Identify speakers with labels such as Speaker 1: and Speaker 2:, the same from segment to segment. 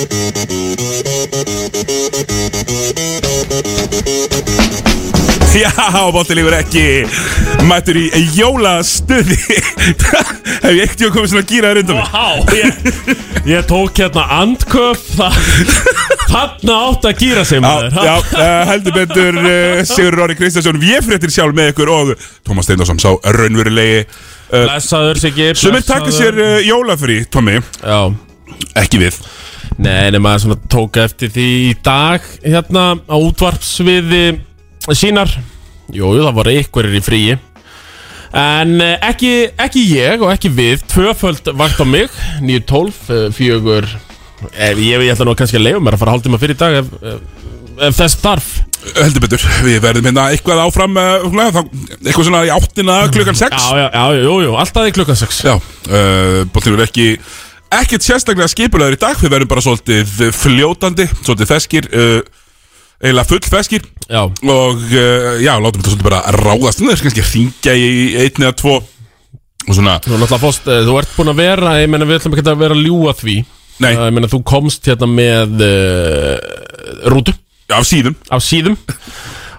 Speaker 1: Já, bóttilífur ekki Mættur í jólastuði Hef ég ekkert komið svona gýraður undan mig
Speaker 2: Vá, ég, ég tók hérna andköf það, Þarna átt að gýra sig
Speaker 1: Já,
Speaker 2: maður
Speaker 1: já uh, heldur betur uh, Sigur Róri Kristjánsson Véfréttir sjálf með ykkur og Tómas Steindarsson sá raunverulegi uh,
Speaker 2: Blessaður Siggi
Speaker 1: Sumir taka sér
Speaker 2: blessaður.
Speaker 1: uh, jólafri, Tommi
Speaker 2: Já
Speaker 1: Ekki við
Speaker 2: Nei, nema svona tók eftir því í dag Hérna á útvarpsviði sínar Jú, jú, það voru einhverjir í fríi En eh, ekki, ekki ég og ekki við Tvöföld vakt á mig 9.12, fjögur eh, Ég, ég ætla nú kannski að leifa mér að fara hálftíma fyrir í dag Ef, ef, ef þess þarf
Speaker 1: Eh, Heldur betur, við verðum hérna eitthvað áfram uh, svona, þá, Eitthvað svona í áttina klukkan 6
Speaker 2: Já, já, já, jú, jú, alltaf í klukkan 6
Speaker 1: Já, uh, bóttilífur ekki Ekkert sérstaklega skipulaður í dag Við verðum bara svolítið fljótandi Svolítið feskir uh, Eila full feskir
Speaker 2: Já,
Speaker 1: og uh, já, látum þetta svolítið bara ráðast en það er kannski að hringja í einn eða tvo og svona,
Speaker 2: þú náttúrulega fórst, eh, þú ert búin að vera, ég meina við ætlum ekki að vera að ljúa því
Speaker 1: Nei.
Speaker 2: Eh, Ég meina þú komst hérna með uh, rútu
Speaker 1: já, af síðum
Speaker 2: af síðum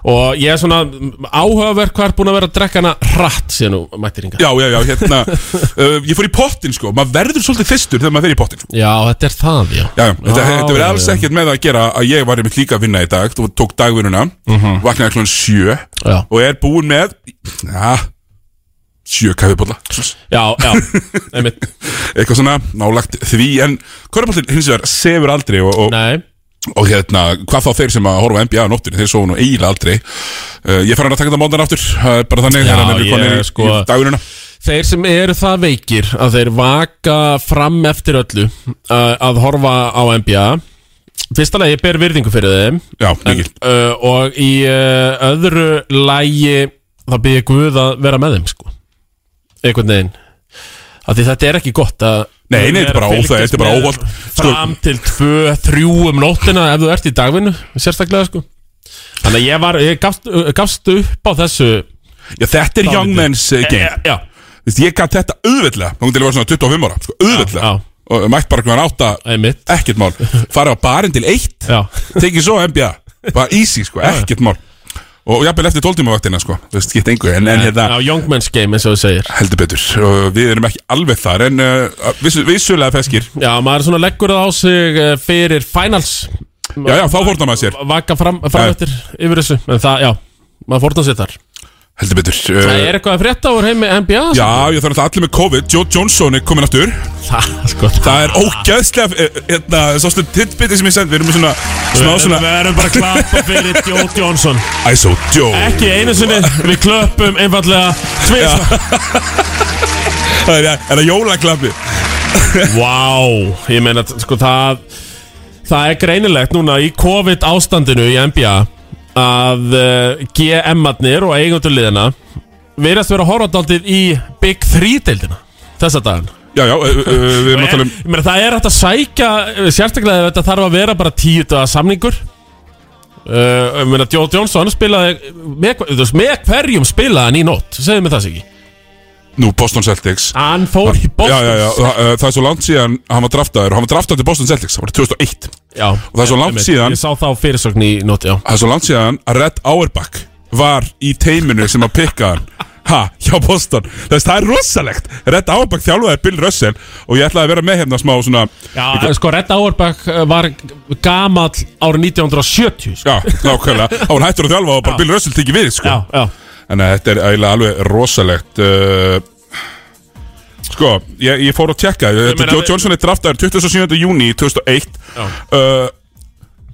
Speaker 2: Og ég er svona áhugaverk hvað er búin að vera að drekka hana hratt síðan þú mættir yngar
Speaker 1: já, já, já, hérna uh, ég fór í pottin sko, maður verður svolítið þyrstur þegar maður fer í pottin sko.
Speaker 2: þetta er það,
Speaker 1: já,
Speaker 2: já
Speaker 1: já, þetta, þetta
Speaker 2: Já,
Speaker 1: verður
Speaker 2: já,
Speaker 1: alls
Speaker 2: já.
Speaker 1: ekkert með það að gera að ég var einmitt líka að vinna í dag þú tók dagvinnuna,
Speaker 2: Mhm.
Speaker 1: vaknaði klón sjö
Speaker 2: Já,
Speaker 1: og er búin með ja, sjö kaffibólla
Speaker 2: já, já, einmitt
Speaker 1: eitthvað svona nálagt því en korfbóltinn hins vegar sefur aldrei og, og
Speaker 2: Nei,
Speaker 1: og hérna, hvað þá þeir sem að horfa á NBA á nóttunni, þeir svo nú eiginlega aldrei uh, ég fer hann að taka þetta mándan aftur það er bara þannig,
Speaker 2: Já,
Speaker 1: þegar hann er
Speaker 2: ég,
Speaker 1: konir í,
Speaker 2: sko-
Speaker 1: í dagununa
Speaker 2: Þeir sem eru það veikir að þeir vaka fram eftir öllu uh, að horfa á NBA Fyrsta lagi, ég ber virðingu fyrir þeim
Speaker 1: já,
Speaker 2: en,
Speaker 1: mikil,
Speaker 2: uh, Og í uh, öðru lagi þá byrja Guð að vera með þeim sko Einhvern veginn Af því þetta er ekki gott að
Speaker 1: Nei, nei, þetta er bara
Speaker 2: að
Speaker 1: óþægilegt,
Speaker 2: fylgjast
Speaker 1: þetta er bara
Speaker 2: með
Speaker 1: óhollt, sko.
Speaker 2: Fram til tvö, þrjú um nóttina ef þú ert í dagvinnu, sérstaklega sko Þannig að ég var, ég gafst, uh, gafst upp á þessu
Speaker 1: já, þetta er young men's uh, game
Speaker 2: Já, já,
Speaker 1: Vist, ég gæti þetta auðveldlega, þá hún til að vera svona 25 ára sko, auðveldlega,
Speaker 2: Já, já.
Speaker 1: og mætt bara hvernig átta
Speaker 2: einmitt
Speaker 1: ekkert mál, farið á barinn til eitt
Speaker 2: Já,
Speaker 1: tekið svo NBA, bara easy sko, ekkert mál og og jafnvel eftir 12 tíma vaktina sko, þú veist, skipt engu en, en hérna,
Speaker 2: Já, young men's game eins og þú segir
Speaker 1: heldur betur og við erum ekki alveg þar en uh, vissu- vissulega feskir
Speaker 2: Já, maður svona leggur það á sig eh, fyrir finals
Speaker 1: já, já, þá fórna maður sér,
Speaker 2: Vaka fram, fram
Speaker 1: Já.
Speaker 2: eftir yfir þessu En það, já, maður fórna sér þar
Speaker 1: heldur betur uh,
Speaker 2: Það er eitthvað að frétta úr heimi NBA
Speaker 1: Já, ég þarf alltaf allir með COVID Joe Johnson er komin aftur
Speaker 2: það, sko
Speaker 1: Það er ógæðslega eh, hérna, Sástu tittbiti sem ég send Við erum með svona Smá svona
Speaker 2: Við erum bara að klappa fyrir Joe Johnson
Speaker 1: ISO Joe
Speaker 2: Ekki einu sinni, við klöppum einfallega tvist
Speaker 1: Það er, er það jólaklappi
Speaker 2: Vá, ég meina, sko það Það er greinilegt núna í COVID ástandinu í NBA að uh, GM-arnir og eigundur liðina verðast vera horfandaldið í Big 3-deildina þessa dagan
Speaker 1: Já, já, eh, eh, við erum að tala um
Speaker 2: Ég meina, það er hægt að sækja eh, sérstaklega ef þetta þarf að vera bara tíu daga samningur uh, ég meina, Jó Jónsson spilaði með, hver- þú veist, með hverjum spilaði hann í nótt segðu mig það sig ekki
Speaker 1: Nú, Boston Celtics
Speaker 2: hann fór í
Speaker 1: Já,
Speaker 2: Boston
Speaker 1: já, já, það, eh, það er svo langt síðan Hann var draftaður Hann var draftaður til Boston Celtics Það var 2001
Speaker 2: Já,
Speaker 1: það er svo langt
Speaker 2: einmitt.
Speaker 1: síðan.
Speaker 2: ég sá þá fyrirsögn í nótt, já
Speaker 1: Það er svo langt síðan að Red Auerbach var í teiminu sem að pikka hann Ha, hjá Boston Þess, Það er rosalegt Red Auerbach þjálfaði Bill Russell Og ég ætlaði að vera með hérna smá svona
Speaker 2: Já, sko, Red Auerbach eh, var gamall árið 1970 sko.
Speaker 1: Já, nákvæmlega Þá var hann hættur að þjálfa og bara Bill Russell tekið við sko.
Speaker 2: Já, já,
Speaker 1: Þannig að þetta er eiginlega alveg rosalegt uh, Sko, ég, ég fór að tjekka Þetta
Speaker 2: meina,
Speaker 1: Joe
Speaker 2: við-
Speaker 1: Johnson er draftaður 27. júni 2001
Speaker 2: Já.
Speaker 1: uh,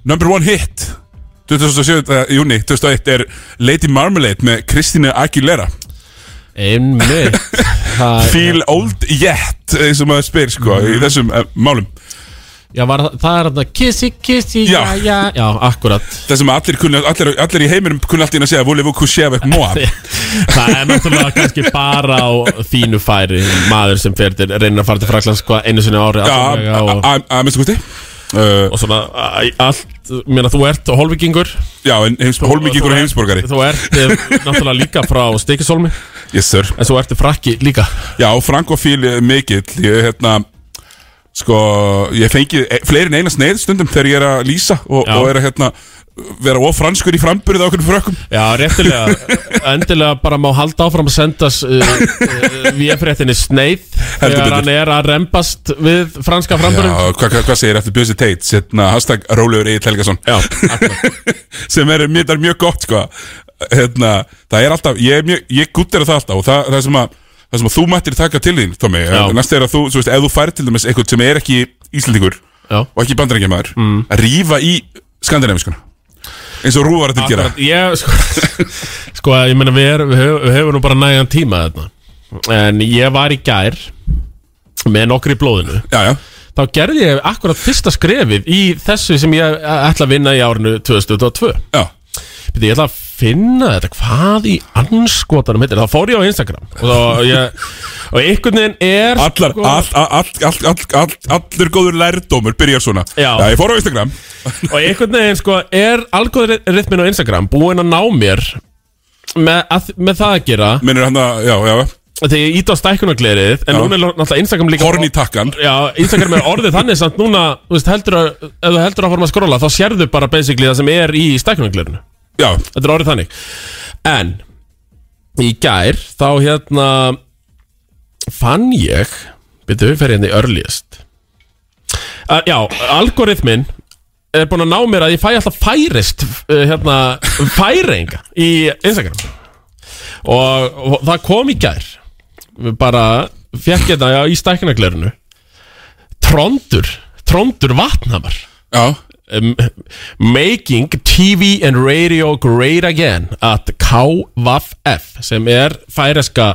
Speaker 1: Number one hit oh 27. júni 2001 er Lady Marmalade með Kristínu Aguilera
Speaker 2: einmitt Það-
Speaker 1: Feel old yet eins og maður spyr sko
Speaker 2: Mhm.
Speaker 1: í þessum uh, málum
Speaker 2: Já, var, það- það er hann að kissi, kissi, já,
Speaker 1: Já.
Speaker 2: já Já, akkurat
Speaker 1: Það sem allir, kunna, allir, allir í heiminum kunna allt í einu að segja Volevo Kusjevek Moab
Speaker 2: Það er náttúrulega kannski bara á þínu færi maður sem fer til, reynir að fara til Fraklands sko, einu sinni á ári
Speaker 1: Já,
Speaker 2: allavega,
Speaker 1: að-
Speaker 2: og,
Speaker 1: að að minnstu kosti uh,
Speaker 2: og svona æ, allt, mér að þú ert holvikingur
Speaker 1: Já, en heims, hólmíkingur og heimsborgari
Speaker 2: Þú ert eh, náttúrulega líka frá Stikisólmi
Speaker 1: Yes sir
Speaker 2: en svo ertu frakki líka
Speaker 1: Já, frankofíl eh, mikill Ég, hérna, Sko, ég hef fengið e- fleiri en eina sneið stundum þegar ég er að lýsa og,
Speaker 2: Já.
Speaker 1: og er að hérna, vera ofranskur í framburðið á okkur frökkum
Speaker 2: Já, réttilega, endilega bara má halda áfram að sendast uh, uh, VF-réttinni sneið
Speaker 1: Heldur
Speaker 2: þegar
Speaker 1: betur.
Speaker 2: hann er að rembast við franska
Speaker 1: Já,
Speaker 2: framburðin
Speaker 1: hvað hva, hva segir eftir Bjössi Teit setna, hashtag Rólegur Egil Helgason sem er, mér er mjög gott sko. hérna, það er alltaf ég, er mjög, ég guttir það alltaf og það, það, sem að, það sem að þú mættir taka til þín Tommy,
Speaker 2: Já.
Speaker 1: næst er að þú, þú veist, ef þú færir til dæmis eitthvað sem er ekki Íslandingur
Speaker 2: Já.
Speaker 1: og ekki bandarækjamaður mm. að rífa í skandinavískuna eins og Rúvar að tilgjera
Speaker 2: Akkurat, ég, sko, sko, ég meina við, er, við, höfum, við höfum nú bara nægan tíma þarna En ég var í gær með nokkur í blóðinu
Speaker 1: já, já,
Speaker 2: Þá gerði ég akkurat fyrsta skrefið í þessu sem ég ætla að vinna í árinu 2002
Speaker 1: já,
Speaker 2: Býtti, ég ætla að finna þetta, hvað í anskotanum heitir Þá fór ég á Instagram og, þá, ég, og einhvern veginn er
Speaker 1: allar
Speaker 2: sko,
Speaker 1: all, all, all, all, all, allur góður lærdómur byrjar svona,
Speaker 2: Já.
Speaker 1: ég fór á Instagram
Speaker 2: Og einhvern veginn sko er algoritmin á Instagram búinn að ná mér með, að, með það að gera
Speaker 1: minnur hann að, já, já,
Speaker 2: Þegar ég ít á stækkunaglerið En
Speaker 1: Já.
Speaker 2: núna er náttúrulega Instagram líka
Speaker 1: horn í takkan
Speaker 2: Já, Instagram er orðið þannig samt núna Þú veist, heldur að Ef þú heldur að fórum að skrolla Þá sérðu bara basically það sem er í stækkunaglerinu
Speaker 1: já,
Speaker 2: Þetta er orðið þannig En Í gær Þá hérna Fann ég Byrðu, fer hérna í earliest uh, Já, algoritmin Er búin að ná mér að ég fæ alltaf færist uh, Hérna Færinga Í Instagram og, og það kom í gær Við bara Fekk þetta já, í stæknaglerinu Trondur Trondur vatnhamar
Speaker 1: já
Speaker 2: um, Making TV and Radio Great Again at KVF sem er færeska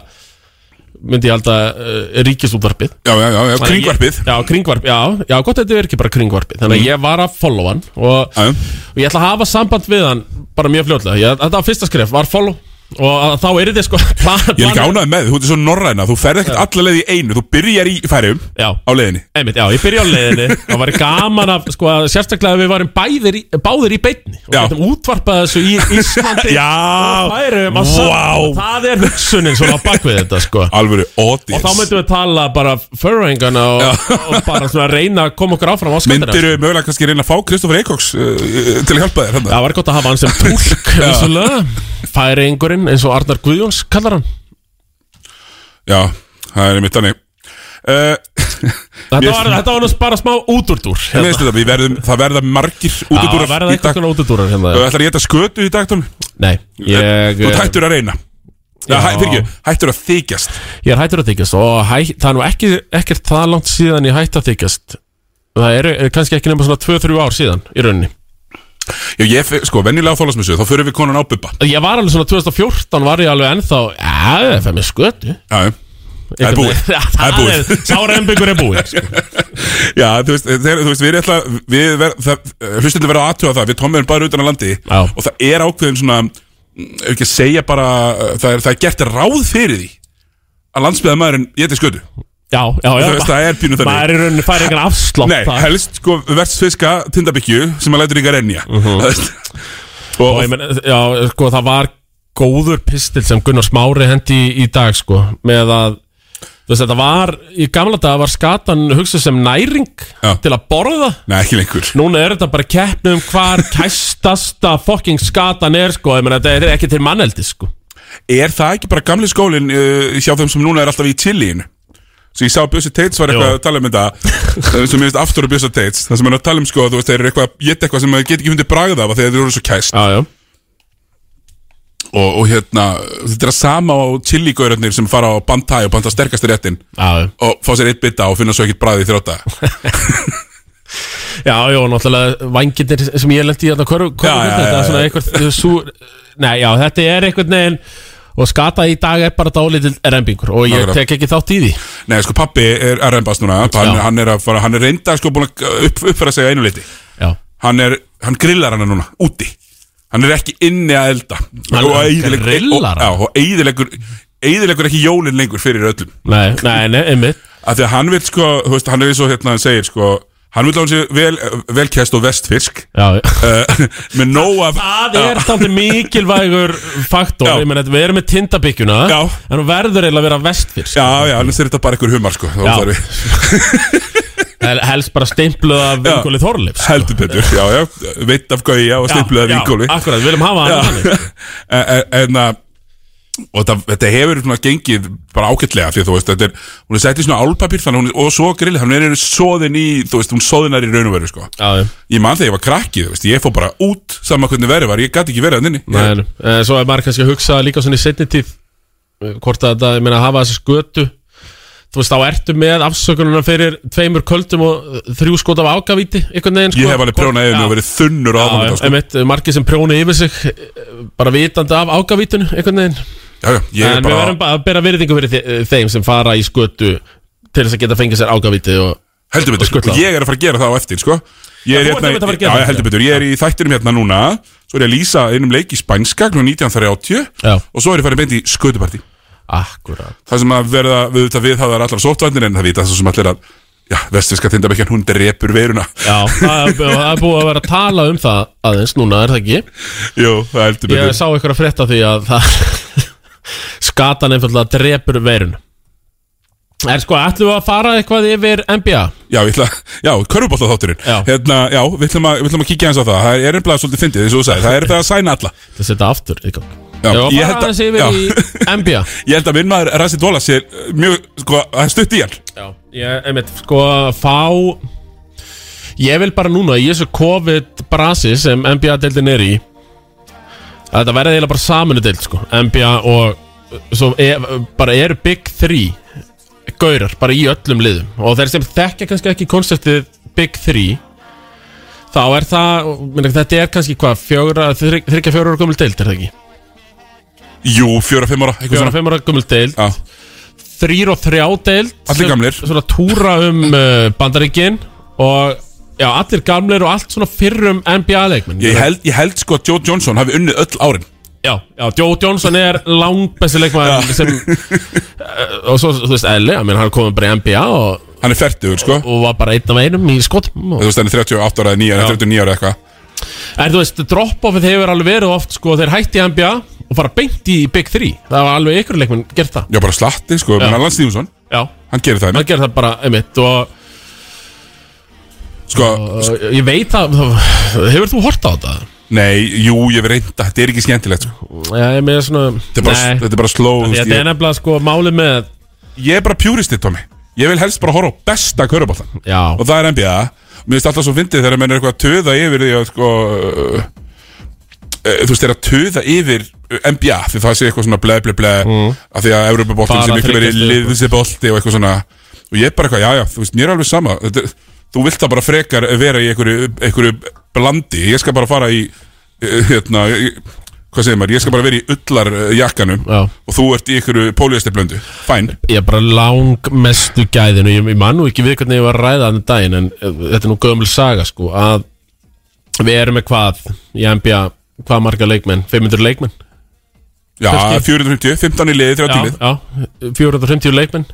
Speaker 2: myndi ég halda uh, ríkisútvarpið
Speaker 1: Já, já, já, já, kringvarpið Mm.
Speaker 2: Já, kringvarpið, já, já, gott að þetta er ekki bara kringvarpið Þannig að ég var að follow hann og,
Speaker 1: Já, já.
Speaker 2: og ég ætla að hafa samband við hann bara mjög fljótlega ég, Þetta var fyrsta skref, var follow og að, þá er þetta sko plan,
Speaker 1: Ég er ekki ánægð með þig, þú ert svo norræna Þú ferð ekkert alla leið í einu, þú byrjar í færum
Speaker 2: Já.
Speaker 1: Á leiðinni
Speaker 2: Einmitt, já, ég byrja á leiðinni Það var gaman að, sko, að sérstaklega að við varum bæðir í, báðir í beinni og
Speaker 1: Já.
Speaker 2: getum útvarpað þessu í Íslandi og
Speaker 1: Já,
Speaker 2: færum að
Speaker 1: Vá.
Speaker 2: Það er hugsunin svona á bakvið þetta, sko
Speaker 1: alvöru audience
Speaker 2: Og þá myndum við tala bara förringana og, og bara svona reyna að koma okkur áfram á skattina
Speaker 1: Myndirðu mögulega kannski reyna að fá Kristoffer Eikoks uh, uh, Til að hjálpa þér hann
Speaker 2: Það var gott að hafa hann sem tólk vissulega. Færingurinn eins og Arnar Guðjóns kallar hann
Speaker 1: Já, það er mitt þannig uh,
Speaker 2: Þetta
Speaker 1: Mér-
Speaker 2: var, þetta var nú bara smá útúrdúr
Speaker 1: Mér finnst þetta, við verðum, það verða margir
Speaker 2: Það
Speaker 1: útudúrar
Speaker 2: verða
Speaker 1: í dag
Speaker 2: eitthvað útúrdúrar hérna
Speaker 1: Þú ætlar að geta skötu í dag, Tómi
Speaker 2: Nei, ég eh,
Speaker 1: Þú ert hættur að reyna Já,
Speaker 2: Já.
Speaker 1: hæ, fyrir hættur að þykjast
Speaker 2: Ég er hættur að þykjast og hæ, það er nú ekki, ekkert það langt síðan ég hætti að þykjast Það eru er kannski ekki nema svona 2-3 ár síðan í rauninni
Speaker 1: Já, ég, fer- sko, venjulega á þólasmissu, þá förum við konan á bubba
Speaker 2: Ég var alveg svona 2014 var ég alveg ennþá Já, það er með skötu
Speaker 1: Já, já. það er búið Það er búið
Speaker 2: Sára ennbyggur er búið sko.
Speaker 1: Já, þú veist, þeir, þú veist við erum alltaf við ver, það, hlustundu verða að aðtjóða það við tómum erum bara utan á landi
Speaker 2: Já.
Speaker 1: og það er ákveðin svona mm, ef ekki að segja bara, uh, það er, það er gert ráð fyrir því að landsbyðamæðurinn geti skötu
Speaker 2: Já, já, já
Speaker 1: Þú veist, það er pínu þannig.
Speaker 2: Maður er í rauninni fær engan afslátt
Speaker 1: Nei,
Speaker 2: það.
Speaker 1: helst sko verðsfiska tindabyggju sem að lætur ykkar ennja Mhm. og,
Speaker 2: Og
Speaker 1: og
Speaker 2: ég menn, já, sko, það var góður pistil sem Gunnar Smári hendi í, í dag, sko, með að þú veist, þetta var, í gamla daga var skatan hugsað sem næring
Speaker 1: Já.
Speaker 2: til að borða
Speaker 1: Nei, ekki lengur
Speaker 2: Núna er þetta bara keppni um hvar kæstasta fucking skatan er sko, ég meina þetta er ekki til manneldi sko
Speaker 1: Er það ekki bara gamli skólinn uh, hjá þeim sem núna er alltaf í Chiliin? Svo ég sá að Bjössi Teits var eitthvað
Speaker 2: Jú.
Speaker 1: að tala um þetta Það er sem ég veist aftur á Bjössi Teits Það sem hann er að tala um sko, þú veist, þeir eru eitthvað að geta eitthvað sem maður get ekki fundið bragð af af Þegar þeir eru svo kæst
Speaker 2: Já, já
Speaker 1: og, og hérna, þetta er að sama á Chili-gaurarnir sem fara á bandtæ og banda sterkasta réttin
Speaker 2: Já,
Speaker 1: Og fá sér eitt bita og finna svo ekkert bragð í þrjóta
Speaker 2: já, já, og náttúrulega vangindir sem ég lendi í þarna hverju
Speaker 1: Já, já,
Speaker 2: þetta
Speaker 1: já,
Speaker 2: er svona
Speaker 1: já.
Speaker 2: einhver súr Nei, já, þetta er einhvern veginn og skata í dag er bara dálítill rembingur og ég
Speaker 1: Nákvæmlega.
Speaker 2: tek ekki þátt í því
Speaker 1: Nei, sko, pappi er að rembast núna hann,
Speaker 2: Já.
Speaker 1: hann er að fara, hann er reynda sko búin að upp, uppfæra sig að einu leiti
Speaker 2: Já,
Speaker 1: hann, er, hann grillar hana núna, úti Hann er ekki inni að elda
Speaker 2: Hann-
Speaker 1: Og
Speaker 2: hann
Speaker 1: eyðileggur-
Speaker 2: grillar
Speaker 1: og- Já, og eyðilegur Eyðilegur ekki jólin lengur fyrir öllum
Speaker 2: nei, nei, nei, einmitt
Speaker 1: Af því að hann vil sko, þú veist, hann er eins og hérna hann segir sko Hann vil á hann sé vel, velkjæst og vestfisk
Speaker 2: Já, já
Speaker 1: uh, Með nóg af
Speaker 2: Það er þannig mikilvægur faktor,
Speaker 1: Já.
Speaker 2: ég meina, við erum með tindabyggjuna
Speaker 1: Já.
Speaker 2: en hún verður eiginlega að vera vestfyrst
Speaker 1: sko. Já, já, annars er þetta bara einhver humar sko þá
Speaker 2: Já.
Speaker 1: þarf við-
Speaker 2: Hel- Helst bara stimpluð af vinkoli Þorleifs
Speaker 1: heldur betur, já, já, veitt af gauja og stimpluð af vinkóli
Speaker 2: Akkurat, við viljum hafa hann þannig.
Speaker 1: en að og þetta, þetta hefur svona gengið bara ágætlega því að þú veist, þetta er, hún er sett í svona álpapír þannig að hún er, og svo grill, hann er einu soðin í þú veist, hún soðinar í raun og veru sko
Speaker 2: Já, já
Speaker 1: ég man þegar ég var krakki, þú veist, ég fór bara út saman hvernig verið var, ég gæti ekki verið að nynni
Speaker 2: Nei, nei. Eh, Svo er maður kannski að hugsa líka svona í setni tíð eh, Hvort að þetta, ég meina, hafa þessi skötu Þú veist, þá ertu með afsökununa fyrir tveimur köldum og eh, þrjú skot af ágavíti einhvern veginn, sko.
Speaker 1: ég hef alveg prjónað yfir mig
Speaker 2: Já.
Speaker 1: og verið þunnur á
Speaker 2: Já,
Speaker 1: aðfangadag,
Speaker 2: sko. einmitt, margir sem prjóna yfir sig eh, bara vitandi af ágavítun einhvern veginn,
Speaker 1: sko. já, já, ég er
Speaker 2: en við
Speaker 1: bara
Speaker 2: verðum bara að bera virðingu fyrir þe- þeim sem fara í skötu til þess að geta fengið sér ágavíti og
Speaker 1: heldur
Speaker 2: og
Speaker 1: betur,
Speaker 2: skutla
Speaker 1: og
Speaker 2: á.
Speaker 1: ég er að fara að gera það á eftir sko. ég
Speaker 2: Já,
Speaker 1: er
Speaker 2: þú ert einmitt að fara að gera
Speaker 1: já,
Speaker 2: það.
Speaker 1: já, heldur betur, ég er í þættinum hérna núna svo er ég að lýsa einum leik í spænska kl. 19.30
Speaker 2: Já.
Speaker 1: og svo er ég farið beint í skötupartí
Speaker 2: akkurat
Speaker 1: það sem að verða við þetta við hafðar allar sóttvarnir en það vita svo sem allir að já, vestfiska þindabekjan hún drepur veiruna
Speaker 2: Já, það er, það er búið að vera að tala um það aðeins núna, er það ekki?
Speaker 1: jú, það er heldur
Speaker 2: Ég
Speaker 1: betur
Speaker 2: sá ykkur að frétta því að það skatan einfallega drepur veirun Er sko, ætlum við að fara eitthvað yfir NBA?
Speaker 1: Já, ég ætla, já, körfubólta þátturinn
Speaker 2: Já.
Speaker 1: Hérna, já, við ætlum að, við ætlum að kíkja hans á það Það er einblæða svolítið fyndið, eins og þú sagði Það er það að sæna alla
Speaker 2: Það setja aftur í gang
Speaker 1: Já,
Speaker 2: Ég
Speaker 1: ég
Speaker 2: var bara
Speaker 1: held að-
Speaker 2: aðeins yfir
Speaker 1: já.
Speaker 2: í NBA
Speaker 1: Ég held að minn maður Rassi Dóla sé eh, mjög, sko, það er stutt í hann
Speaker 2: Já, ég, einmitt, sko, fá Ég vil bara núna, í þessu COVID-brasi sem NBA-deildin er í að Þetta verði eiginlega bara saminu deild, sko NBA og svo er, bara eru Big 3 Gaurar, bara í öllum liðum Og þeir sem þekkja kannski ekki konceptið Big 3 Þá er það, minna, þetta er kannski hvað, fjögra, þryggja, þryggja, fjögra ára gömul deild, er það ekki?
Speaker 1: Jú, fjóra, fimm ára, eitthvað
Speaker 2: Fjögra,
Speaker 1: svona
Speaker 2: fimm ára gömul deild
Speaker 1: Já,
Speaker 2: þrýr og þrjá deild
Speaker 1: Allir gamlir.
Speaker 2: Svona- Svona túra um uh, bandaríkin Og já, allir gamlir og allt svona fyrrum NBA-leikmenn
Speaker 1: ég held, ég held sko að Joe Johnson hafi unnið öll árin
Speaker 2: Já, já, Joe Johnson er langbæsti leikmann sem uh, Og svo, þú veist, Elli, menn hann komið bara í NBA og,
Speaker 1: Hann er fertugur, sko
Speaker 2: og var bara einn af einum í skotum og,
Speaker 1: Þú veist, hann er 38 ára, eða 9 ára, 39 ára eitthvað
Speaker 2: En þú veist, drop-offið hefur alveg verið oft sko Þeir hætti í NBA og fara beint í Big 3 Það var alveg ykkur leikmenn, gert það
Speaker 1: Já, bara slatti, sko, menn Allan Stífusson
Speaker 2: Já,
Speaker 1: Hann gerir það,
Speaker 2: það
Speaker 1: einmitt.
Speaker 2: gerir það bara einmitt og
Speaker 1: sko,
Speaker 2: uh, ég veit að, hefur þú hort á þetta?
Speaker 1: nei, jú, ég hef reynda, þetta er ekki skemmtilegt, sko
Speaker 2: Já, ég með svona
Speaker 1: Þetta er bara,
Speaker 2: Nei,
Speaker 1: þetta er bara slow, þú
Speaker 2: því
Speaker 1: veist,
Speaker 2: þetta er
Speaker 1: ég,
Speaker 2: nefnilega sko málið með
Speaker 1: ég er bara pjúristið, Tommy Ég vil helst bara horfa á besta körubóltan
Speaker 2: Já,
Speaker 1: Og það er NBA Mér finnst alltaf svo fyndið þegar menn er eitthvað að töða yfir því að, sko uh, uh, Þú veist, þeir að töða yfir uh, NBA Því það sé eitthvað svona ble, ble, ble
Speaker 2: Mm.
Speaker 1: Af því að Evropaboltin
Speaker 2: Bara
Speaker 1: sé miklu verið
Speaker 2: þriggja stiga.
Speaker 1: liðsibolti og eitthvað svona Og ég er bara eitthvað, já, já, þú veist, mér er alveg sama þetta, er- Þú vilt það bara frekar vera í einhverju, einhverju blandi Ég skal bara fara í, uh, hérna, í- hvað segir maður Ég skal bara vera í ullar jakkanum
Speaker 2: já
Speaker 1: og þú ert í ykkur póljæstiblöndu fæn,
Speaker 2: Ég er bara lang mestu gæðinu Ég, ég man nú ekki við hvernig ég var að ræða þannig daginn En eh, þetta er nú gömul saga sko Að við erum með hvað Í NBA, hvað marga leikmenn 500 leikmenn
Speaker 1: já, 450 15 í liði, 30 í lið
Speaker 2: já, já, 450 leikmenn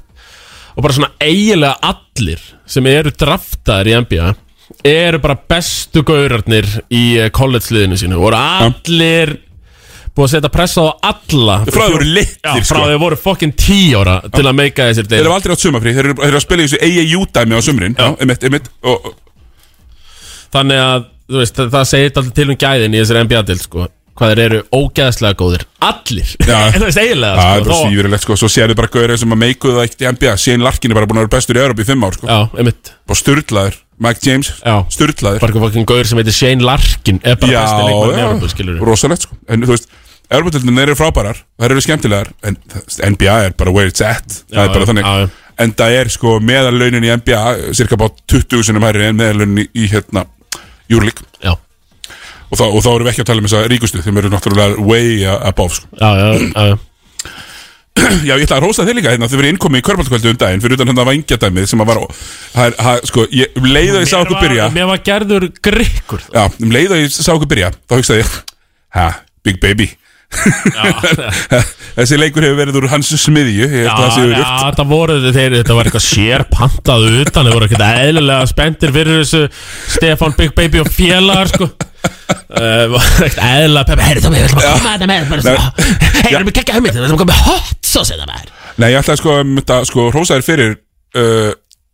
Speaker 2: Og bara svona eiginlega allir Sem eru draftaðir í NBA Eru bara bestu gaurarnir Í eh, college-liðinu sínu Og eru allir Búið að setja pressa á alla
Speaker 1: frá þau voru
Speaker 2: Já,
Speaker 1: litlir
Speaker 2: frá
Speaker 1: sko
Speaker 2: þau voru fokkin 10 ára til að meika þessir
Speaker 1: þeir
Speaker 2: deil
Speaker 1: eru aldrei átt sumafrí, þeir eru þeir eru að spila í þessu EIU-dæmi á sumrin, já, emitt, emitt og, og-
Speaker 2: Þannig að, þú veist, það, það segir alltaf til um gæðin í þessari NBA-deil, sko Hvað þeir eru ógæðslega góður Allir,
Speaker 1: Já.
Speaker 2: þú veist, eiginlega
Speaker 1: það er bara
Speaker 2: þó-
Speaker 1: svífurlegt sko, svo sérðu bara gaurið sem að meikuðu það ekkert í NBA, Shane Larkin er bara búin að vera bestur í Európa í 5 ár sko,
Speaker 2: Já, einmitt
Speaker 1: bara sturlaður Mike James,
Speaker 2: Já.
Speaker 1: sturlaður
Speaker 2: Bara fokkin gaur sem heitir Shane Larkin Er bara
Speaker 1: já,
Speaker 2: besti leikmann í Európu,
Speaker 1: já,
Speaker 2: skilur
Speaker 1: rosalegt sko en þú veist, Európa-tildin eru frábærar þær eru skemmtilegar, en það- NBA er bara where it's at, það er bara
Speaker 2: já,
Speaker 1: þannig
Speaker 2: já, já.
Speaker 1: en það er sko meðalaunin í NBA cirka bá 20 sinum hærri en meðalaunin í, í hérna júrlík
Speaker 2: Já,
Speaker 1: og, þá- og þá erum við ekki að tala um þessa ríkustu þeim eru náttúrulega way a- above sko.
Speaker 2: já, já, já, já.
Speaker 1: já ég ætla að rósa þér líka hérna þau verið innkomið í körbáltkvældu um daginn fyrir utan hérna vangjadæmið sem að var það er, það, sko, ég, um leið að ég sá
Speaker 2: Mér
Speaker 1: okkur
Speaker 2: var-
Speaker 1: byrja
Speaker 2: Mér var gerður grikkur
Speaker 1: já, um leið að ég sá okkur byrja þá hugsaði ég, ha, big baby þessi leikur hefur verið úr hans smiðju ég held að það sé
Speaker 2: Já,
Speaker 1: auðvitað
Speaker 2: þetta voru þeir, þetta var eitthvað sérpantað utan, þeir voru eitthvað eðlilega spenntir fyrir þessu Stefan Big Baby og félagar, sko Eh, var Ekkert eðlilega peppi, heyrðu Tómi, við ætlum að koma þetta með bara svo- Heyrðu, erum við kekka hugmynd, við ætlum að koma hérna með hot sauce þetta með
Speaker 1: Nei, ég ætlaði sko, um, þetta, sko rósaðir fyrir uh,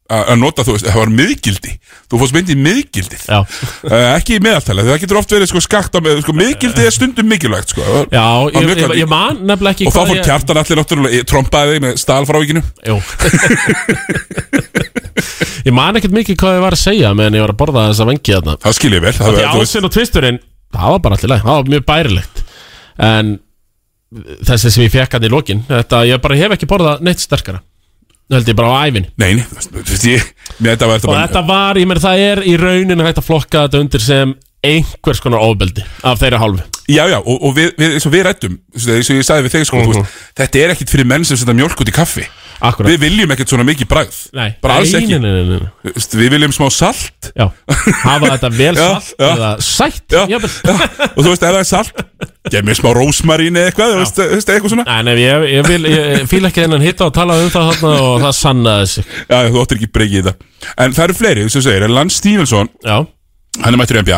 Speaker 1: að að nota, þú veist, það var miðgildi þú fórst mynd í miðgildið
Speaker 2: Já.
Speaker 1: uh, ekki í meðaltalið, það getur oft verið sko skakt á með, sko miðgildið er stundum mikilvægt sko. Það var-
Speaker 2: Já,
Speaker 1: það var
Speaker 2: ég,
Speaker 1: mjög
Speaker 2: ég,
Speaker 1: gaman.
Speaker 2: ég man nefnilega ekki
Speaker 1: og þá
Speaker 2: hvað
Speaker 1: fór
Speaker 2: ég-
Speaker 1: kjartan allir náttúrulega ég trompaði þig með stalfrávíkinu
Speaker 2: Jú Ég man ekkert mikið hvað ég var að segja meðan ég var að borða þess að vengi þarna
Speaker 1: það skil ég vel, það,
Speaker 2: Því
Speaker 1: var- þú veist,
Speaker 2: ásinn og tvisturinn, það var bara allir leið Það var mjög bærilegt En þessi sem ég fekk hann í lokin Þetta, ég bara hef ekki borðað neitt sterkara Það held ég bara á ævinni
Speaker 1: nei, nei, þú veist, þú veist ég, mér þetta var þetta
Speaker 2: Og
Speaker 1: bara-
Speaker 2: þetta var, ég meina það er í rauninu hægt að flokka þetta undir sem einhvers konar ofbeldi af þeirra hálfu
Speaker 1: Já, já, og, og við, við, eins og við rættum eins og ég sagði við þig, sko, þú
Speaker 2: Mhm.
Speaker 1: veist, þetta er ekkit fyrir menn sem setja mjölk út í kaffi
Speaker 2: Akkurat
Speaker 1: Við viljum ekkit svona mikið bræð
Speaker 2: Nei,
Speaker 1: Bara alls
Speaker 2: nei,
Speaker 1: ekki,
Speaker 2: nei, nei, nei, nei.
Speaker 1: Þú veist, við viljum smá salt
Speaker 2: Já, hafa þetta vel
Speaker 1: Já,
Speaker 2: salt
Speaker 1: já.
Speaker 2: eða sætt
Speaker 1: Já, já,
Speaker 2: jafnvel.
Speaker 1: og þú veist, ef það er salt Gef mér smá rósmarín eða eitthvað, þú veist, þú veist, eitthvað svona
Speaker 2: Nei, nei, ég, ég, vil, ég fíla ekki þennan hitta og tala um það þarna og það sannaði sig
Speaker 1: Já, já, þú óttir ekki breykið í þetta En það eru fleiri, þú segir, Lance Stevenson
Speaker 2: Já,
Speaker 1: Hann er mættur í NBA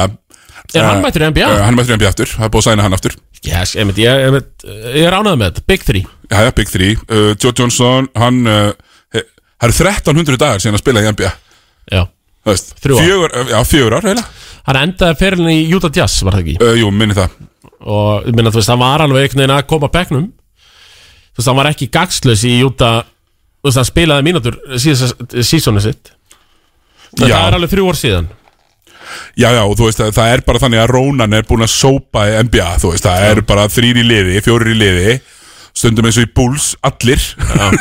Speaker 2: er hann
Speaker 1: Eh,
Speaker 2: mættur í NBA?
Speaker 1: eh, Hann er mættur í NBA aftur, það er búið að sæna hann aftur
Speaker 2: Yes, ég, ég, ég, einmitt, ég er ánægð með þetta, Big 3
Speaker 1: Já, já, Big 3, uh, Joe Johnson Hann, uh, he- það eru 1300 dagar síðan að spila í NBA
Speaker 2: Já,
Speaker 1: Þú veist,
Speaker 2: Þrjú ár.
Speaker 1: fjögur, uh, já, fjögur ár, heila
Speaker 2: hann endaði ferilin í Utah Jazz, var það ekki
Speaker 1: Uh, jú, minni það
Speaker 2: Og ég minna, þú veist, hann var alveg einhvern veginn að koma bekknum Þú veist, hann var ekki gagslaus í Utah Þú veist, hann spilaði mínútur síðasta sísónu sitt En
Speaker 1: Já.
Speaker 2: það er alveg þrjú ár síðan
Speaker 1: Já, já, og þú veist, að það er bara þannig að Rónan er búin að sópa í NBA, þú veist, það er bara þrýr í liði, fjórir í liði stundum eins og í Bulls, allir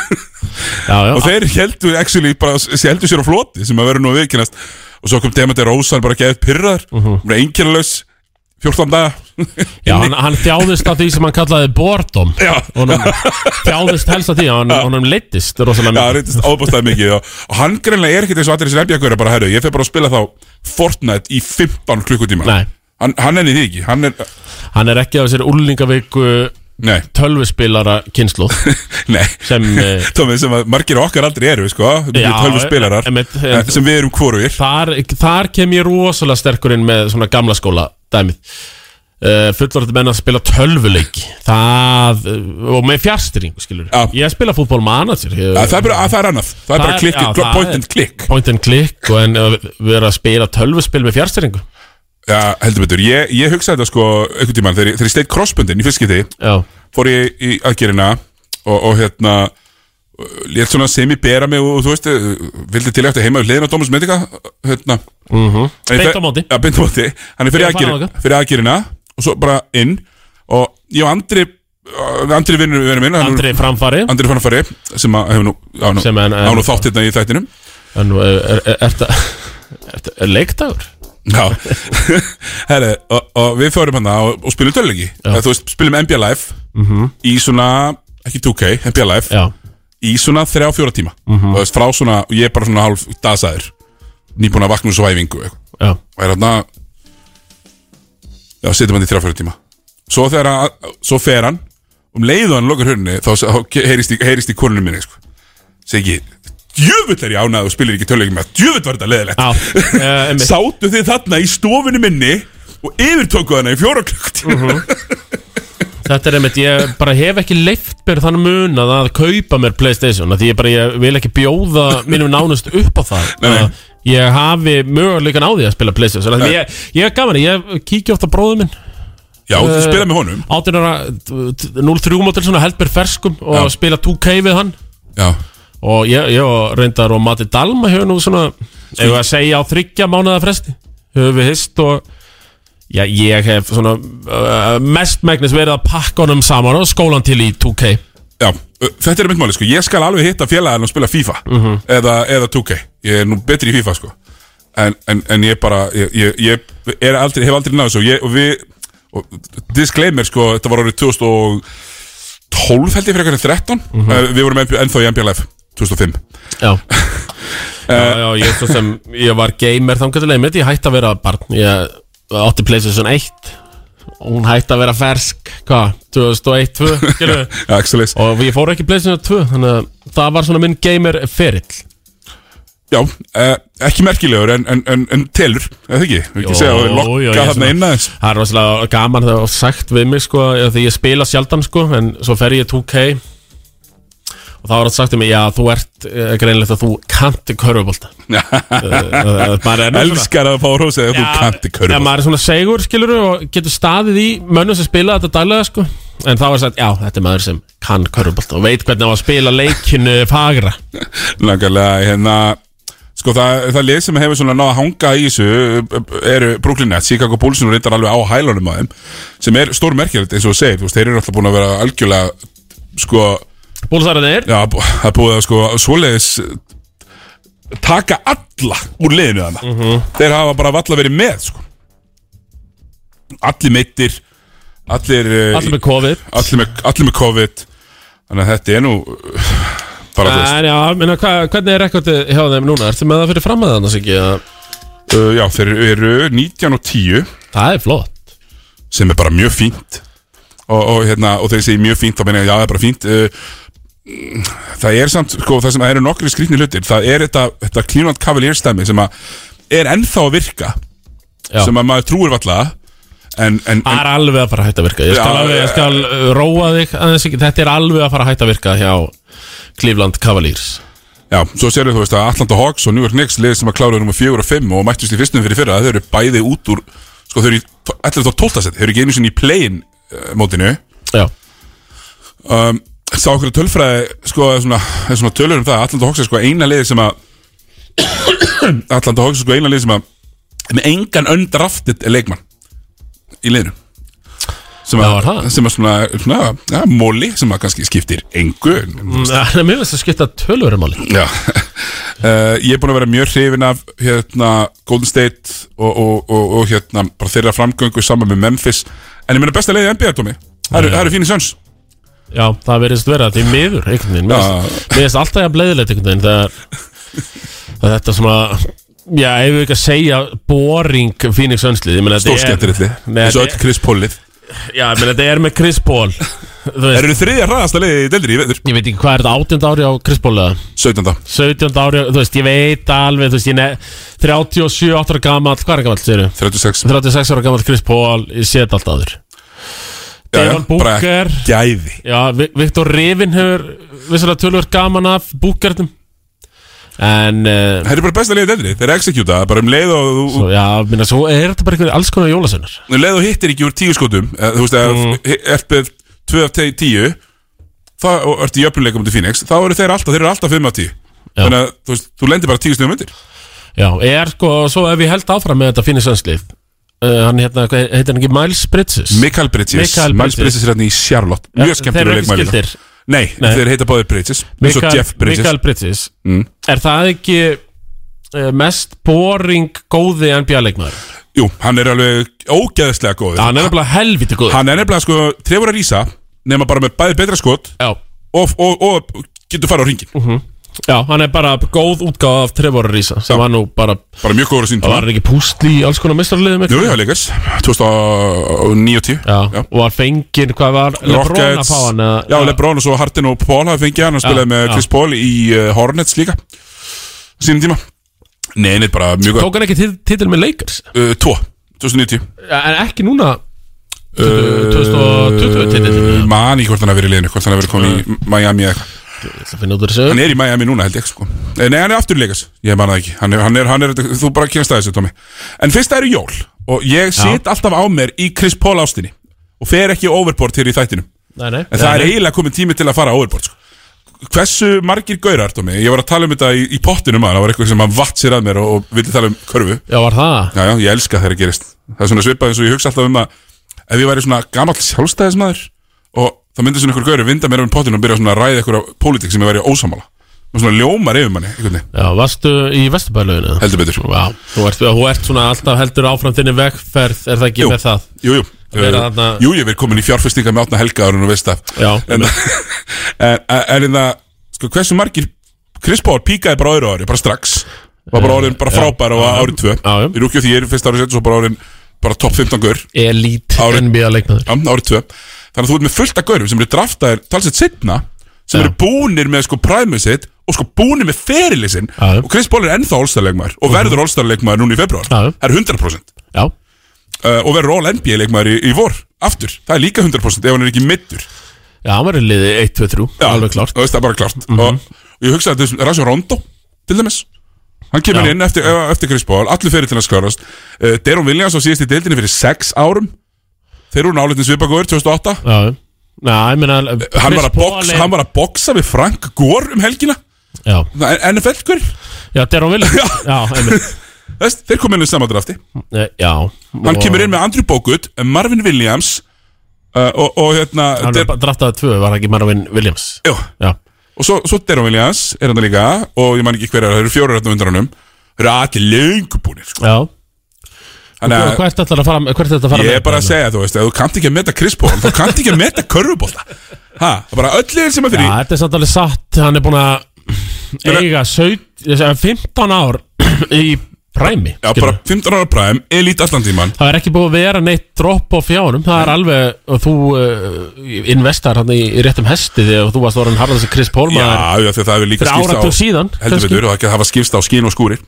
Speaker 2: Já, já,
Speaker 1: og þeir heldur, actually, bara s- heldur sér á floti sem að vera nú að viðkynast og svo kom Demandi Rósan bara að geða upp pyrraðar uh
Speaker 2: Mhm.
Speaker 1: -huh. bara einkjærlaus, 14 daga
Speaker 2: já hann, hann þjáðist af því sem hann kallaði Bordom
Speaker 1: Já,
Speaker 2: Honum þjáðist helst af því, hann, honum leittist
Speaker 1: já,
Speaker 2: rosalega mikið
Speaker 1: reyndist ábústaði mikið og, og hann greinlega er ekkert eins og allir þessi nefnjagur bara, herru, ég fer bara að spila þá Fortnite í 15 klukkutíma
Speaker 2: Nei.
Speaker 1: Hann, hann enni því ekki, hann er,
Speaker 2: Hann er ekki af sér úrlingaviku
Speaker 1: nei,
Speaker 2: tölvuspilara kynslu
Speaker 1: nei
Speaker 2: sem eh,
Speaker 1: Tómið sem að margir okkar aldrei eru sko,
Speaker 2: Já, e-
Speaker 1: tölvu spilarar
Speaker 2: einmitt,
Speaker 1: eh, sem við erum hvorugir
Speaker 2: þar, þar kem ég rosalega sterkur inn með svona gamla skóla dæmið uh, fullorðið menn að spila tölvuleik það, eh, og með fjárstyrring skilur,
Speaker 1: Já.
Speaker 2: ég spila fútból manager ég,
Speaker 1: það, er bara, að, það er annað, það er
Speaker 2: Það
Speaker 1: bara
Speaker 2: er-
Speaker 1: klikki,
Speaker 2: já,
Speaker 1: já,
Speaker 2: það
Speaker 1: point
Speaker 2: er-
Speaker 1: and click
Speaker 2: point and click og en að vera að spila tölvuspil með fjárstyrringu
Speaker 1: Já, heldur betur, ég, ég hugsaði þetta sko einhvern tímann, þegar, ég- þegar ég steitt crossbundin í fiskiti
Speaker 2: já,
Speaker 1: fór ég í aðgerina og, og hérna létt svona sem ég bera mig og þú veist eh, vildi til eftir heima við hliðina á Dómus Medica hérna En ég
Speaker 2: Beint
Speaker 1: fer-
Speaker 2: á móti.
Speaker 1: Já, beint á móti Hann er fyrir
Speaker 2: Ég er að fara
Speaker 1: aðgerina,
Speaker 2: þangað.
Speaker 1: fyrir aðgerina og svo bara inn og ég og Andri eh, Andri vinnur vinnur minn hann er-
Speaker 2: Andri framfari
Speaker 1: Andri fann að fara sem að hefur nú, á nú,
Speaker 2: Sem en-
Speaker 1: á nú þátt hérna í þættinum
Speaker 2: en eh, er, er, er, er, er, er leikdagur?
Speaker 1: Já, herri, og, og við fórum hann og, og spilum töluleiki Eða, Þú veist, spilum NBA Live -hmm. í svona, ekki 2K, NBA Live
Speaker 2: já,
Speaker 1: í svona 3-4 tíma mm
Speaker 2: Mhm.
Speaker 1: -hmm. veist, frá svona, og ég er bara svona hálf dasaður nýbúin að vakna úr svæfingu og eitthvað.
Speaker 2: já,
Speaker 1: og er hann að já, setjum hann í 3-4 tíma svo þegar að, svo fer hann um leiðu hann lokar hörni þá s- þá ke- heyrist í, heyrist í konunum minni sko. segi, djöfull er ég ánað og spilir ekki töluleiki með, djöfull var þetta leðilegt
Speaker 2: já eh, einmitt.
Speaker 1: Sátu þið þarna í stofunni minni og yfirtóku þarna í fjóra klukkutíma
Speaker 2: Mhm. Þetta er einmitt, ég bara hef ekki leift mér þann mun að, að kaupa mér Playstation að því ég bara ég vil ekki bjóða mínum nánust upp á það
Speaker 1: Nei, nei.
Speaker 2: Að ég hafi möguleikan á því að spila Playstation að ég, ég er gaman, ég kíkja oft á bróðum minn
Speaker 1: Já, þú spila með honum
Speaker 2: 18 ára t- t- 03 mótil svona held mér ferskum og
Speaker 1: Já.
Speaker 2: spila 2K við hann
Speaker 1: Já,
Speaker 2: og ég, ég og reyndar og Mati Dalma hefur nú svona ef að segja á þryggja mánuða fresti hefur við hist og já, ég hef svona uh, mestmægnis verið að pakka honum saman og skólan til í 2K
Speaker 1: já ö, Þetta er mitt máli sko, ég skal alveg hitta félagin og spila FIFA
Speaker 2: Mhm.
Speaker 1: eða, eða 2K Ég er nú betri í FIFA sko En, en, en ég bara, ég, ég, ég er aldrei, hef aldrei náðu svo ég, Og við, og, disclaimer sko, þetta var árið 2012 held ég fyrir eitthvað 13
Speaker 2: Mhm.
Speaker 1: Eh, Við vorum ennþá í NBA Live 2005
Speaker 2: Já Já, já, ég, svo sem, ég var gamer þangar til einmitt, ég hætti að vera barn Ég átti Playstation 1 og hún hætti að vera fersk hvað, 2001-2 skilurðu?
Speaker 1: Já, excellent
Speaker 2: og ég fór ekki í Playstation 2 þannig að það var svona minn gamer ferill
Speaker 1: Já, eh, ekki merkilegur en, en, en, en telur, eða ekki? Við ekki
Speaker 2: Jó,
Speaker 1: segja að við
Speaker 2: já,
Speaker 1: lokka
Speaker 2: ég
Speaker 1: þarna
Speaker 2: svona-
Speaker 1: inn aðeins
Speaker 2: Það er rosalega gaman það og sagt við mig sko, af því ég spila sjaldan sko, en svo fer ég 2K og og þá var þetta sagt um mig, já, þú ert uh, greinlegt að þú kanti körfubólta maður Eh, er nú svona-
Speaker 1: Elskar að fá rósið að þú kanti
Speaker 2: Já,
Speaker 1: körfum
Speaker 2: maður er svona segur, skilur og getur staðið í mönnum sem spila þetta daglega, sko En þá er sagt, já, þetta er maður sem kann körfubolt og veit hvernig á að spila leikinu fagra
Speaker 1: Langarlega, hérna Sko það, það lið sem hefur svona náða að hanga í þessu ö, ö, eru Brooklyn Nets, Chicago Bulls og reyndar alveg á hælunum að þeim sem er stór merkjöld eins og þú segir, þú veist, þeir eru alltaf búin að vera algjörlega sko,
Speaker 2: Búlsarðanir,
Speaker 1: já, bú- það er búið að sko svoleiðis ö, taka alla úr liðinu þarna
Speaker 2: Mhm.
Speaker 1: þeir hafa bara valla verið með sko. allir meittir allir, ö,
Speaker 2: allir með COVID
Speaker 1: allir með, allir með COVID þannig að þetta er nú uh, bara þú veist
Speaker 2: En já, minna, hva, hvernig er rekordið hjá þeim núna? Ertu með það fyrir fram að það annars ekki? að-
Speaker 1: uh, já, þeir eru 19 og 10
Speaker 2: Það er flott
Speaker 1: sem er bara mjög fínt og, og, hérna, og þegar ég segi mjög fínt þá meina ég já, það er bara fínt uh, það er samt, sko, það sem það eru nokkri skrýtni hlutir það er þetta, þetta Cleveland Cavaliers stæmi sem að er ennþá að virka
Speaker 2: Já. Ah.
Speaker 1: sem að maður trúir valla en, en,
Speaker 2: Það
Speaker 1: en
Speaker 2: er alveg að fara að hætta að virka Ég skal,
Speaker 1: Já,
Speaker 2: alveg, ég skal uh, róa þig aðeins ekki Þetta er alveg að fara að hætta að virka hjá Cleveland Cavaliers
Speaker 1: já, svo sérðu þú veist að Atlanta Hawks og New York Knicks liðið sem að klára nummer 4 og 5 og mættust í fyrstum fyrir fyrra þau eru bæði út úr sko, þau eru í 11. og 12. set þau eru ekki einu sinni í play-in uh, mótinu
Speaker 2: Já,
Speaker 1: um, sá okkur tölfræði sko, eða svona, eða svona tölur um það Atlanta Hawks er sko eina liði sem að Atlanta Hawks er sko eina liði sem að er með engan öndraftit leikmann í liðinu sem
Speaker 2: Já, er
Speaker 1: að,
Speaker 2: það?
Speaker 1: sem að svona, svona ja, móli sem að kannski skiptir engu en-
Speaker 2: Mm, en mér finnst það skipta töluverumáli
Speaker 1: já Uh, ég er búin að vera mjög hrifin af hérna, Golden State og, og, og, og hérna, bara þeirra framgöngu saman með Memphis en ég meina besta leiði NBA, Tómi það eru- það eru fínir söns
Speaker 2: Já, það verðist vera því miður einhvern veginn, mér
Speaker 1: Já.
Speaker 2: finnst- mér finnst alltaf að bleiðilegt einhvern veginn þegar þegar þetta svona já, ef við ekki að segja boring Phoenix Sönslið, ég meina þetta er-
Speaker 1: Stórskemmtirilli,
Speaker 2: Nei,
Speaker 1: eins og
Speaker 2: þetta
Speaker 1: öll Chris Paulið
Speaker 2: er- Já, ég meina þetta er með Chris Paul Þú
Speaker 1: Þeir
Speaker 2: veist,
Speaker 1: eru þriðja hraðasta leiði í deildri í veður
Speaker 2: ég veit ekki hvað er þetta áttjönd ári á Chris Paul eða
Speaker 1: 17.
Speaker 2: 17 ári, á- þú veist, ég veit alveg þú veist, ég ne 37 ára gamall hvað er gamall, segir
Speaker 1: 36
Speaker 2: 36 ára gamall Chris Paul, ég sé þetta alltaf aður
Speaker 1: Já, já,
Speaker 2: Devon
Speaker 1: bara
Speaker 2: Booker
Speaker 1: Gæði
Speaker 2: Já, Vi- Viktor Rivin hefur vissalega tölvöld gaman af búkarnum En, uh,
Speaker 1: Það eru bara besta leiði í deildri Þeir executa það, bara um leið og þú-
Speaker 2: svo, já, minna, svo er þetta bara einhver alls konar jólasönar
Speaker 1: um leið og hittir ekki úr tíu skotum eh, Þú veist,
Speaker 2: Mm.
Speaker 1: ef FB 2 af 10 þá og ertu í öfnleikum til Phoenix þá eru þeir alltaf, þeir eru alltaf 5 af 10
Speaker 2: Já.
Speaker 1: Þannig að þú veist, þú lendir bara 10 snöðum undir
Speaker 2: Já, er sko, svo ef ég held áfram með þetta finnir sönslið uh, Hann hérna, hvað heitir hann ekki, Miles Bridges
Speaker 1: Mikael Bridges,
Speaker 2: Michael
Speaker 1: Miles
Speaker 2: Bridges.
Speaker 1: Bridges er hérna í Charlotte
Speaker 2: Ja,
Speaker 1: Mjög
Speaker 2: þeir eru
Speaker 1: skemmtilega
Speaker 2: ekki
Speaker 1: leikmæli
Speaker 2: skyldir.
Speaker 1: Nei,
Speaker 2: Nei.
Speaker 1: þeir heita báðir Bridges eins og
Speaker 2: Mikael
Speaker 1: Jeff Bridges
Speaker 2: Mikael Bridges
Speaker 1: Mm.
Speaker 2: Er það ekki uh, mest boring góði NBA-leikmaður?
Speaker 1: Jú, hann er alveg ógeðslega góð
Speaker 2: Hann er nefnilega helviti góð
Speaker 1: Hann er nefnilega sko trefur að rísa nema bara með bæði betra skot
Speaker 2: Já, Mhm.
Speaker 1: og, og, og getur farið á ringin
Speaker 2: já, hann er bara góð útgáð af Trevor Risa sem
Speaker 1: Já.
Speaker 2: hann nú bara,
Speaker 1: bara mjög góður á sín
Speaker 2: það
Speaker 1: tíma
Speaker 2: var ekki pústli í alls konar mistarliðum
Speaker 1: Jú, já, leikars, 2009 og 10
Speaker 2: Já,
Speaker 1: Já.
Speaker 2: og var fenginn, hvað var Lebrón að fá hann eða-
Speaker 1: Já, Lebron og svo Harden og Paul hafa fengið hann hann spilaði með
Speaker 2: já.
Speaker 1: Chris Paul í uh, Hornets líka sínum tíma Nei, neitt bara mjög góð
Speaker 2: Tók hann ekki tit- titil með Lakers
Speaker 1: uh, Tvo, 2009
Speaker 2: En ekki núna 2020 titil
Speaker 1: uh, Man í hvort hann hafi verið í liðinu, hvort hann hafi verið komin í Miami eða eitthvað
Speaker 2: Það finnir út úr þessu
Speaker 1: Hann er í Miami núna held ég sko Eh, Nei, hann er aftur í leikas, ég man það ekki hann er, hann er, hann er, Þú bara kynst að þessu, Tommy En fyrst það eru jól Og ég sit alltaf á mér í Chris Paul ástinni Og fer ekki overboard hér í þættinum
Speaker 2: Nei, nei
Speaker 1: En það er
Speaker 2: nei,
Speaker 1: eiginlega komið tími til að fara overboard sko. Hversu margir gaurar, Tómi? Ég var að tala um þetta í, í pottinum að það var eitthvað sem að vatt sér að mér og, og vildi tala um körfu
Speaker 2: nei. Já, var það
Speaker 1: Já, já, ég elska þegar það gerist Það er svona svipað eins og ég hugsa alltaf um að ef ég væri svona gamall sjálfstæðismæður og þá myndi svona einhver gauri vinda mér um pottinum og byrja svona að ræða einhverja pólitík sem ég væri ósamála og svona ljómar yfir manni, einhvern veginn,
Speaker 2: Já, varstu í Vesturbælöginu
Speaker 1: heldur betur
Speaker 2: Já, þú ert, þú ert svona alltaf heldur áfram þinni vegferð Er það ekki
Speaker 1: Jú.
Speaker 2: með það?
Speaker 1: Jú, jú, uh,
Speaker 2: vera þarna-
Speaker 1: jú, ég verið komin í fjárfestinga með átna helga árun og veist það
Speaker 2: Já,
Speaker 1: en, en, en, en það, sko, hversu margir Chris Paul píkaði bara á öðru ári, bara strax var bara orðin bara frábær á árið tvö
Speaker 2: Já, já.
Speaker 1: í rúkju því ég er fyrst árið sett svo bara orðin bara topp 15 gaur,
Speaker 2: Elít
Speaker 1: Ári-
Speaker 2: NBA leikmaður
Speaker 1: já, árið tvö þannig að þú ert með fullt af gaurum sem eru draftaðir talsett setna, sem
Speaker 2: Já.
Speaker 1: eru búnir með sko præmið sitt og sko búnir með ferilið sinn
Speaker 2: Já, já.
Speaker 1: og Chris Paul er ennþá allstarleikmaður og verður allstarleikmaður núna í februar
Speaker 2: Já, já.
Speaker 1: það er 100%
Speaker 2: Já,
Speaker 1: uh, og verður all NBA leikmaður í, í vor aftur, það er líka 100% ef hann er ekki middur
Speaker 2: Já, hann var í liði 1, 2, 3
Speaker 1: Já,
Speaker 2: Alveg Mhm. klart
Speaker 1: þú veist, það er bara klart og, og ég hugsaði að þetta er Rasmus Rondo til dæmis Hann kemur
Speaker 2: Já.
Speaker 1: inn eftir, eh, eftir Chris Paul, allir fyrir til hans klárast uh, Deron Williams á síðast í deildinni fyrir sex árum Þeir eru náleitin svipagóður 2008
Speaker 2: Já, næ, ég meina
Speaker 1: hann
Speaker 2: Chris
Speaker 1: var, að
Speaker 2: Paul
Speaker 1: box,
Speaker 2: er-
Speaker 1: hann var að boxa við Frank Gore um helgina
Speaker 2: Já,
Speaker 1: NFL-kur
Speaker 2: já, Deron Williams
Speaker 1: Já.
Speaker 2: Já, einmitt
Speaker 1: Þeir kom inn í samadræfti
Speaker 2: Eh, Já
Speaker 1: Hann kemur inn með Andrew Bogut, Marvin Williams uh, og, og hérna
Speaker 2: Hann
Speaker 1: der,
Speaker 2: var bara drattaði tvö, var það ekki Marvin Williams
Speaker 1: já,
Speaker 2: Já,
Speaker 1: Og svo, svo Deron Williams er hann líka og ég man ekki hver er, það eru fjórar hérna undan honum Þeir eru allir löngu búnir sko.
Speaker 2: já
Speaker 1: Þannig að
Speaker 2: Hvert ætlar að fara, hvert ætlar að fara
Speaker 1: Eh, Ég
Speaker 2: með
Speaker 1: er bara að
Speaker 2: þetta?
Speaker 1: segja, þú veist, ef þú kannt ekki að meta Chris Paul, þú kannt ekki að meta körfubólta Ha, það er bara öll liðin sem er
Speaker 2: Já,
Speaker 1: fyrir í.
Speaker 2: þetta er samt alveg satt Hann er búin að eiga 17 eh, 15 ár í præmi
Speaker 1: Já, bara 15 ára præm, elít allan tíman
Speaker 2: Það er ekki búið að vera neitt dropp á fjánum Það er alveg, og þú uh, investar hann í, í réttum hesti þegar þú varst orðin harðast að Chris Paul
Speaker 1: Já,
Speaker 2: maður
Speaker 1: já, því að það hefur líka
Speaker 2: fyrir áratug síðan
Speaker 1: Heldur
Speaker 2: kannski.
Speaker 1: betur, og það hafa skipst á skín og skúrir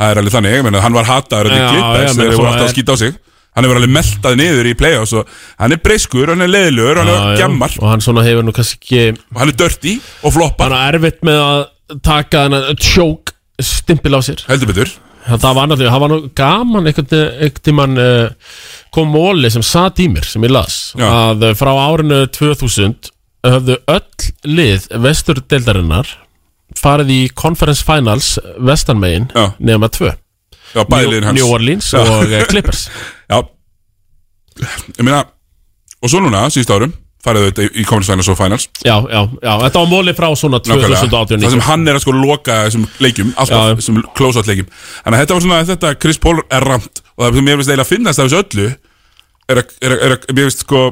Speaker 1: Það er alveg þannig, ég meina, hann var hataður
Speaker 2: Já,
Speaker 1: Þetta
Speaker 2: já,
Speaker 1: klippast þegar
Speaker 2: meina,
Speaker 1: þeir voru
Speaker 2: svona
Speaker 1: alltaf að
Speaker 2: er-
Speaker 1: skýta á sig Hann hefur alveg meltað niður í play-offs og Hann er breyskur, hann er leiðilegur, hann
Speaker 2: Já,
Speaker 1: er
Speaker 2: já.
Speaker 1: gemmar
Speaker 2: Og hann svona hefur nú kannski ekki
Speaker 1: Hann er dirty og floppar,
Speaker 2: Hann er erfitt með að taka hann tjók stimpil á sér
Speaker 1: heldur betur
Speaker 2: Það það var annað því, það var nú gaman einhvern einhvern tímann uh, kom móli sem sat í mér, sem ég las
Speaker 1: Já.
Speaker 2: að eh, frá árinu 2000 höfðu öll lið vesturdeildarinnar farið í conference finals vestanmegin
Speaker 1: Já.
Speaker 2: nema tvö
Speaker 1: Já, bæðilegin hans
Speaker 2: New Orleans
Speaker 1: Já.
Speaker 2: og eh, Clippers
Speaker 1: Já Ég meina Og svo núna, síðust árum Færið þau þetta í Conference Finals og Finals
Speaker 2: já, já, já, þetta var móli frá svona
Speaker 1: Nákvæmlega.
Speaker 2: 2018
Speaker 1: Það sem hann er að sko loka þessum leikjum Alltaf
Speaker 2: Já.
Speaker 1: þessum close-out leikjum Þannig að þetta var svona Þetta Chris Paul er ramt Og það sem ég finnst eiginlega að finnast af þessu öllu Er að, er að, er að Ég finnst sko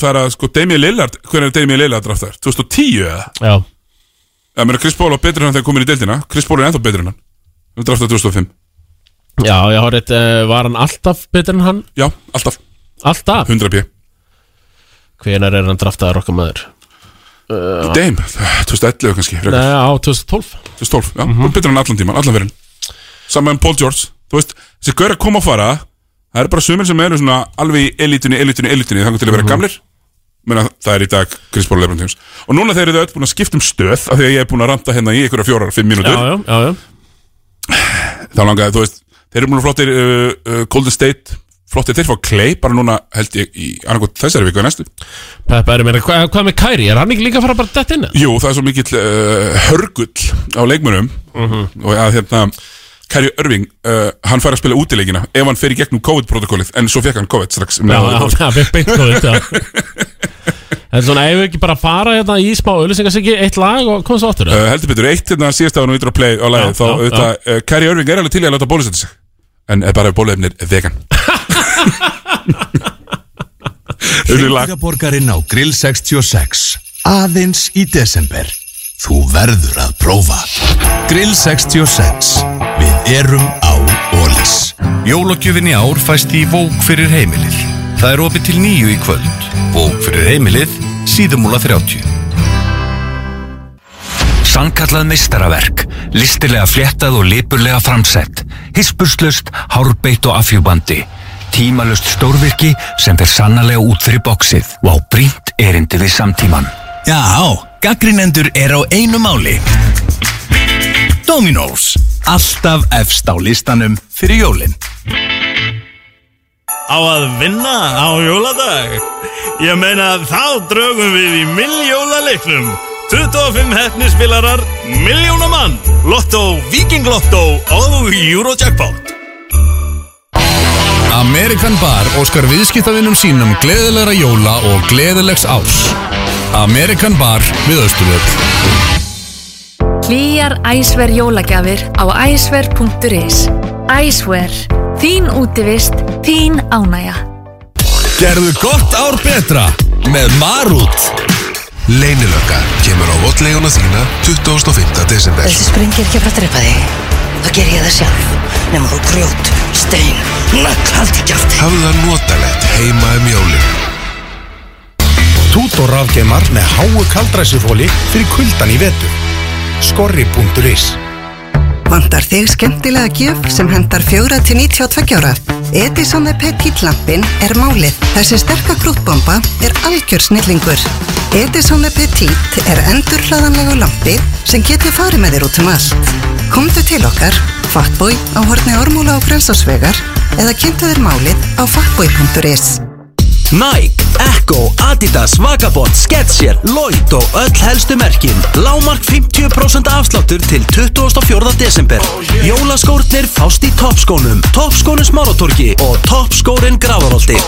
Speaker 1: Það er að sko Damian Lillard Hvernig er Damian Lillard draftar? 2010 eða?
Speaker 2: já,
Speaker 1: Það meina Chris Paul var betur en hann þegar komin í deildina Chris Paul er ennþá betur en hann Hann draftar 2005
Speaker 2: já, já, horrið, var hann alltaf betur en hann?
Speaker 1: Já, alltaf
Speaker 2: Alltaf?
Speaker 1: 100 p
Speaker 2: Hvenær er hann draftaður okkar maður?
Speaker 1: Dame 2011 kannski frekar.
Speaker 2: Nei, á 2012
Speaker 1: þessi 12, já, mm -hmm. betur en allan tíman, allan verðin saman með Paul George, þú veist þessi gaur að koma og fara, það eru bara sumir sem eru svona alveg í elitunni, elitunni, elitunni þannig til að vera gamlir Meina, það er í dag Chris Paul og Lebron James og núna þeir eru þau öll búin að skipta um stöð af því að ég er búin að ranta hérna í einhverja fjórar, fimm
Speaker 2: Já,
Speaker 1: mínútur
Speaker 2: já, já, já
Speaker 1: þá langaði, þú veist, þeir eru búin að flottir uh, uh, Golden State, flottir þeir fá Clay bara núna held ég í annarkot þessari viku eða næstu
Speaker 2: Peppa er meira, hvað, hvað með Kairi? Er hann ekki líka að fara bara dett inn? eða?
Speaker 1: Jú, það er svo mikill uh, hörgull á leikmönum
Speaker 2: Mhm.
Speaker 1: og að hérna Kæri Örving, uh, hann fær að spila útileikina ef hann fer í gegnum COVID-protokollið en svo fekk hann COVID strax um
Speaker 2: Já,
Speaker 1: leið og-
Speaker 2: já, það er beint góðið þetta En svona, ef við ekki bara fara hérna í smá auðlýsingasíki, eitt lag og komum svo áttur uh,
Speaker 1: uh, Heldur betur, eitt hérna síðast ára nú yttur að play á lagið
Speaker 2: Já,
Speaker 1: þá
Speaker 2: já,
Speaker 1: auðvitað, uh, Kæri Örving er alveg til í að láta bólusetja sig en er bara ef bóluefnir vegan Þetta er lag
Speaker 3: Hreindýraborgarinn á Grill 66 Aðeins í desember Þú verður að prófa Grill 66 Við erum á Ólís Jólokjöfin í ár fæst í Vók fyrir heimilið Það er opið til nýju í kvöld Vók fyrir heimilið, síðumúla 30
Speaker 4: Sannkallað meistaraverk, listilega fléttað og lipurlega framsett, hispurslaust, hárbeitt og afhjúbandi. Tímalust stórvirki sem fer sannarlega út fyrir bóksið og á brínt erindi við samtíman.
Speaker 3: Já, gaggrinendur er á einu máli Dominós Alltaf efst á listanum fyrir jólinn
Speaker 5: á að vinna á jóladag. Ég meina þá draugum við í milljólaleiknum. 25 hefnispilarar, milljónamann, lottó, vikinglottó og eurojackpot.
Speaker 3: Amerikan Bar óskar viðskiptavinnum sínum gleðilegra jóla og gleðilegs ás. Amerikan Bar við Östurvöld.
Speaker 6: Hlýjar Æsver jólagjafir á æsver.is Æsver, þín útivist, þín ánægja.
Speaker 3: Gerðu gott ár betra með Marút.
Speaker 7: Leynilöka kemur á votleguna þína 25. desember.
Speaker 8: Þessi springi er ekki að fara að drepa þig. Það ger ég það sjálf. Nefnum þú grjót, stein, nögg, haldi kjátti.
Speaker 7: Hafðu það notalegt heima um jólin.
Speaker 9: Tútor rafgeimar með háu kaldræsufóli fyrir kuldan í vetur. Skorri.is
Speaker 10: Vandar þig skemmtilega gjöf sem hendar 4 til 92 ára? Edison Petit lampin er málið. Þessi sterka grútbomba er algjör snillingur. Edison Petit er endurhlaðanlegu lampi sem getur farið með þér út um allt. Komdu til okkar, Fatboy á horni Ormúla og Grensásvegar eða kynntu þér málið á fatboy.is.
Speaker 11: Nike, Echo, Adidas, Vagabond, Skechers, Lloyd og öll helstu merkin. Lámark 50% afsláttur til 24. desember. Jólaskórnir fást í toppskónum, toppskónum smáratorki og toppskórin gravarolti.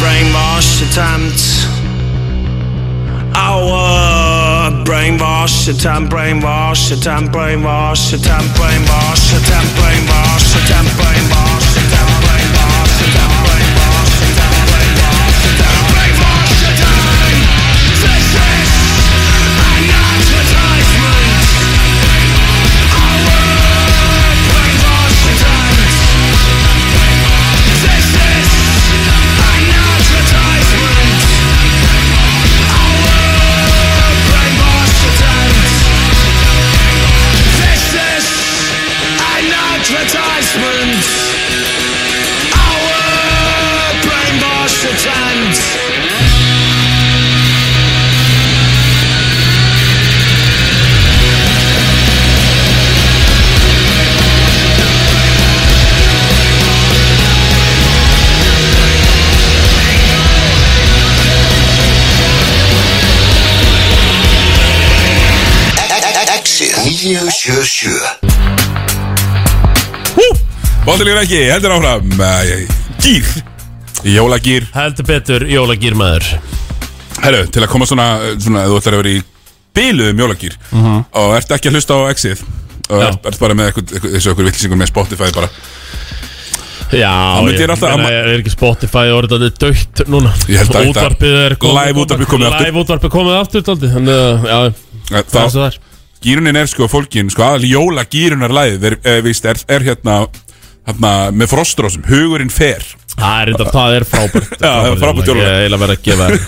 Speaker 12: brainwash attempt. Our brainwash attempt, brainwash attempt, brainwash attempt, brainwash attempt, brainwash attempt, brainwash attempt, brainwash attempt, brainwash attempt, brainwash attempt, brainwash attempt. This is an advertisement. Our brainwash attempt. This is an advertisement. Our brainwash attempt. This is an advertisement. Our brainwash attempt.
Speaker 7: Exit 977
Speaker 1: Bóttilegur ekki, heldur áfram eh, Gýr Jólagýr
Speaker 2: Heldur betur jólagýr maður
Speaker 1: Herru, til að koma svona, svona ef Þú ætlar að vera í bílu um jólagýr Og ert ekki að hlusta á exið Og
Speaker 2: Mhm. Já.
Speaker 1: ert, ert bara með eitthvað, eitthvað, þessu okkur vitlisingur með Spotify bara
Speaker 2: Já,
Speaker 1: myndi
Speaker 2: ég,
Speaker 1: ég alltaf-
Speaker 2: meina, er ekki Spotify orðið að þetta er dögt núna
Speaker 1: Ég held að-
Speaker 2: Útvarpið er
Speaker 1: Live útvarpið komið aftur.
Speaker 2: Live útvarpið komið aftur dálítið, Þannig að, já,
Speaker 1: Eh,
Speaker 2: það er svo
Speaker 1: Þá,
Speaker 2: þar
Speaker 1: gýrunin er sko fólkin Sko aðal jólagýrunarlæðið er, er, víst, er, er hérna, hérna Með frostrósum, hugurinn fer
Speaker 2: Það er enda, það er frábært
Speaker 1: Já, það er frábært
Speaker 2: jólalag.
Speaker 1: jólalag.
Speaker 2: Ég er að vera að gefa þér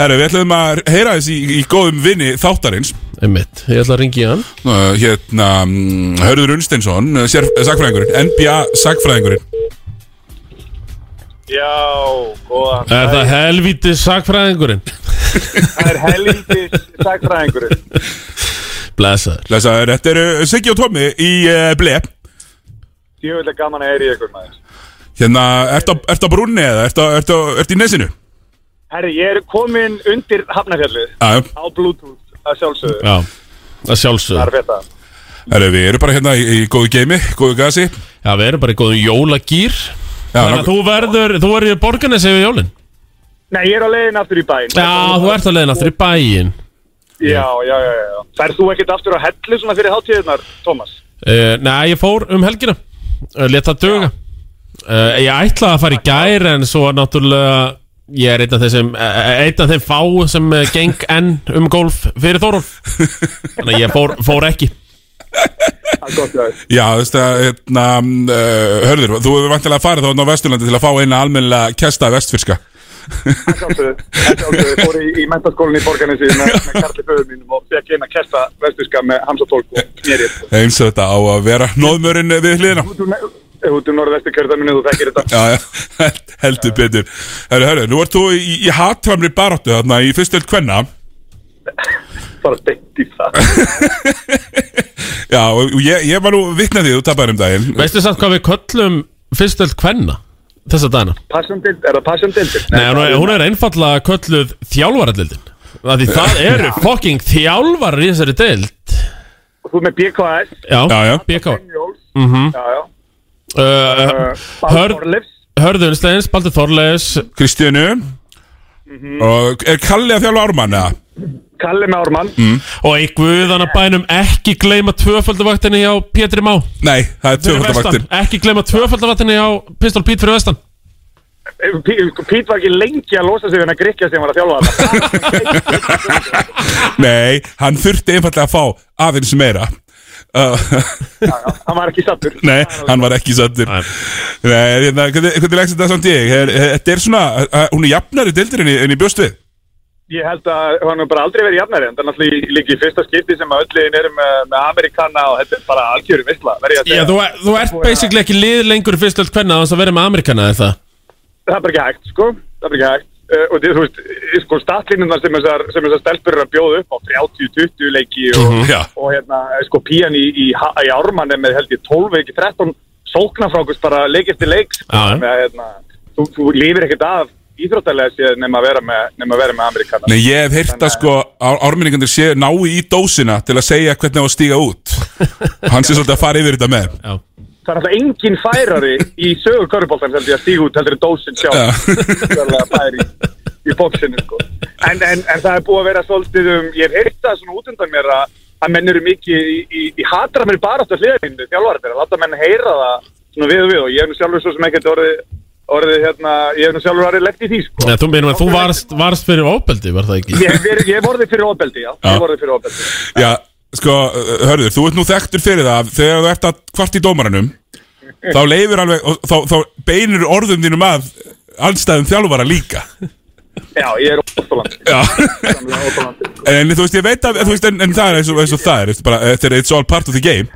Speaker 1: Herru, við ætlum að heyra þessi í, í góðum vinni þáttarins
Speaker 2: Einmitt, ég ætla að ringi hann
Speaker 1: uh, hérna mm, Hörður Unsteinsson, uh, sér- eh, sagfræðingurinn NBA sagfræðingurinn
Speaker 13: Já, góðan
Speaker 2: Er það helvítið sakfræðingurinn?
Speaker 13: Það er helvítið sagfræðingurinn
Speaker 2: Blessaður
Speaker 1: Blessaður, þetta eru Siggi og Tommi í uh, ble
Speaker 13: Sjöfnilega gaman að heyri ykkur maður
Speaker 1: Hérna, ertu á- ertu á brúnni eða? Ertu á- Ertu á- ertu í nesinu?
Speaker 13: Herri, ég er komin undir hafnafjallu
Speaker 1: Já,
Speaker 13: Á Bluetooth, að sjálfsögðu
Speaker 2: já Það
Speaker 13: Það er
Speaker 2: sjálfsögðu
Speaker 13: fett að
Speaker 1: herru, við erum bara hérna í, í góðu geimi, góðu gasi
Speaker 2: Já, við erum bara í góðum jólagýr Þannig að þú verður, þú verður í borgarnesi yfir jólin
Speaker 13: Nei, ég er á leiðin aftur í bæinn
Speaker 2: Já, þú ert að leiðin aftur í bæin
Speaker 13: Já, já, já, já Færð þú ekkert aftur á hellu svona fyrir hátíðirnar, Thomas?
Speaker 2: uh, Nei, ég fór um helgina Eh, uh, Leta duga uh, Ég ætlaði að fara í gær En svo náttúrulega ég er einn af þessum eh, einn af þeim fá sem eh, geng enn um golf fyrir Þóróf þannig að ég fór, fór ekki
Speaker 1: Já, þú veist að, hérna, uh, hörður, þú hefur vantilega farið þá á Vesturlandi til að fá eina almennilega kesta vestfyrska.
Speaker 13: Ég fór í, í mentaskólinni í borganessi með, með Karli föður mínum og fekk eina kesta vestuska með Hamza Tólk og mér ég.
Speaker 1: Eins og þetta á að vera nóðmörinn við hliðina.
Speaker 13: Ef út um norðvestu kjörðaminu þú þekkir þetta.
Speaker 1: Já, já, heldur betur. Hörru, hörru, nú ert þú í, í hattvæmri baráttu þarna í fyrstu öll kvenna.
Speaker 13: Bara beint í það.
Speaker 1: Já, og ég, ég var nú vitnað því þú tapar um daginn.
Speaker 2: veistu samt hvað við köllum fyrstöld kvenna þessa dagina
Speaker 13: Passum dild, er það passum dildir?
Speaker 2: Nei, hún er, hún er einfallega kölluð þjálfarallildin Það því það eru fucking þjálfarar í þessari deild
Speaker 13: Þú með BKS.
Speaker 2: Já, BK mm
Speaker 13: Já, já. Uh, Baldur
Speaker 2: -hmm.
Speaker 13: Þorleifs.
Speaker 2: Hörðun Uh, Steins, Baldur Þorleifs
Speaker 1: Kristínu Og er Kalli að þjálfa Ármann, eða?
Speaker 13: Kalli með Ármann
Speaker 1: Mm.
Speaker 2: Og í guðana bænum ekki gleyma tvöföldavaktinni hjá Pétri Má
Speaker 1: Nei, það er
Speaker 2: Fyrir
Speaker 1: tvöfaldavaktin.
Speaker 2: vestan. Ekki gleyma tvöföldavaktinni hjá Pistol Pete fyrir vestan
Speaker 13: Eh, Pít var ekki lengi að losa sig við hennar Grikja sem var að þjálfa það.
Speaker 1: Nei, hann þurfti einfallega að fá aðeins meira uh,
Speaker 13: Hann var ekki sattur.
Speaker 1: Nei, hann var ekki sattur Nei, hérna, hvernig, hvernig leggst þetta samt ég? Er- er- Þetta er svona, uh, hún er jafnari dildur en ég- en ég bjóst við
Speaker 13: Ég held að hann hefur bara aldrei verið jafnæri en það er náttúrulega líka í fyrsta skipti sem að ölliðin eru með, með Amerikana og þetta er bara algjörum vissla
Speaker 2: Já, þú, þú ert basically ekki lið lengur í fyrstöld kvenna Þannig að vera með Amerikana er það
Speaker 13: Það er bara ekki hægt sko, það er bara ekki hægt uh, og þið, þú veist, eh, sko statlinunar sem þessar, sem þessar stelpur eru að bjóða upp á 30-20 leiki og,
Speaker 12: Mhm, já.
Speaker 13: og hérna, eh, sko pían í, í, Ha- í ármann er með held ég 12 ekki 13 sóknarfrákust bara leik eftir leik sko,
Speaker 1: Já, já.
Speaker 13: Þannig að, hérna, þú, þú lifir ekkert af íþróttalega séð nema að vera með, nema að vera með Amerikana
Speaker 1: Nei, ég hef heyrt að sko árminningandir sé nái í dósina til að segja hvernig á að stíga út Hann sé svolítið að fara yfir þetta með
Speaker 2: Já
Speaker 13: það er alltaf engin færari í sögur körubóltan held ég að stíg út heldur en dósin sjá sérlega færi í, í bóksinu sko. en, en, en það er búið að vera svolítið um ég hef heyrt það svona út undan mér að að menn eru mikið í, í, í hatra mér bara áttu hliðarinnu, þjálfararnir, að láta menn heyra það svona við og við og ég hef nú sjálfur svo sem ekkert orðið, orðið hérna, ég hef nú sjálfur orðið legt í því sko.
Speaker 2: Nei, þú meina að þú varst, varst fyrir ofbeldi, var það ekki?
Speaker 13: ég, hef verið- ég hef orðið fyrir ofbeldi, já, ég hef orðið fyrir ofbeldi
Speaker 1: Já, sko, uh, hörður, þú ert nú þekktur fyrir það Þegar þú ert að kvart í dómaranum Þá leifir alveg, og þá, þá beinir orðum þínum að Allstæðum þjálfara líka
Speaker 13: já, ég er óþólandi
Speaker 1: Já
Speaker 13: óþólandi
Speaker 1: En þú veist, ég veit að, þú veist, en, en það er eins og, eins og það er veist, bara, Þetta er it's all part of the game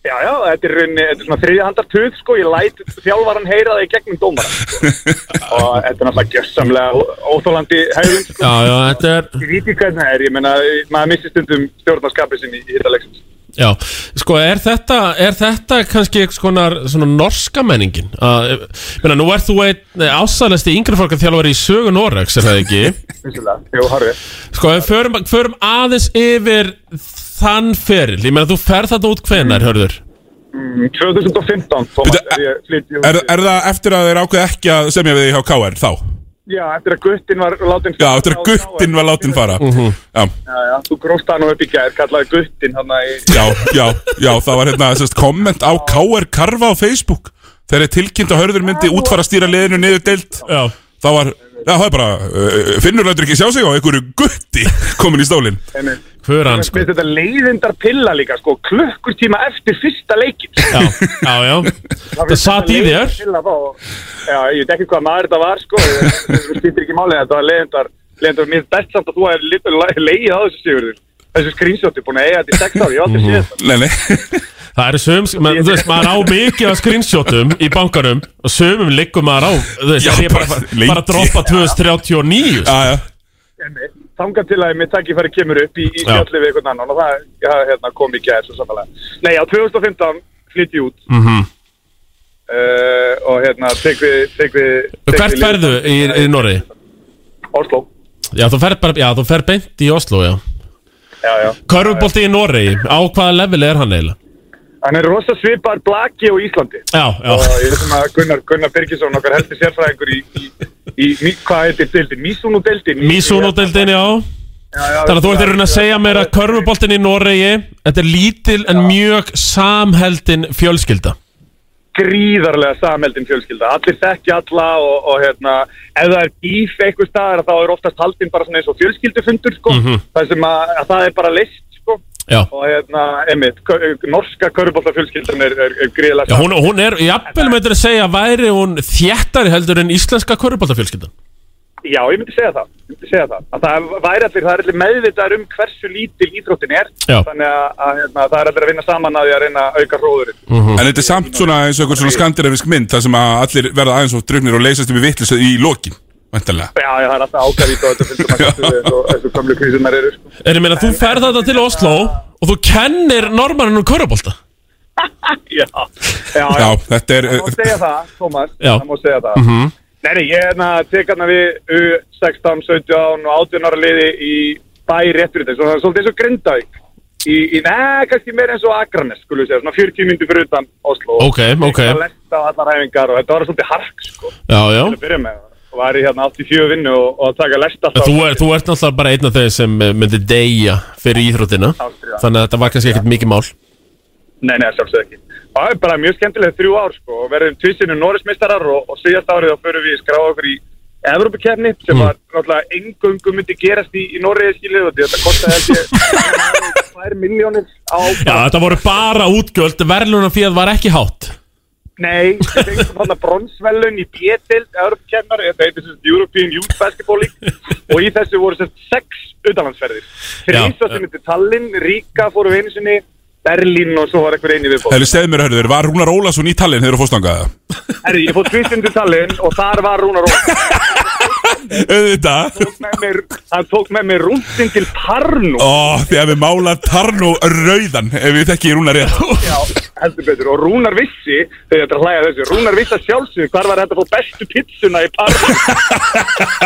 Speaker 13: Já, já, þetta er, rauninni, þetta er svona þriðjahandartug, sko, ég læt þjálfaran heyra það í gegnum dómara. Sko. og þetta er náttúrulega gjössamlega ó- óþolandi hegðun, sko.
Speaker 2: Já, já, þetta er
Speaker 13: Ég veit ekki hvernig það er, ég meina, maður missir stundum stjórnarskapið sinni í þetta leiksins.
Speaker 2: Já, sko er þetta, er þetta kannski eitthvað konar svona norska menningin að, ég meina, nú ert þú einn ásælesti yngri fólk að þjálfari í sögu Norex, er það ekki?
Speaker 13: Vissulega, jú, harfið.
Speaker 2: Sko, við förum, förum aðeins yfir þann feril, ég meina þú ferð þetta út hvenar, hörður?
Speaker 13: Mm, 2015, Thomas, er ég flytti
Speaker 1: Er, er það eftir að þeir ákveð ekki að semja við þig hjá KR þá?
Speaker 13: Já, eftir að guttin var látin
Speaker 1: Já, eftir að guttinn var látin fara Já,
Speaker 13: Já, já, þú grófst hann og upp í gær, kallaði guttin hann í...
Speaker 1: já, já, já, það var hérna sérst, komment á KR Karfa á Facebook Þegar er tilkynnt að hörður myndi útfara stýra liðinu niður deilt
Speaker 2: Já
Speaker 1: Það var, já, það er bara, uh, finnur lætur ekki sjá sig á einhverju gutti komin í stólinn
Speaker 2: Hver
Speaker 13: Mér
Speaker 1: sko-
Speaker 13: finnst þetta leiðindar pilla líka, sko, klukkustíma eftir fyrsta leikin.
Speaker 2: Já, já, það satt í þér
Speaker 13: Til að fá- Já, ég veit ekki hvað maður þetta var sko Þú skýttir ekki málið þetta var leiðindar Leiðindar, mér er best samt að þú hefði leiðið á þessu sigurður Þessu screenshotti, búin að eiga þetta í sex ári, ég
Speaker 2: Mhm.
Speaker 13: hef aldrei séð þetta
Speaker 1: Nei, nei
Speaker 2: Það eru sögum, menn, þú veist, maður á mikið af screenshotum í bankanum og sögum liggum maður á, þú veist,
Speaker 1: Já,
Speaker 2: það er bara,
Speaker 1: bara lengi.
Speaker 2: bara að droppa 2039
Speaker 1: Já, já
Speaker 13: Þangað til að mitt takkifæri kemur upp í, í
Speaker 2: Já.
Speaker 13: fjalli við einhvern annan og það ja, hérna, kom í gæð svo samanlega Nei, á 2015 flytt ég út
Speaker 2: mm -hmm.
Speaker 13: uh, og hérna, tek við, tek við tek
Speaker 2: Hvert
Speaker 13: við-
Speaker 2: ferðu í, í Norri?
Speaker 13: Oslo,
Speaker 2: Já, þú ferð bara, já, þú ferð beint í Oslo, já
Speaker 13: já, já
Speaker 2: Körfubolti í Noregi, á hvaða level er hann eiginlega?
Speaker 13: Hann er rosa svipar blaki á Íslandi
Speaker 2: Já, já.
Speaker 13: Og ég veitum að Gunnar, Gunnar Birgisson okkar heldur sérfræðingur í, í, í, í hvað heitir deildin? Mísunudeildin?
Speaker 2: Mísunodeldin, já Þannig að þú ert í raun að segja mér að körfuboltin í Noregi Þetta er lítil en mjög samheldin fjölskylda
Speaker 13: gríðarlega sameldin fjölskylda allir þekki alla og, og hérna, ef það er bíf eitthvað staðar þá er oftast haldin bara svona eins og fjölskyldufundur sko,
Speaker 2: Mhm.
Speaker 13: það sem að, að það er bara list sko,
Speaker 2: Já.
Speaker 13: og hérna, einmitt kö- norska körubóltafjölskyldan er, er, er gríðarlega
Speaker 2: Já, hún, hún er, jafnvel með að segja, væri hún þjættari heldur en íslenska körubaldafjölskyldan.
Speaker 13: Já, ég myndi segja það, ég myndi segja það. Að það væri allir, það er allir meðvitaður um hversu lítil íþróttin er,
Speaker 2: Já.
Speaker 13: þannig að, að hérna, það er allir að vinna saman að því að reyna að auka hróðurinn.
Speaker 1: En þetta er samt svona eins og einhver svona skandinavisk mynd þar sem að allir verða aðeins og druknir og leysast yfir vitlis í lokin, vantanlega
Speaker 13: Já, já, það er alltaf ágæðið og þetta finnst maður þessu eins og þessu gamlu kvísunar eru. Sko.
Speaker 2: Er ég meina, þú ferð þetta til Oslo og þú kennir normannin um körubólta.
Speaker 13: Já, já, já.
Speaker 1: Já, þetta er
Speaker 13: Það má segja það, Tómas,
Speaker 2: Já.
Speaker 13: það má segja það.
Speaker 2: Mhm.
Speaker 13: Nei, nei, ég er hérna að teka hérna við U16, 17 og 18 ára liði í bæ rétt fyrir þetta, svona svolítið eins og Grindavík. Í, í neða, kannski meira eins og Akranes, skulum við segja, svona 40 myndi fyrir utan Oslo.
Speaker 2: Ok, ok.
Speaker 13: Það lest á allar hæfingar og þetta var svolítið hark, sko,
Speaker 2: Já, já.
Speaker 13: til að byrja með. Og var í hérna 84 vinnu og, og að taka lest alltaf.
Speaker 2: Þú, er, þú ert náttúrulega bara einn af þeir sem eh, myndi deyja fyrir íþróttina. Þannig að þetta var kannski ekkert mikið mál.
Speaker 13: Nei, nei, sjálfsög ekki. Það er bara mjög skemmtilega þrjú ár sko og verðum tvísinu Norrismistarar og, og síðast árið þá förum við að skráða okkur í Evrópakefni sem
Speaker 2: Mm.
Speaker 13: var náttúrulega engungum myndi gerast í, í Norriði skilið og þetta kostaði held ég 2 miljónir á
Speaker 2: Já, þetta voru bara útgjöld, verðluna fyrir var ekki hátt.
Speaker 13: Nei, við fengum þarna bronsvelun í B-dild Evrópakefnar, þetta heitir sem sagt European Youth Basketball League og í þessu voru sem sagt sex utanlandsferðir Þrísa sem myndi Tallinn, Ríka fórum við einu sinni, Berlín og svo var eitthvað einu viðbóð
Speaker 1: Þegar við segðum mér, hörðu, var Rúnar Ólafsson í tallinn þegar þú fórst þangað?
Speaker 13: Herri, ég fór tvistum til Tallinn og þar var Rúnar Ólafsson
Speaker 1: Auðvitað
Speaker 13: Með mér- Hann tók með mér rúntinn til Tarnú
Speaker 1: Ó, þegar við mála Tarnó rauðan ef við þekki Rúnar rétt
Speaker 13: Já, heldur betur Og Rúnar vissi, þegar þetta er að hlæja að þessu Rúnar vissi að sjálfsög hvar var þetta að fá bestu pizzuna í Tarnú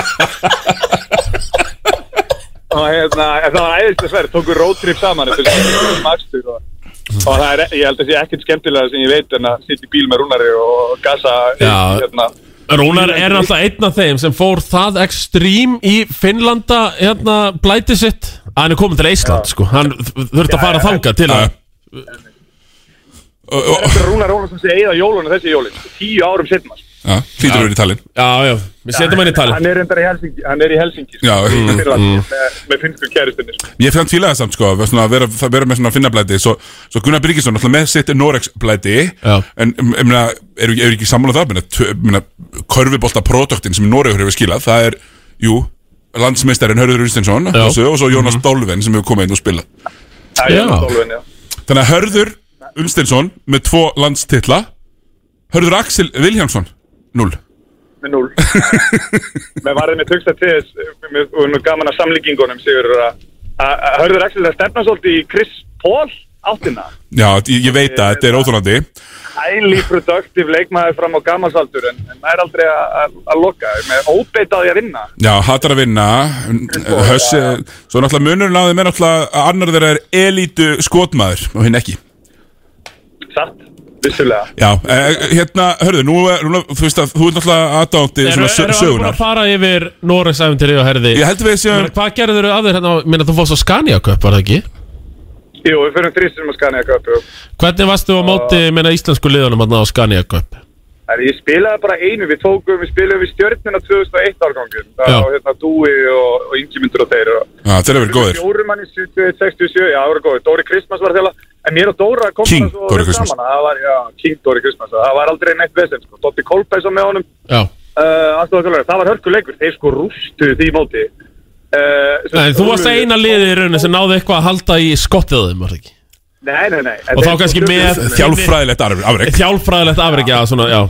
Speaker 13: Og hérna, en það var æðislega sverð Tóku roadtrip saman þetta er svona um akstur og, og það er, e- ég held að sé ekkert skemmtilega sem ég veit en að sitja í bíl með Rúnari og gasa
Speaker 2: Já.
Speaker 13: hérna,
Speaker 2: Rúnar er náttúrulega einn af þeim sem fór það ekstrím í Finnlanda hérna blæti sitt að hann er komin til Ísland sko hann þ- þurfti að fara þangað til að
Speaker 13: Þetta er Rúnar Ólafsson sem eigið á jólunum þessi jólin sko, Tíu árum setna
Speaker 1: Já, hlýtur verið í tallinn
Speaker 2: Já, já, við setjum hann í
Speaker 13: Hann
Speaker 2: talin
Speaker 13: er reyndar í Helsingi, hann er í Helsingi
Speaker 1: Já,
Speaker 13: í
Speaker 1: mm,
Speaker 13: Finnlandi,
Speaker 1: mm.
Speaker 13: með, með finnsku kæristinni sko.
Speaker 1: Ég fann fílaði samt sko, að svona, að vera, að vera með svona finnablæti Svo, svo Gunnar Byrgisson, alltaf með sitt Norex blæti En, um, ég meina, eru er ekki sammála um það? Meina, tö- meina, körfibolta produktin sem Noregur hefur skilað Það er, jú, landsmeistarinn Hörður Rústinsson
Speaker 2: Já.
Speaker 1: Og svo Jónas Dálven sem hefur komið inn og spilað
Speaker 13: Já,
Speaker 1: Já.
Speaker 13: ég er með Dálven, já.
Speaker 1: Þannig að Hörður Unstinsson með tvo landstitla Hörður Axel Viljánsson 0
Speaker 13: með núl með varðið með tugsta til þess eh, með- og nú gaman að samlíkingunum sigur að að- að Hörður Axel að stefna svolítið í Chris Paul áttina
Speaker 1: Já, ég, ég veit að þetta er óþólandi
Speaker 13: highly productive leikmaður fram á gamansaldur en, en maður er aldrei að- að að loka með óbeitaði að vinna
Speaker 1: Já, hattar að vinna Höss, Svo náttúrulega munurinn á þeim er náttúrulega að annar þeirra er elítu skotmaður og hinn ekki
Speaker 13: satt, vissulega
Speaker 1: Já, eh, hérna, hörðu, nú, er- nú þú veist að þú ert náttúrulega aðdándi
Speaker 2: Eru
Speaker 1: svona
Speaker 2: er,
Speaker 1: sö-
Speaker 2: er hann búin
Speaker 1: sögunar
Speaker 2: að fara yfir Noregs æfintir og herði
Speaker 1: Ég held við séum-
Speaker 2: Meina, Hvað gerður þau að þér hérna, minna þú fórst á Scania Cup var það ekki?
Speaker 13: Jú, við fyrir þrýstum að skana eitthvað
Speaker 2: Hvernig varstu á móti minna íslensku liðunum hérna á Scania Cup?
Speaker 13: Það er, ég spilaði bara einu, við tókum, við spilaðum við stjörnuna 2001 árgangum, það
Speaker 1: Já.
Speaker 13: var hérna Dúi og, og Ingimundur og þeir og
Speaker 1: Já, þeir eru verið góður
Speaker 13: Fjórum manni 71, 67, já, það voru góðir. Dóri Kristmas var þjála, en mér og Dóra kom
Speaker 1: King
Speaker 13: bara svo
Speaker 1: Dóri
Speaker 13: vel
Speaker 1: Kristmas.
Speaker 13: saman, það var, já, King Dóri Kristmas, það var aldrei neitt vesend, sko. Dotti Kolbæs var með honum,
Speaker 2: Já
Speaker 13: uh, aðstofakjólari, það var hörkuleikur, þeir sko rústuðu því móti. Uh,
Speaker 2: Nei, þú varst eina liðið í rauninni sem náði eitthvað að halda í skottiðum var það ekki?
Speaker 13: Nei, nei, nei. en
Speaker 2: Og þá
Speaker 13: þeir-
Speaker 2: kannski með
Speaker 1: Þjálffræðilegt afreg
Speaker 2: Þjálfræðilegt afreg, já, svona, já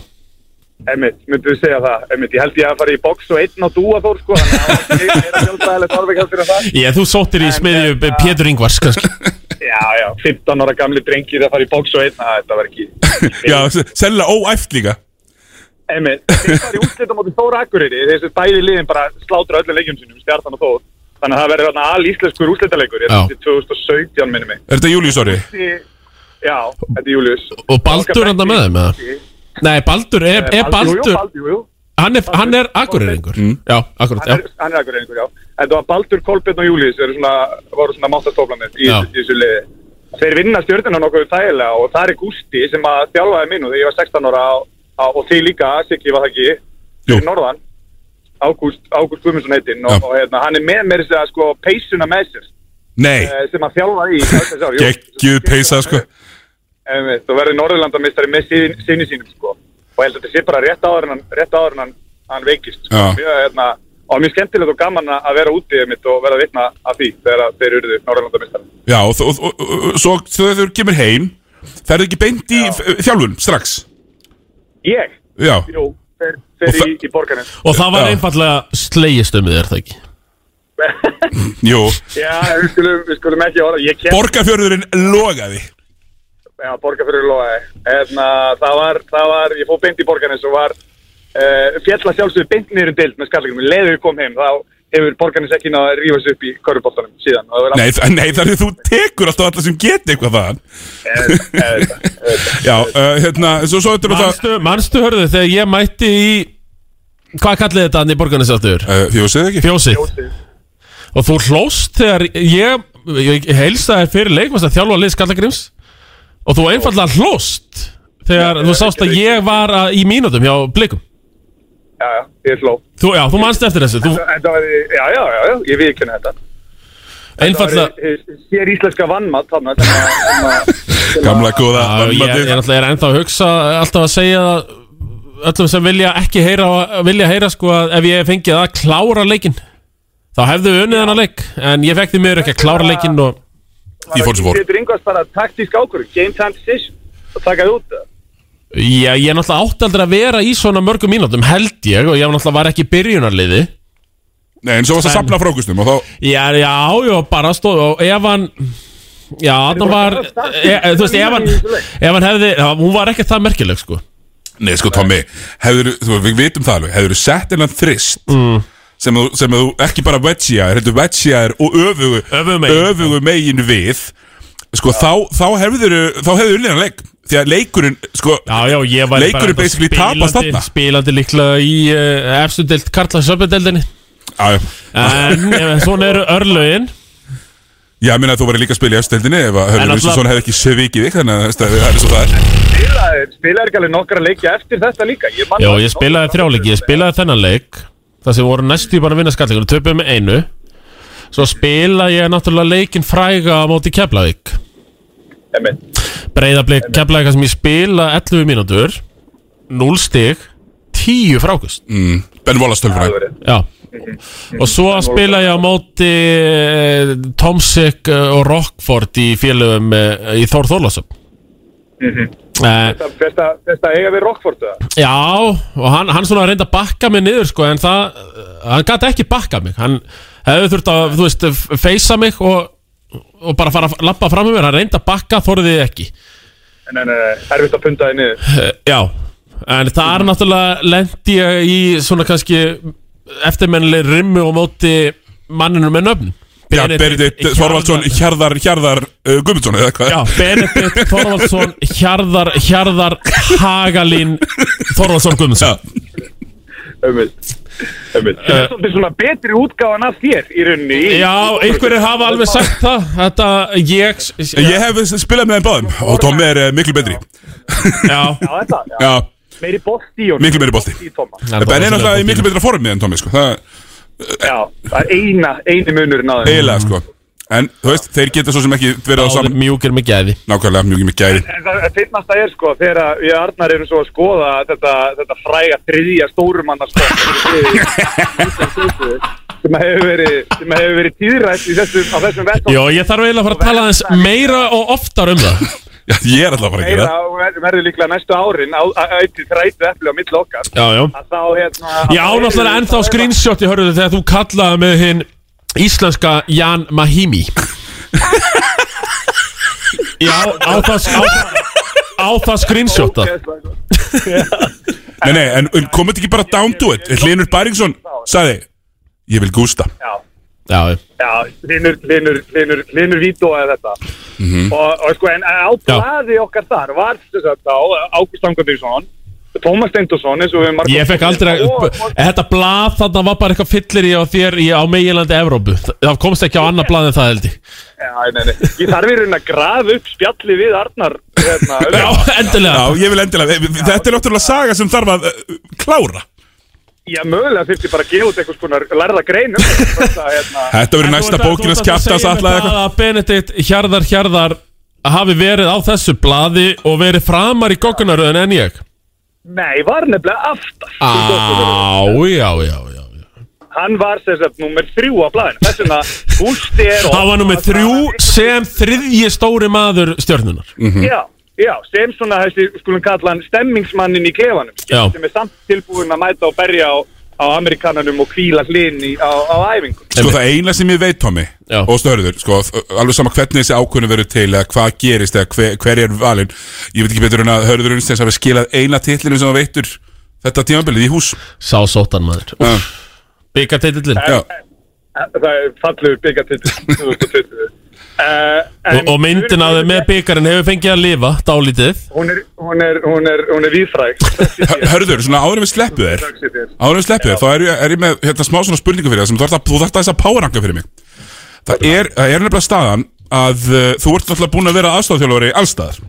Speaker 13: Emmitt, myndum við segja það, Emmitt, ég held ég að fara í box og einn á dúa þór, sko, þannig að það var meira sjálfstæðilegt orðveik heldur en það.
Speaker 2: Ég, þú sóttir í smiðju Pétur Ingvars kannski
Speaker 13: Já, já, 15 ára gamli drengir að fara í box og einn, að þetta var ekki,
Speaker 1: Já, selja óæft líka
Speaker 13: Emil, þeir fara í útlita móti Þóra Akureyri þessi bæði liðin bara slátra öllu leikjum sínum stjartan og Þór þannig að það verður þarna alíslenskur útlitaleikur
Speaker 1: Já.
Speaker 13: þetta er 2017 minnum mig
Speaker 1: Er þetta Július orði?
Speaker 13: Þessi- Já, þetta er Július
Speaker 2: Og Baldur hann með þeim, eða? Nei, Baldur, er, er
Speaker 13: Jú, jú,
Speaker 2: Baldur
Speaker 13: Baldur, jú, jú
Speaker 2: Hann er, hann er akureyringur Já, akkurat,
Speaker 13: Hann er,
Speaker 2: já
Speaker 13: hann er Akureyringur, já En það var Baldur, Kolbjörn og Július eru svona, voru svona máttastóflanir í,
Speaker 2: Já.
Speaker 13: þessu- í þessu liði þeir vinna stjórnina nokkuð þægilega og það er Gústi sem að þjálfaði minu þegar ég var 16 ára og, og þið líka, Siggi var það ekki fyrir norðan Ágúst, Ágúst Guðmundsson heitinn og, og hérna, hann er með mér þess að sko peysuna með sér
Speaker 1: Nei,
Speaker 13: eh, sem að þjálfaði í öll þessi ár Jú,
Speaker 1: geggjuð peysa sko
Speaker 13: einmitt, og verði Norðurlandamistari með sín, sinni sínum sko. og ég held að þetta sé bara rétt áður en hann, rétt áður en hann, hann veikist sko.
Speaker 1: Já.
Speaker 13: mjög, hérna, og mjög skemmtilegt og gaman að- að vera úti einmitt, og vera vitna að því þegar að þeir eruðu Norðurlandamistari
Speaker 1: Já, og, og, og, og, og svo þegar þú kemur heim Það er ekki beint í f- þjálfun strax
Speaker 13: ég,
Speaker 1: Já,
Speaker 13: jú, þeir, þeir í, í borgarinn
Speaker 2: Og það var einfallega slegist um þig, er það ekki?
Speaker 1: Jú
Speaker 13: Já, við skulum, við skulum ekki orða ég kem-
Speaker 1: Borgarfjörðurinn logaði
Speaker 13: Já, borgarfjörður logaði Eðna, það, var, það var, ég fóð beint í borgarnes og var uh, fjalla sjálfsögðu beint niður um deild með skallingum, leiðu við kom heim þá hefur borgarnes ekki náða að rífa sig upp í körfuboltanum síðan Og það var
Speaker 1: Nei,
Speaker 13: allt-
Speaker 1: þa- nei þar er þú tekur alltaf alla sem geti eitthvað þaðan
Speaker 13: Eh,
Speaker 1: Já, uh, hérna, svo, svo þetta er bara
Speaker 2: Manstu, manstu hörðu þegar ég mætti í Hvað kallið þetta hann í borgarnisáttur?
Speaker 1: Uh, fjósið ekki?
Speaker 2: Fjósið Og þú hlóst þegar ég, ég heilsa þér fyrir leik varst að þjálfa lið Skallagrims Og þú einfallega hlóst Þegar þú sást að ég var að, í mínútum hjá blikum
Speaker 13: Já, já, ég hló
Speaker 2: þú, Já, þú manst eftir þessu þú,
Speaker 13: En það var, já, já, já, já, ég viðkynna þetta
Speaker 2: Einfallega-
Speaker 13: Þetta var, eh, Sér íslenska vannmatt þarna sem að- sem að-
Speaker 1: Gamla góða
Speaker 2: Já, ég, ég er alltaf er ennþá að hugsa alltaf að segja það öllum sem vilja ekki heyra vilja heyra sko að ef ég fengið að klára leikin þá hefðu við unnið hennar leik en ég fekk því miður ekki að klára leikin og ég fór sem fór
Speaker 13: Þetta er yngvast bara taktísk ákvörðun, game time decision og takaði út það
Speaker 2: Já, ég er náttúrulega átt aldrei að vera í svona mörgum mínútum held ég og ég var náttúrulega var ekki í byrjunarliði
Speaker 1: Nei, en svo varst að safna frókustum og þá
Speaker 2: Já, já, já, bara stóð og ef hann Já, þarna var e, e, Þú veist, ef hann, ef hann hefði já, Hún var ekki það merkileg, sko
Speaker 1: Nei, sko, Tommy, hefur, þú, við vitum það alveg Hefur þú sett hennan þrist
Speaker 2: Mm.
Speaker 1: sem, þú, sem þú ekki bara vetsja er Heldur vetsja er og öfugu Öfugu megin, við Sko, þá, þá hefur þú hefur unnið hann leik Því að leikurinn, sko
Speaker 2: Já, já, ég væri bara
Speaker 1: Leikurinn
Speaker 2: enda
Speaker 1: basically
Speaker 2: spilandi-
Speaker 1: tapast þarna
Speaker 2: Spilandi líklega í uh, efstu deild Karla Söpindeldinni
Speaker 1: Já, já
Speaker 2: En eh, svona eru örlögin
Speaker 1: Já, ég meina að þú væri líka að spila í efstildinni ef að
Speaker 2: En
Speaker 1: Hörður
Speaker 2: náttúrulega-
Speaker 1: Vilsson hefði ekki svikið þig þannig að það er svo það er
Speaker 13: Spilaði, spilaði ekki alveg nokkra leiki eftir þetta líka Ég man
Speaker 2: Já,
Speaker 13: það
Speaker 2: ég
Speaker 13: ekki.
Speaker 2: spilaði þrjáleiki, ég spilaði þennan leik Það sem voru næstu bara að vinna skallingur Töpuðu með einu Svo spilaði ég náttúrulega leikin fræga á móti Keflavík Breiðablik Keflavík þar sem ég spila 11 mínútur 0 stig 10 frákust
Speaker 1: mm, Ben Wallace tölfræði
Speaker 2: Já Og svo spila ég á móti eh, Tomsik eh, og Rockford í félögum eh, í Þór Þórlásum
Speaker 13: Mhm.
Speaker 2: Eh,
Speaker 13: Þetta- Þetta þetta eiga við Rockford það
Speaker 2: Já, og hann, hann svona reyndi að bakka mig niður sko, en það, hann gæti ekki bakka mig hann hefði þurft að, þú veist feysa mig og, og bara fara að lappa fram með mér, hann reyndi að bakka þorðið ekki,
Speaker 13: En en erfitt að punda þið niður
Speaker 2: Eh, já en það er náttúrulega lendi ég í svona kannski eftirmennileg rimmu og móti manninu með nöfn
Speaker 1: Já, Benedikt Þorvaldsson, Hjarðar, Hjarðar uh, Guðmundsson eða hvað
Speaker 2: Já, Benedikt Þorvaldsson Hjarðar, Hjarðar Hagalín Þorvaldsson Guðmundsson
Speaker 13: Ömmið
Speaker 2: Eh.
Speaker 13: Ömmið Þetta er svolítið svona betri útgáfan af þér í rauninni í-
Speaker 2: Já, einhverjir hafa alveg sagt það Þetta, ég
Speaker 1: Ég hef spilað með þeim báðum og Tommi er uh, miklu betri
Speaker 2: Já,
Speaker 13: Já, þetta já.
Speaker 1: já
Speaker 13: Meiri bolti í honum
Speaker 1: miklu meiri bolti
Speaker 13: Í Tomma
Speaker 1: Ben er náttúrulega í miklu betra formi en Tommi sko. Það
Speaker 13: Já, það er eina, eini munurinn á þeim
Speaker 1: eiginlega sko En þú veist, þeir geta svo sem ekki verið á saman
Speaker 2: Mjúkir með gæði
Speaker 1: Nákvæmlega, mjúkir með gæði
Speaker 13: En það finnast er sko þegar að við Arnar erum svo að skoða þetta, þetta fræga þriðja stórumannarskóð sem hefur verið, sem hefur verið tíðrætt í þessum, á þessum vettum
Speaker 2: Já, ég þarf eiginlega að fara að tala aðeins meira og oftar um það
Speaker 1: Já, ég er alltaf að fara að gera
Speaker 13: meira og ver- verður líklega næstu árin auðvitað þrætu efli á milli okkar
Speaker 2: Já, já.
Speaker 13: að þá hérna
Speaker 2: Ég á náttúrulega ennþá screenshot í hörðu þegar þú kallaði með hinn íslenska Jan Mahimi Já, á það á, á það screenshota
Speaker 1: Nei, nei, en, en komið ekki bara down to it Hlinur Bæringsson sagði Ég vil gústa
Speaker 13: Já.
Speaker 2: Já,
Speaker 13: Já, hlinur, hlinur, hlinur, hlinur vítóaði þetta
Speaker 1: Mhm.
Speaker 13: og, og sko, en á blaði okkar þar var þess að þá Ágúst Angundíksson Tómas Steindosson eins og við margum
Speaker 2: Ég fekk aldrei að, þetta blað þarna var bara eitthvað fyllir í á þér í, á meginlandi Evrópu Þa- Það komst ekki á annað blað en það held ég
Speaker 13: Já, nei, nei. Ég þarf í raun að grafa upp spjalli við Arnar hérna,
Speaker 1: Já,
Speaker 2: endilega
Speaker 1: Já, ég vil endilega Þetta er náttúrulega saga sem þarf að eh, klára
Speaker 13: Já, mögulega þurfti bara að gefa út eitthvað skonar lærða grein um þetta, þetta, hérna.
Speaker 1: Þetta verður
Speaker 13: En
Speaker 1: næsta
Speaker 13: þú ert að-
Speaker 1: bókin hans
Speaker 13: þú ert að
Speaker 1: kjafta
Speaker 13: segja
Speaker 1: alla
Speaker 13: mér
Speaker 1: eitthvað
Speaker 13: það
Speaker 2: að Benedikt Hjarðar Hjarðar hafi verið á þessu blaði og verið framar í goggunaröðin en ég
Speaker 13: að- Nei, var nefnilega aftast
Speaker 2: Á, já, já, já
Speaker 13: Hann var sem sagt nummer þrjú á blæðinu Þess vegna Gústi er
Speaker 2: Það var nummið þrjú sem þriðji stóri maður stjörnunar
Speaker 13: Já, já, sem svona þessi, skulum kalla hann stemmingsmannin í klefanum
Speaker 2: Já.
Speaker 13: sem er samt tilbúin að mæta og berja á, á amerikananum og kvíla hlinn í- á, á æfingu
Speaker 1: Sko það eina sem ég veit, Tommy og störður, sko, þ- alveg sama hvernig þessi ákvörðun verður til eða hvað gerist eða hver, hver er valinn ég veit ekki betur en að Hörður Unnsteins hafi skilað eina titlinu sem það veittur þetta tímabilið í hús
Speaker 2: Sá sótan maður
Speaker 1: uh.
Speaker 2: Byggatitillin
Speaker 1: Já,
Speaker 13: Það er fallegur byggatitil 2020 uh,
Speaker 2: og, og myndin að með byggarinn hefur fengið að lifa dálítið
Speaker 13: Hún er, hún er, hún er, hún er víðfræg
Speaker 1: Hörður, svona áður við sleppu þér áður við sleppu þér, þá er ég, er ég með hérna, smá svona spurningu fyrir það sem þú þarft að, þú þarft að þess að poweranga fyrir mig það er, það er nefnilega staðan að uh, þú ert alltaf búin að vera aðstofþjálfari allstaðar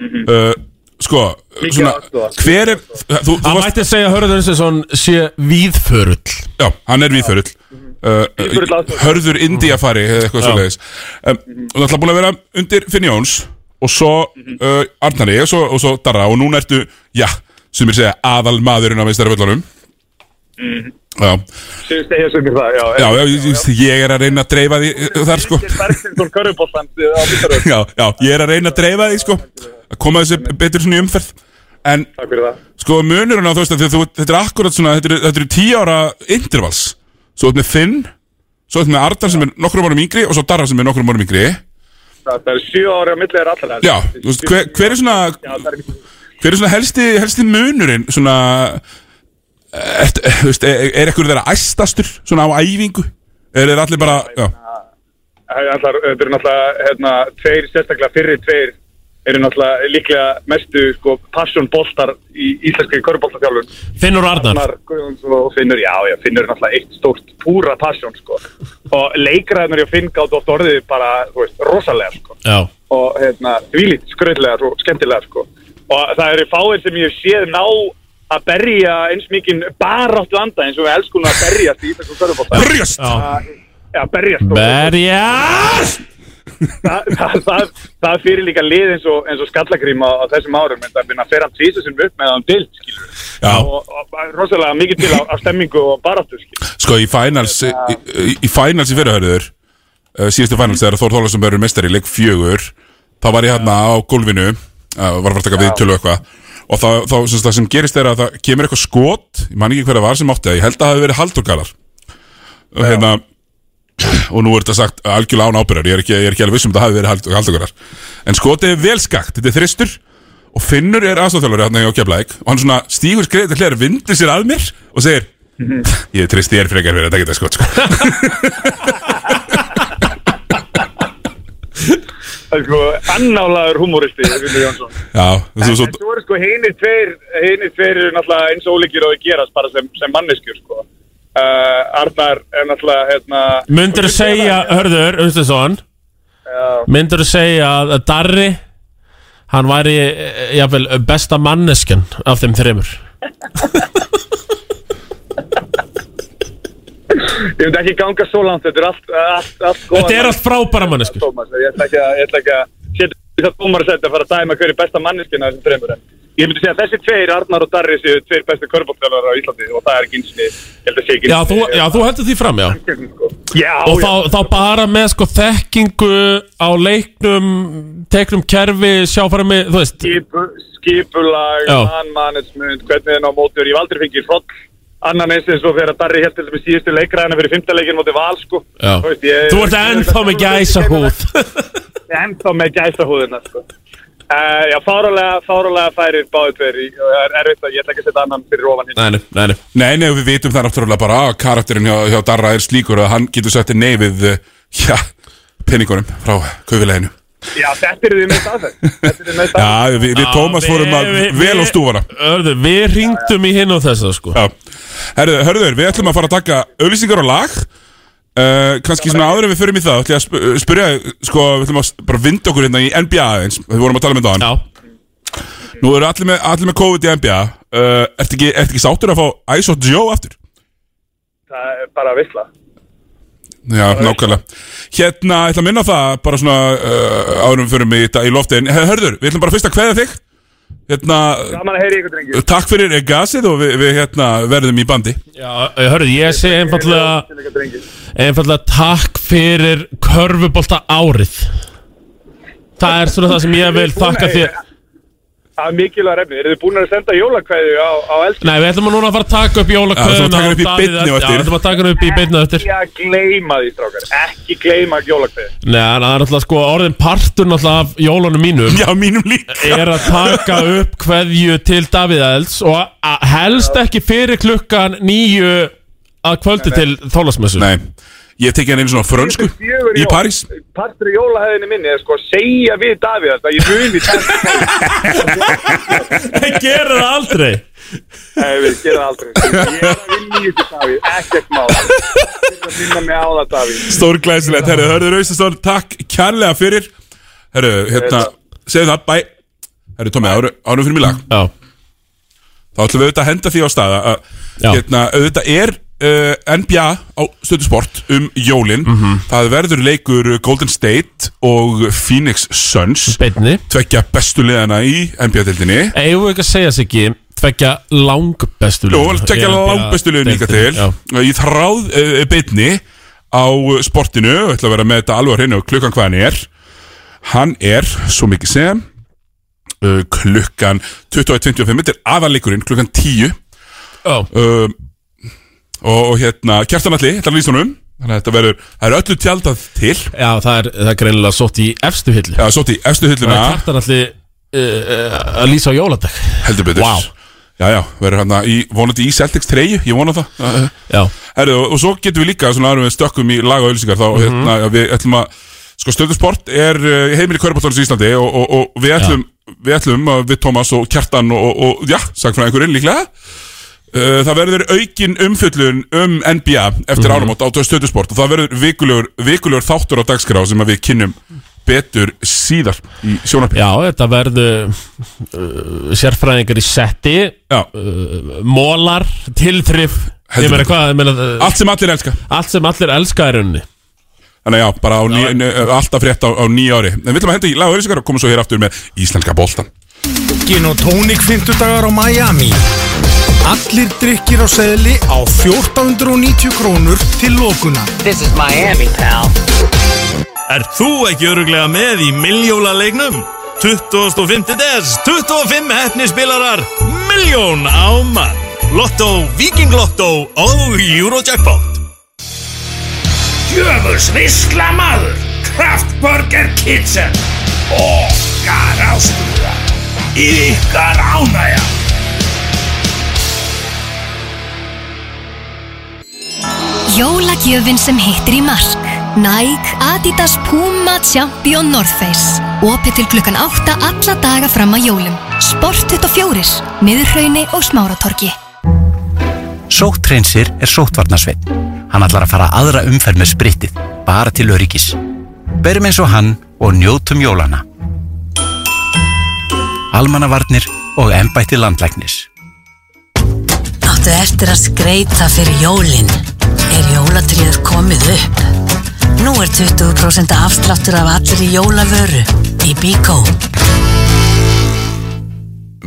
Speaker 1: uh, sko,
Speaker 2: Mhm. Mikið
Speaker 1: svona
Speaker 2: aðstoðar.
Speaker 1: hver er, þú, þú
Speaker 2: Hann mætti segja Hörður Unsinsson sé víðförull
Speaker 1: Já, hann er víðförull uh,
Speaker 2: Víðförull
Speaker 1: uh,
Speaker 2: aðstoðar.
Speaker 1: Hörður India fari eða eitthvað
Speaker 2: Já.
Speaker 1: svo leiðis um, Þú ætla búin að vera undir Finn Jóns og svo uh, Arnari og svo, og svo Darra og núna ertu, já, sem er segja aðal maðurinn á meistara völlunum Já,
Speaker 13: Sem segja sem mér það, já
Speaker 1: Mhm. já, já, ég, ég- ég er að reyna að dreifa því uh, þar sko
Speaker 13: Bergsinsson Körubóltan á Vítaröð
Speaker 1: já, já, ég er að reyna að dreifa því sko að koma þessu betur svona í umferð en sko munur hún á þú veist að þú, þetta er akkurat svona þetta eru- þetta eru tíu ára intervals svo þetta með Finn svo þetta með Arnar sem er nokkrum árum yngri og svo Darra sem er nokkrum árum yngri
Speaker 13: Það er sjö ári á millið er allra
Speaker 1: já, þú veist, hver, hver er svona hver er svona helsti, helsti munurinn svona er, þú veist, er, er ekkur þeirra æstastur svona á æfingu eða er allir bara, já,
Speaker 13: Það er náttúrulega- þetta eru náttúrulega hérna, tveir, sérstaklega fyrri tveir eru náttúrulega líklega mestu sko, passionboltar í íslenski köruboltaþjálfun
Speaker 2: Finnur og Arnar.
Speaker 13: Arnar Guðjóns og Finnur, já, já, Finnur er náttúrulega eitt stórt púra passion sko. og leikræðnur hjá Finn gátt oft orðið bara, þú veist, rosalega sko.
Speaker 2: Já
Speaker 13: og hérna, þvílít skröðlegar og skemmtilegar sko. og það eru fáir sem ég hef séð ná að berja eins mikinn baráttu anda eins og við elskum að berjast í íslensku körubolta
Speaker 1: Berjast!
Speaker 13: Já, berjast sko.
Speaker 2: Berjast
Speaker 13: það, það, það, það fyrir líka lið eins og, eins og skallagrím á, á þessum árum en það finna að fer hann tvísa sinni upp með hann
Speaker 1: já.
Speaker 13: til og, og, og rosalega mikið til á, á stemmingu og baráttu skilur.
Speaker 1: Sko í finals í, í, í finals í fyrirhörður uh, síðustu finals þegar Þór Þólasson verður mestari í leik fjögur þá var ég hérna á gólfinu uh, var að fara að taka viðtölu og eitthvað og þá, þá sem, sagt, það sem gerist er að það kemur eitthvað skot ég man ekki hver það var sem átti það, ég held að það hafi verið Halldór Garðar og hérna og nú er þetta sagt algjörlega án ábyrjar ég er ekki, ég er ekki alveg vissum að það hafi verið Hald- Halldór Garðar en skotið er vel skakt, þetta er þristur og Finnur er aðstofþjálfari hérna hjá Keflæk og hann svona stígur skreið til hlæður vindur sér að mér og segir ég trist ég er frekar fyrir að taka þetta skot sko.
Speaker 13: það er sko annálaður humoristi Guðmundur Jónsson.
Speaker 1: Já,
Speaker 13: en,
Speaker 1: þessu svo
Speaker 13: en svo eru sko hinir tveir hinir tveir eru náttúrulega eins og ólíkir og þau gerast bara sem, sem manneskjur sko. uh, Arnar er náttúrulega hérna,
Speaker 2: Myndur segja Hörður Unsinsson
Speaker 13: Já.
Speaker 2: Myndur segja að að Darri Hann væri eh, jafnvel besta manneskjan af þeim þreymur
Speaker 13: ég myndi ekki ganga svo langt þetta er allt, allt, allt
Speaker 2: Þetta er allt frábæra manneskjur
Speaker 13: Tómas, ég ætla ekki að, ég ætla ekki að setja í það dómar að setja að fara að dæma hverju besta manneskina þessum fremur en ég myndi segja að þessi tveir, Arnar og Darri séu tveir bestu körbóttjálfara á Íslandi og það er ekki einsinni, ég held að sé ekki
Speaker 2: Já, þú, já, þú heldur því fram, já
Speaker 13: sko. já,
Speaker 2: Og
Speaker 13: já.
Speaker 2: þá, þá bara með sko þekkingu á leiknum, teknum kerfi, sjáfæmi, þú veist
Speaker 13: Skipu, skipulag,
Speaker 2: Já.
Speaker 13: mannmanagement hvernig þeir ná mótur, ég hef aldrei fengið hroll annan eins eins og þegar Darri held til þessum síðustu leikræðina fyrir fymtaleikin móti val sko
Speaker 2: Já.
Speaker 13: veist, ég-
Speaker 2: Þú ert ennþá með gæsa húð
Speaker 13: ennþá með gæsa húðina sko. uh, Já, fáralega, fáralega færir báðu tveir í- og það er erfitt að ég ætla ekki að setja annan fyrir ofan hinn
Speaker 2: Nei, nei, nei
Speaker 1: Nei, nei, við vitum það náttúrulega bara að karakterinn hjá, hjá Darra er slíkur að hann getur sætti nei við eh, já, peningunum frá kaufileginu
Speaker 13: Já, þetta er því með staðfæð Þetta er því með staðfæð
Speaker 1: Já, við, við Tómas fórum að vel á stúfana
Speaker 2: Hörðu, við ringdum í hinn og þessa sko
Speaker 1: Já, herðu, hörðu, við ætlum að fara að taka auðlýsingar og lag uh, kannski svona áður en við förum í það ætlum ég að sp- uh, spyrja, þig, sko, við ætlum að s- bara vinda okkur hérna í NBA eins við vorum að tala með það Nú eru allir með, allir með COVID í NBA uh, Ertu ekki, ert ekki sáttur að fá Ice og Joe aftur?
Speaker 13: Það er bara að visla
Speaker 1: Já, nákvæmlega Hérna, ég ætla að minna á það bara svona uh, áður en við förum í þetta í loftin Hörður, við ætlum bara fyrst að kveða þig Hérna,
Speaker 13: Gaman að heyri ykkur drengi
Speaker 1: takk fyrir eh, gasið og við, við hérna, verðum í bandi
Speaker 2: Já, eh, hörðu, ég segi einfallega
Speaker 13: Ykkur drengi
Speaker 2: einfallega takk fyrir körfubolta árið Það er svona það sem ég vil þakka þér
Speaker 13: Það er mikilvæg refni Eru þið búin að senda jólakvæði á, á elska?
Speaker 2: Nei, við ætlum að núna að fara að taka upp
Speaker 1: Já, þú ætlum
Speaker 2: jólakveðuna
Speaker 1: að taka upp í beinni á eftir.
Speaker 2: Já, við ætlum að taka hann upp í beinni á eftir
Speaker 13: Ekki að gleyma því, strákar Ekki gleyma jólakvæði
Speaker 2: Nei, en það er alltaf sko orðin partur náttúrulega af jólunum mínum
Speaker 1: Já, mínum líka
Speaker 2: Er að taka upp kveðju til Davíð Elds Og að- helst ekki fyrir klukkan nýju að kvöldi til þólasmessu
Speaker 1: Nei, ég tekið hann einu svona frönsku
Speaker 13: Fjögur
Speaker 1: Í
Speaker 13: jól.
Speaker 1: París
Speaker 13: Partur í jólahæðinni minni er sko að segja við Davíð þetta Ég muni þetta
Speaker 2: Gerðu það aldrei
Speaker 13: Nei, við gerum það aldrei Ég er að vinna í þetta Davíð Ekkert mál Ég er að vinna mig á það Davíð
Speaker 1: Stórglæsilegt, herru, hörður Auðvistastón Takk kærlega fyrir Herru, hérna, segðu það, bæ Herru, Tómi, áru- árum fyrir mig lag
Speaker 2: Já
Speaker 1: Þá ætlum við auðvitað að henda því á staða að, hérna, Auðvitað er uh, NBA á stöðusport um jólin Það verður leikur Golden State og Phoenix Suns
Speaker 2: Beinni
Speaker 1: Tvekja bestu liðana í NBA-tildinni
Speaker 2: Eigum við ekki að segja sig ekki Tvekja langbestu
Speaker 1: Jó, vel tekja langbestu liðin líka til Ég þráð uh, beitni á eh, sportinu og ætla að vera með þetta alveg á hreinu og klukkan hvað hann er Hann er, svo mikið sem uh, klukkan 21.25 Þetta er aðaleikurinn, klukkan 10
Speaker 2: oh.
Speaker 1: uh, og, og hérna, Kjartan Alli, þetta er lýstunum Þannig að þetta verður, það er öllu tjaldað til
Speaker 2: Já, það er, það er greinilega sótt í efstu hillu
Speaker 1: Já, sótt í efstu hilluna.
Speaker 2: Það er kvartan allir uh, uh, að lýsa á jóladag
Speaker 1: Heldur betur
Speaker 2: Vá.
Speaker 1: Já, já, verður hérna í, vonandi í Celtics 3, ég vona það
Speaker 2: Já
Speaker 1: Herðu, og, og svo getum við líka, svona aðrum við stökkum í laga og ölsingar Þá, hérna, við ætlum að, sko, stöðusport er uh, heimil í Körbáttónus í Íslandi Og, og, og við ætlum, við ætlum, að við Tómas og Kjartan og, og, og já, sagt frá einhverjum líklega Uh, það verður aukin umfjöllun um NBA eftir mm áramót á stöðusport og það verður vikulegur, vikulegur þáttur á dagskrá sem að við kynnum betur síðar í sjónarpið.
Speaker 2: Já, þetta verður uh, sérfræðingar í setti uh, Mólar, tilþrif Ég
Speaker 1: Heldur
Speaker 2: meina
Speaker 1: betur.
Speaker 2: hvað, ég meina uh,
Speaker 1: Allt sem allir elska
Speaker 2: Allt sem allir elska er unni
Speaker 1: Þannig að já, bara á ný, eh, alltaf frétt á, á nýja ári En við ætlum að henda í laga auðvitað og komum svo hér aftur með Íslenska boltan
Speaker 3: Gin og tónik 50 dagar á Miami Allir drikkir á seðli á 1490 krónur til lokuna
Speaker 14: This is Miami, pal
Speaker 15: Er þú ekki öruglega með í milljóla-leiknum? 25. des, 25 hefnispilarar, miljón á mann. Lotto, Viking Lotto og Eurojackpot.
Speaker 16: Djöfuls visla maður Kraftburger Kitchen Okkar ástúra Ykkar ánægja
Speaker 8: Jólagjöfin sem hittir í mark Nike, Adidas, Puma, Champion, North Face Opið til klukkan 8 alla daga fram að jólum Sport 24, Niðurhrauni og Smáratorgi
Speaker 17: Sóttreinsir er sóttvarnasveit. Hann ætlar að fara aðra umferð með spritið, bara til öryggis. Berum eins og hann og njótum jólana. Almannavarnir og embætti landlæknis.
Speaker 10: Áttu eftir að skreita fyrir jólin Er jólatriður komið upp? Nú er 20% afsláttur af allir í jólavöru Í Bíkó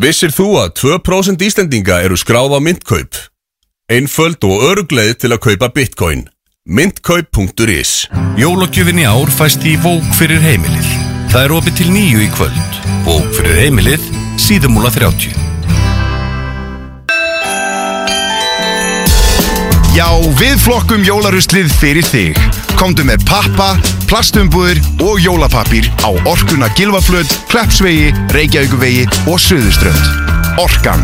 Speaker 18: Vissir þú að 2% Íslendinga eru skráð á myntkaup? Einföld og örugleið til að kaupa bitcoin. Myntkaup.is
Speaker 19: Jólagjöfin í ár fæst í Vók fyrir heimilið. Það er opið til nýju í kvöld. Vók fyrir heimilið, síðumúla 30.
Speaker 12: Já, við flokkum jólaruslið fyrir þig. Komdu með pappa, plastumbúður og jólapapír á Orkuna Gilvaflöð, Kleppsvegi, Reykjavíkuvegi og Suðuströnd. Orkan.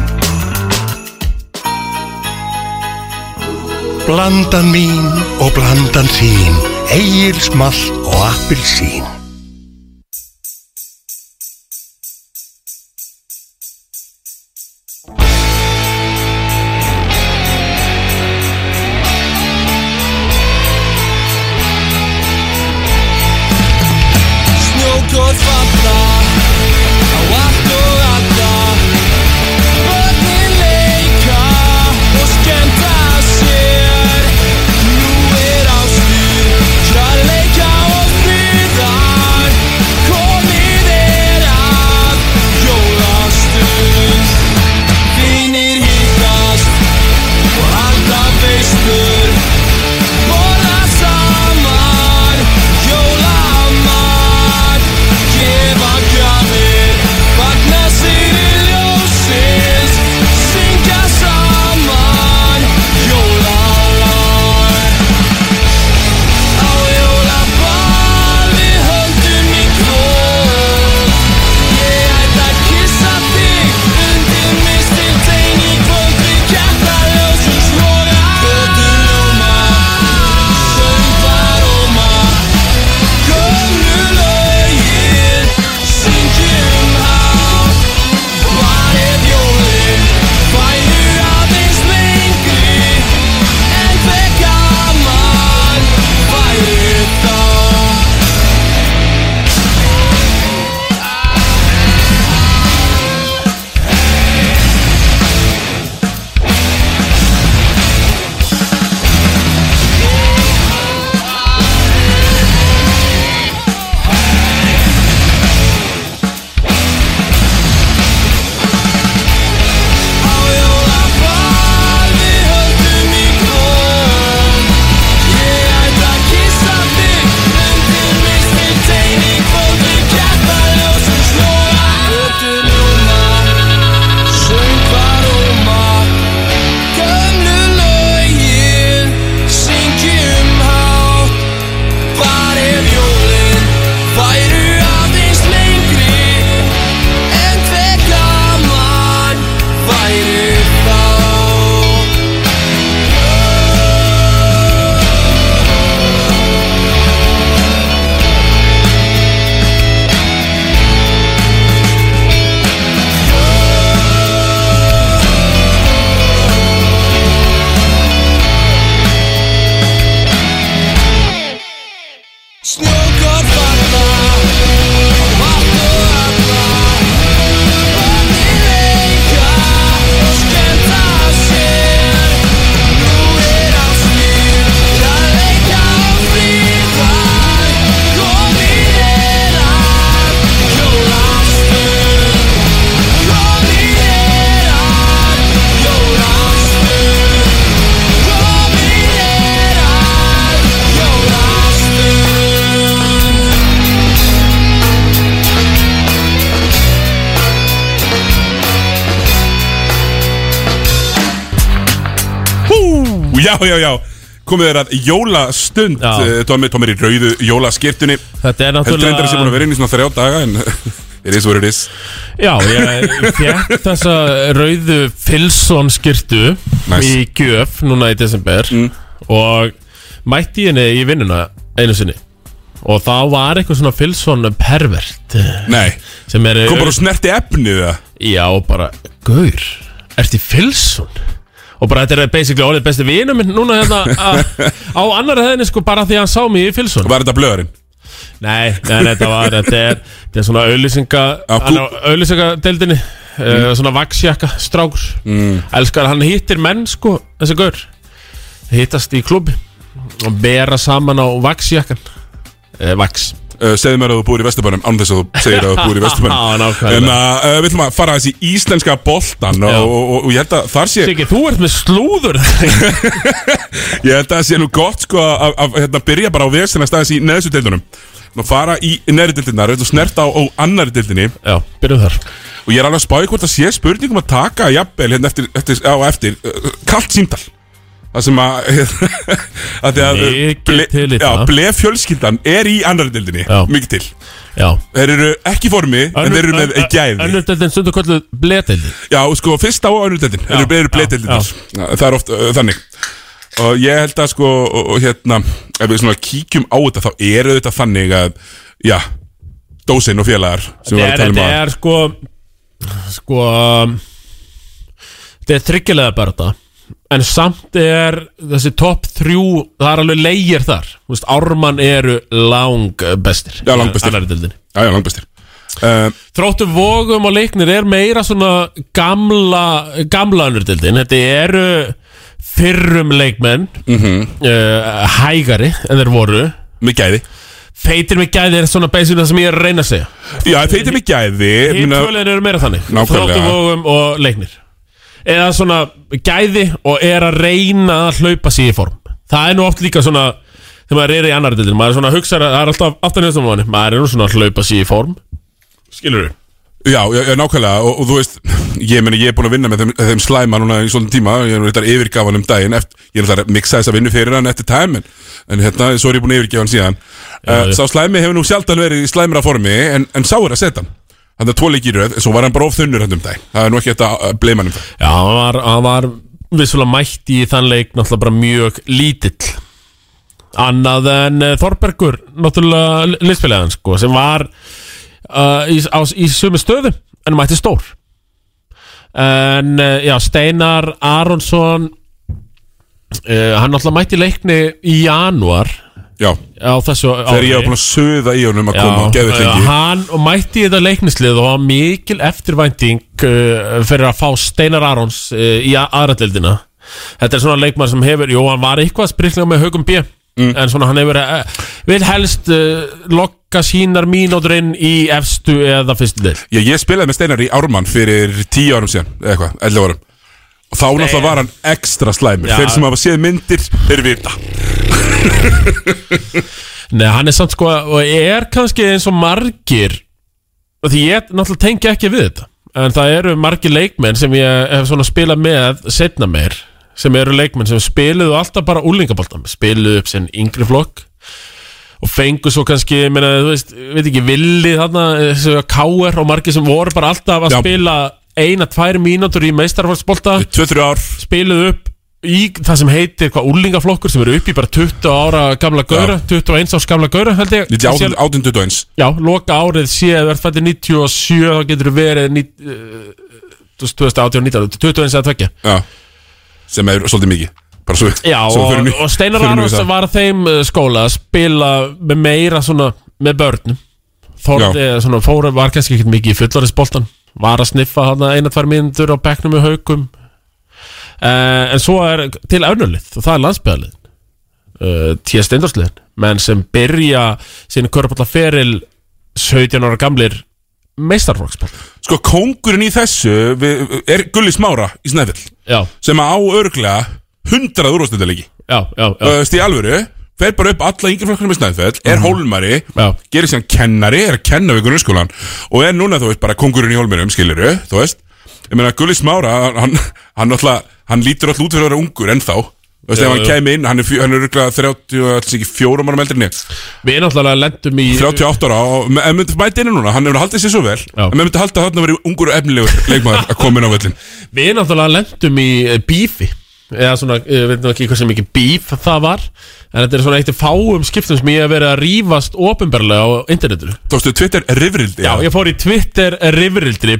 Speaker 3: Blandan mín og blandan þín Egil small og appilsín
Speaker 12: um
Speaker 1: Já, já, já Komið þér að jólastund eh, Tommi, Tommi er í rauðu jólaskirtunni
Speaker 2: Þetta er náttúrulega-
Speaker 1: Heldur endar að sé búin að vera inn í svona þrjá daga En it is what it is
Speaker 2: Já, ég fekk þessa rauðu Filsson skirtu
Speaker 1: Nice. Mm.
Speaker 2: í gjöf núna í desember og mætti ég henni í vinnuna einu sinni og það var eitthvað svona Filsson pervert
Speaker 1: Nei,
Speaker 2: sem er
Speaker 1: Kom bara og snerti efnið það
Speaker 2: Já, og bara, gaur, ertu Filsson? Og bara þetta er basically orðið besti vinur minn núna hérna að- á annar hefðinni sko bara því að hann sá mig í Filsson
Speaker 1: Var þetta blöðurinn?
Speaker 2: Nei, nei, nei, þetta var, þetta er, þetta er svona auðlýsinga, hann á auðlýsingadeildinni, uh, svona vaksjakka, strákur,
Speaker 1: Mm.
Speaker 2: elskar, hann hittir menn sko, þessi gaur, hittast í klubbi og bera saman á vaksjakkan, uh, vaks.
Speaker 1: Uh, segðu mér að þú búir í Vesturbænum án þess að þú segir að þú búir í
Speaker 2: Já,
Speaker 1: Vesturbænum
Speaker 2: nákvæmlega.
Speaker 1: En að uh, við ætlum að fara þessi í íslenska boltan og,
Speaker 2: Já.
Speaker 1: og, og, og ég held að þar sé
Speaker 2: Siggi, þú ert með slúður
Speaker 1: Ég held að það sé nú gott sko að, að hérna, byrja bara á vestina staðis í neðstu deildunum Nú fara í neðri deildina, reynd og snerta á, á annari deildinni
Speaker 2: Já, byrjum þar
Speaker 1: Og ég er alveg að spáði hvort það sé spurningum að taka jafnvel hérna eftir, eftir, á eftir uh, Kalt símtal Það sem að, að, að uh,
Speaker 2: Mikið til í
Speaker 1: já,
Speaker 2: það.
Speaker 1: blef fjölskyldan er í annari deildinni
Speaker 2: Já.
Speaker 1: Mikið til
Speaker 2: Já.
Speaker 1: Þeir eru ekki í formi, en þeir eru með gæði
Speaker 2: Önnurdeldin stundu kvöldu bledeldin.
Speaker 1: Já, sko, fyrsta og önnur deildin Þeir eru bleiður bleideildinar Það er oft uh, þannig Og ég held að sko, og, og, hérna Ef við svona kíkjum á þetta, þá eru þetta þannig að Já, dósin og félagar Sem við
Speaker 2: Þetta er,
Speaker 1: varum að
Speaker 2: þetta
Speaker 1: tala um
Speaker 2: er sko, sko, um, þetta er þryggjulega bara En samt er þessi topp þrjú, það er alveg leigir þar Þú veist, Ármann eru lang bestir
Speaker 1: Já, langbestir. Já, já, langbestir uh,
Speaker 2: Þróttu um vogum og leiknir er meira svona gamla, gamla önnurdildin Þetta eru fyrrum leikmenn
Speaker 1: Mhm.
Speaker 2: uh, Hægari en þeir voru
Speaker 1: Með gæði
Speaker 2: Feitir með gæði er svona basically það sem ég er að reyna að segja
Speaker 1: Já, feitir með gæði
Speaker 2: Hinn tvölegin eru meira þannig
Speaker 1: Nákvæmlega.
Speaker 2: Þróttu vogum og leiknir Eða svona gæði og er að reyna að hlaupa sig í form Það er nú oft líka svona Þegar maður er í annar dildin Maður er svona að hugsa Það er alltaf aftan í þessum manni Maður er nú svona að hlaupa sig í form Skilur þau?
Speaker 1: Já, já, já, nákvæmlega og, og þú veist, ég meni ég er búin að vinna með þeim, þeim slæma núna í svona tíma ég er nú reyndar yfirgafan um daginn eftir, ég er náttúrulega að miksa þess að vinna fyrir hann eftir time en, en hérna, svo er ég búin að yfirgefa hann síðan uh,
Speaker 2: já.
Speaker 1: Sá slæmi hefur nú sjaldan verið í slæmra formi en, en sá er að setja hann Þannig að tóleik í röð, en svo var hann bara of þunnur hann um dag Það er nú ekki þetta að bleima hann um það
Speaker 2: Já, hann var, hann var vissulega mætt í þann leik náttúrulega bara mjög lítill annað en eh, Þorbergur náttúrulega liðspilæðan sko, sem var uh, í, á, í sömu stöðu en mætti stór en eh, já, Steinar Aronsson uh, hann náttúrulega mætti í leikni í janúar
Speaker 1: Já,
Speaker 2: á þessu
Speaker 1: Þegar ég var búin að söða í honum að koma, geðu
Speaker 2: já,
Speaker 1: lengi
Speaker 2: hann mætti í þetta leiknislið og var mikil eftirvænting uh, fyrir að fá Steinar Arons uh, í aðrætleldina þetta er svona leikmann sem hefur, jú hann var eitthvað spriklega með haugum B
Speaker 1: Mm.
Speaker 2: en svona hann hefur uh, vil helst uh, lokka sínar mínútur inn í efstu eða fyrstu del
Speaker 1: Já, ég spilaði með Steinar í Ármann fyrir 10 árum síðan, eða eitthvað, 11 árum og þá náttúrulega var hann ekstra slæmur
Speaker 2: Já.
Speaker 1: þeir sem hafa séð myndir, þeir vita
Speaker 2: Nei, hann er samt sko og er kannski eins og margir og því ég náttúrulega tengi ekki við þetta en það eru margir leikmenn sem ég hef svona spilað með setna meir sem eru leikmenn sem spiluðu alltaf bara úlingaboltan, spiluðu upp sinn yngri flokk og fengu svo kannski, ég meina, þú veist, ég veit ekki villi þarna, eh, þessu káer og margir sem voru bara alltaf að spila eina, tvær mínútur í meistarfólksbolta
Speaker 1: 2-3 ár
Speaker 2: spiluðu upp í það sem heitir hvað úlingaflokkur sem eru upp í bara 20 ára gamla gaura 21 árs gamla gaura held ég
Speaker 1: Þetta er 1821
Speaker 2: Já, loka árið sé að verð fættir 97 þá getur þú verið ní- eh, þú veist, 2018 og 19 21 eða tvekja
Speaker 1: Já, sem er svolítið mikið Bara svo,
Speaker 2: Já,
Speaker 1: svo
Speaker 2: og,
Speaker 1: förum í-
Speaker 2: og Steinar
Speaker 1: förum í
Speaker 2: Arons
Speaker 1: það.
Speaker 2: var að þeim eh, skóla að spila með meira svona með börnum Þorði, svona, fóru var kannski ekkert mikið í fullarinsboltan Var að sniffa hana eina-tvær mínútur á bekknum með haukum uh, En svo er til önnulið og það er landsbyðalið uh, T.S. Steindorsliðin Menn sem byrja sín körpallaferil 17 ára gamlir meistarflokksbolt
Speaker 1: Sko, kóngurinn í þessu við, er Gulli Smára í Snæfell
Speaker 2: Já.
Speaker 1: sem að á örglega 100 úrvastendalegi
Speaker 2: Já, já, já Mhm.
Speaker 1: Stíð alvöru, fer bara upp alla yngjaflokkurinn með Snæfell er hólmari,
Speaker 2: Já.
Speaker 1: gerir síðan kennari er að kenna við grunnskólan og er núna, þú veist, bara kóngurinn í hólminum, skiliru þú veist, ég meina Gulli Smára hann, hann, hann, hann lítur alltaf út fyrir að vera ungur ennþá Þú veist,
Speaker 2: Já,
Speaker 1: ef hann
Speaker 2: já.
Speaker 1: kæmi inn, hann er, fjö- hann er rugglað 34 mann meldri en ég
Speaker 2: Við náttúrulega lendum í
Speaker 1: 38 ára, og- en myndi mæta inn núna, hann hefur haldið sér svo vel En myndi haldið að þarna verið ungur og efnilegur leikmaður að koma inn á völlin
Speaker 2: Við náttúrulega lendum í eh, bífi eða svona, eh, við veitum ekki hversu mikið bíf það var en þetta er svona eitt af fáum skiptum sem ég hef verið að rífast ofinbarlega á internetinu
Speaker 1: Tókstu Twitter rifrildi?
Speaker 2: Já, ég fór í Twitter rifrildi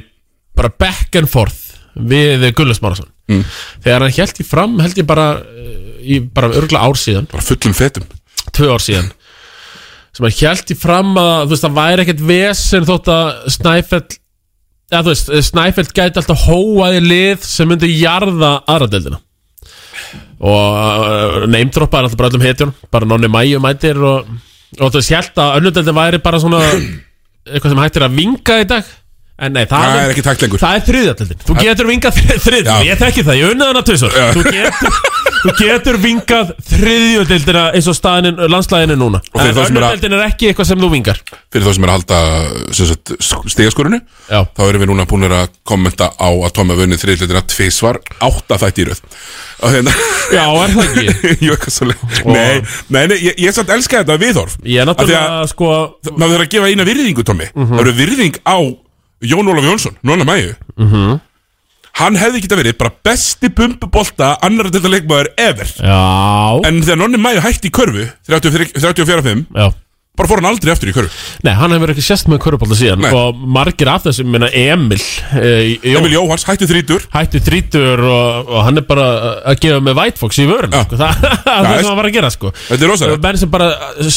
Speaker 2: bara back and forth við Gullas Márasson mm. þegar hann held ég fram, held ég bara eh, í bara örgla ár síðan
Speaker 1: bara fullum fetum
Speaker 2: tvö ár síðan sem hann held í fram að þú veist, það væri ekkert vesen þótt að Snæfell eða þú veist, Snæfell gæti alltaf hóaði lið sem myndi jarða aðra deildina og neymdroppa er alltaf bara öllum hetjón bara nonni mæju mætir og, og þú veist, held að önnudeldin væri bara svona eitthvað sem hægt er að vinga í dag en nei, það,
Speaker 1: Það er ekki takt lengur.
Speaker 2: það er þriðjaldildin, þú getur vingað þriðjaldildin, ég þekki það, ég unnaði hana tvisar þú getur, þú getur vingað þriðjaldildina eins og staðinin landslæðin er núna,
Speaker 1: fyrir
Speaker 2: en
Speaker 1: þá sem er að-
Speaker 2: önnudeldin er ekki eitthvað sem þú vingar
Speaker 1: Fyrir þá sem er að halda stigaskorinu Þá erum við núna búinir að kommenta á að Tóma vunnið þriðlutina tvisvar Átta þætti í röð Og hérna-
Speaker 2: Já, er það ekki?
Speaker 1: Jú, eitthvað svo Nei, nei, nei, ég, ég samt elska þetta viðhorf
Speaker 2: Ég er náttúrulega, Mhm. sko
Speaker 1: Maður þarf að gefa eina virðingu, Tómi Það eru virðing á Jón Ólaf Jónsson, Nóna Mæju
Speaker 2: Mhm.
Speaker 1: Hann hefði geta verið bara besti bumbubolta annar að þetta leikmaður ever
Speaker 2: Já
Speaker 1: En þegar Nonni Mæju hætti í körfu 34-5 Bara fór hann aldrei aftur í körfu
Speaker 2: Nei, hann hefur ekki sérst með körupálta síðan
Speaker 1: Nei.
Speaker 2: og margir af þessum, minna Emil e,
Speaker 1: Emil Jóhans, hættu þrítur
Speaker 2: Hættu þrítur og, og hann er bara að gefa með White Fox í vörun sko. það, það er það sem hann var að gera sko.
Speaker 1: Þetta er rosalegt.
Speaker 2: Menn sem bara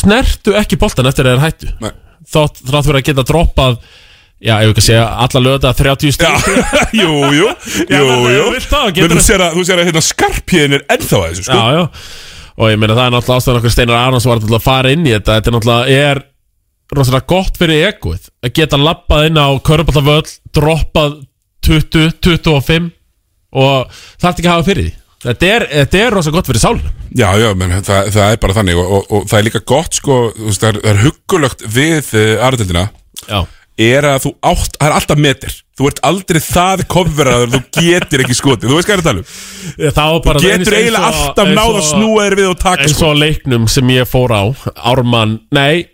Speaker 2: snertu ekki boltan eftir að þeir hættu
Speaker 1: Nei.
Speaker 2: Þótt þrátt fyrir að geta droppað Já, ef ekki að segja, alla löta 30 stíl
Speaker 1: Jú, jú, jú, jú
Speaker 2: þú vilt það, getur
Speaker 1: Menn þú
Speaker 2: það.
Speaker 1: sér að, þú sér að hérna skarpjæðin er ennþá að þessu sko
Speaker 2: Já, já Og ég meina það er náttúrulega ástæðan okkur Steinar Arnáns var náttúrulega að fara inn í þetta Þetta er náttúrulega er rosalega gott fyrir eguð Að geta labbað inn á körbáttavöll Droppað 20, 25 Og þarf ekki að hafa fyrir því Þetta er, þetta er rosalega gott fyrir sálinu
Speaker 1: Já, já, menn, það, það er bara þannig og, og, og það er líka gott, sko, þú veist, það er, það er huggulögt við uh, aðröldina
Speaker 2: Já
Speaker 1: er að þú átt, það er alltaf metir þú ert aldrei það kofveraður þú getur ekki skotið, þú veist hvað ég er að tala um
Speaker 2: Það var bara
Speaker 1: Þú getur eiginlega alltaf náð að snúa þér við og taka
Speaker 2: Eins og á leiknum sem ég fór á Ármann, nei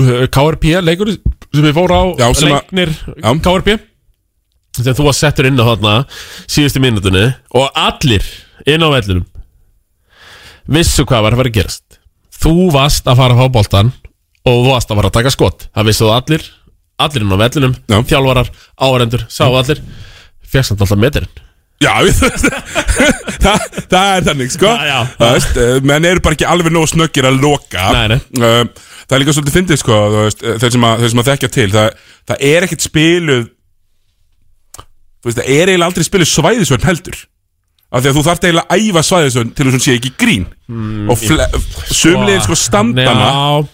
Speaker 2: KRP leikur sem ég fór á
Speaker 1: Já, sem að-
Speaker 2: Leiknir KRP sem þú var settur inn á þarna síðustu minnutunni og allir inn á vellinum vissu hvað var að fara að gerast þú varst að fara að fá boltan og þú varst að fara að taka skot það vissu þú allir, allir inn á vellinum Já. þjálfarar, áhverendur, sáu allir fegst hann alltaf metirinn
Speaker 1: Já, það, það er þannig, sko já, já, það veist, eh, menn eru bara ekki alveg nóg snöggir að loka nei, nei. Eh, það er líka svolítið fyndið, sko þú veist, eh, þeir sem, að, þeir sem að þekkja til það, það er ekkert spiluð þú veist, það er eiginlega aldrei spiluð svæðisvörn heldur af því að þú þarf eiginlega að æfa svæðisvörn til þess að hún sé ekki í grín
Speaker 2: Mm,
Speaker 1: og fle-
Speaker 2: ég-
Speaker 1: sumlegin sko standana
Speaker 2: Já.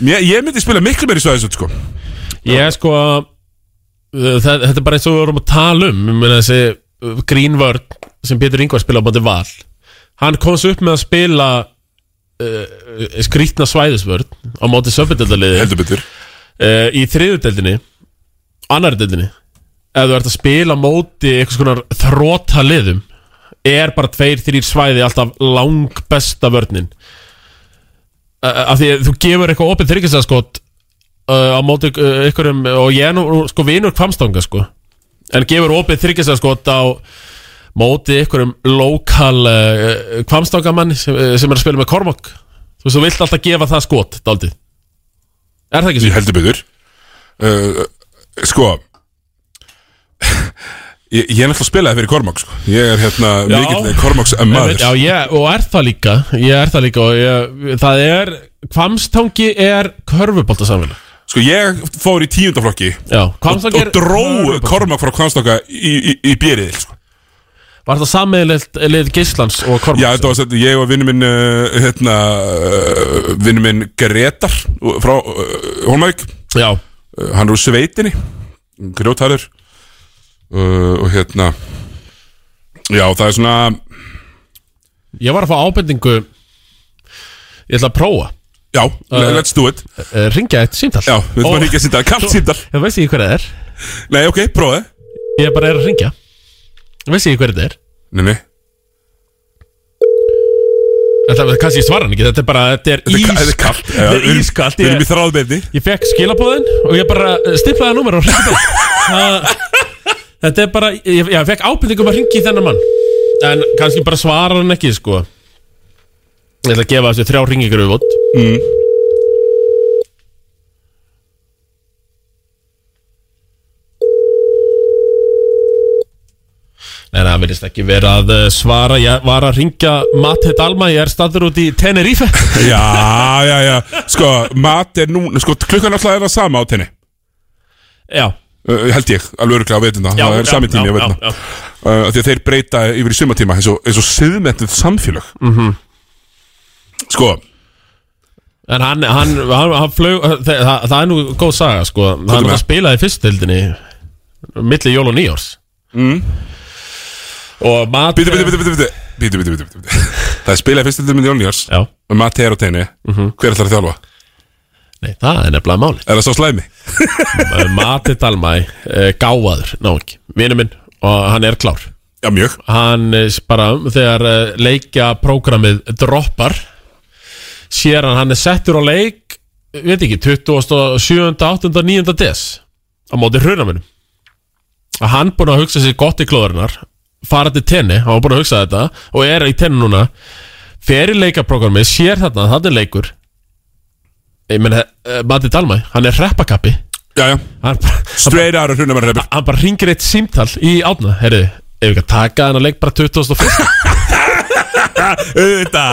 Speaker 1: Mér, ég myndi spila miklu meiri svæðisvörn, sko
Speaker 2: Ég er sko að það- Þetta er bara eins og við vorum að tala um Ég meina þessi uh, grínvörn sem Pétur Ingvar spila á bandi val Hann komst upp með að spila uh, skrýtna svæðisvörn á móti söpindeldaliði
Speaker 1: Heldur betur
Speaker 2: uh, Í þriðudeldinni annarri deldinni ef þú ert að spila á móti eitthvað skonar þróta liðum er bara tveir, þrýr svæði alltaf lang besta vörnin Uh, af því að þú gefur eitthvað opið þryggjastaskot uh, á móti uh, ykkurum og ég er nú nú, sko vinur kvamstanga sko en gefur opið þryggjastaskot á móti ykkurum lokal uh, kvamstangamann sem, uh, sem er að spila með Kormok þú veist þú vilt alltaf gefa það skot daldið Er það ekki
Speaker 1: svo? Ég heldur betur uh, Sko Ég, ég er náttúrulega spilaði fyrir Kormáks sko. Ég er hérna mikill Kormáks maður
Speaker 2: Já, ég, og er það líka Ég er það líka og ég, það er Kvamstangi er körfubolta samfélag
Speaker 1: Sko ég fór í tíundaflokki
Speaker 2: Já,
Speaker 1: Og,
Speaker 2: Hvammstanga
Speaker 1: og
Speaker 2: er-
Speaker 1: dró Kormák frá Kvamstanga í, í, í bjerið sko.
Speaker 2: Var það sammeðilegt lið Gíslands og Kormáks?
Speaker 1: Já, þetta var sett, ég og vinnu minn uh, hérna, uh, vinnu minn Gretar uh, frá uh, Holmæk
Speaker 2: Já
Speaker 1: uh, Hann er úr sveitinni Grjótarður uh, og hérna Já, það er svona
Speaker 2: Ég var að fá ábendingu Ég ætla að prófa
Speaker 1: Já, let's do it
Speaker 2: Ringja eitt símtal
Speaker 1: Já, við þurfum að ringja símtal, kalt símtal.
Speaker 2: Ég veist ekki hver það er
Speaker 1: Nei, ok, prófaði
Speaker 2: Ég bara er að ringja Ég veist ekki hver þetta er
Speaker 1: Nei, nei
Speaker 2: Þetta var kannski svaran ekki, þetta er bara, þetta er
Speaker 1: Þetta er-
Speaker 2: ískalt
Speaker 1: þetta er kalt, já,
Speaker 2: Þetta
Speaker 1: við
Speaker 2: er
Speaker 1: erum-
Speaker 2: ískalt
Speaker 1: við erum í
Speaker 2: þráðbeinni Ég fekk skilabóðin og ég bara eh, stimplaði númer og hringdi bara Þetta er bara, ég, já, ég fekk ábyrðingum að ringi þennan mann En kannski bara svarar hann ekki, sko Ég ætla að gefa þessu þrjá ringingur við vott mm. Nei, það verðist ekki vera að eh, svara Ég var að ringja Matti Dalma Ég er staður út í Tenerife
Speaker 1: Já, já, já Sko, mat er nú Sko, klukkan alltaf er það sama á tenni
Speaker 2: Já
Speaker 1: uh, Held ég, alveg öruglega á veitinda
Speaker 2: Já,
Speaker 1: Það er
Speaker 2: já,
Speaker 1: sami tími
Speaker 2: já,
Speaker 1: á veitinda
Speaker 2: já, já.
Speaker 1: uh, af Því að þeir breyta yfir í sumatíma eins og, eins og siðmentuð samfélag
Speaker 2: Mhm.
Speaker 1: Sko
Speaker 2: En hann, hann, hann, hann flög það, það, það er nú góð saga sko
Speaker 1: með
Speaker 2: Hann
Speaker 1: það?
Speaker 2: spilaði í fyrstildinni Milli jól og nýjórs mm. Og mat
Speaker 1: Bítu, bítu, bítu, bítu, bítu Bítu, bítu, bítu, bítu Það er spilað fyrst til mynd Jóníars
Speaker 2: Já Mhm.
Speaker 1: Og Um Matti er á tenni Hver ætlar að þjálfa?
Speaker 2: Nei, það er nefnilega máli
Speaker 1: Er það svo slæmi?
Speaker 2: Mati Dalmæ uh, Gáfaður, ná ekki, vinur minn Og hann er klár
Speaker 1: Já, mjög
Speaker 2: Hann eh, bara, þegar uh, leikja prógramið droppar Sér hann, hann er settur á leik eh, Veit ekki, 27. 8. 9. des Á móti hrunaminum að hann búin að hugsa sér gott í klóðurinnar fara til tenni, hann var búin að hugsa þetta og er í tenni núna fer í leikaprógrammi, sér þarna að þetta er leikur ég meina, eh, Matti Dalmæ, hann er reppakappi
Speaker 1: já, já.
Speaker 2: Hann, straight
Speaker 1: out of hrunamann reppur
Speaker 2: hann bara ringir eitt símtal í átna herri, ef við ekki að taka hann að leik bara 2001
Speaker 1: Auðvita,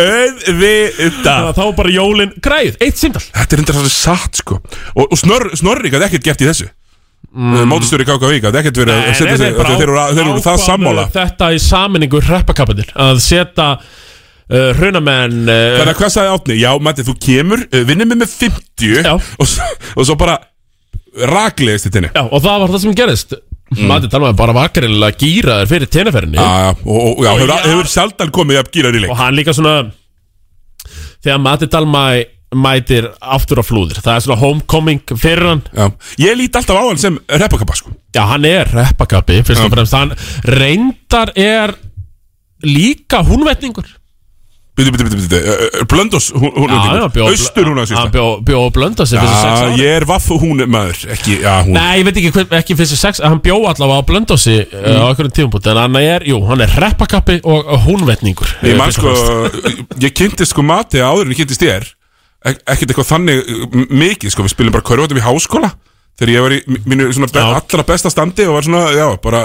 Speaker 1: auðvita
Speaker 2: Þá var bara jólin græð, eitt síndal
Speaker 1: Þetta er enda svo satt sko Og, og snor, Snorri gæti ekkert gert í þessu mm. Mótastjóri KKV gæti ekkert verið að setja sig Þeir eru þeir eru það sammála
Speaker 2: þetta í saminningu reppakappitir að setja uh, hrunamenn uh,
Speaker 1: Þannig að hvað sagði Átni? Já, Matti, þú kemur, uh, vinnir mig með 50 og, s- og svo bara raklegist í tenni
Speaker 2: Já, og það var það sem gerist mm. Matti Dalmaði bara var greinilega gýraður fyrir tenniferðinni
Speaker 1: Já, já, og, og já, hefur,
Speaker 2: já.
Speaker 1: hefur sjaldan komið að gýra í leik
Speaker 2: Og hann líka svona Þegar Matti Dalmaði mætir aftur á flúðir Það er svona homecoming fyrir hann
Speaker 1: já. Ég líti alltaf á hann sem reppakappa sko
Speaker 2: Já, hann er reppakappi fyrst og fremst Hann reyndar er líka húnvetningur
Speaker 1: Bítu, bítu, bítu, bítu, uh, Blöndos, hún, hún
Speaker 2: Já, já, bjó-
Speaker 1: Austur hún að
Speaker 2: hann bjó- bjó Blöndos í fyrstu sex
Speaker 1: Já,
Speaker 2: árum.
Speaker 1: ég er vaff og hún maður Ekki, já, hún
Speaker 2: Nei, ég veit ekki, hver, ekki fyrst og sex Hann bjó allavega á Blöndósi uh,
Speaker 1: Mm.
Speaker 2: á einhverjum tímpúti En hann er, jú, hann er reppakappi og húnvetningur
Speaker 1: Ég
Speaker 2: eh,
Speaker 1: man
Speaker 2: fyrst og
Speaker 1: sko,
Speaker 2: fremst.
Speaker 1: ég kynntist sko mati áður en ég kynntist þér Ek- Ekkert eitthvað þannig m- mikið sko, við spilum bara körfatum í háskóla Þegar ég var í m- mínu svona be allra besta standi og var svona, já, bara,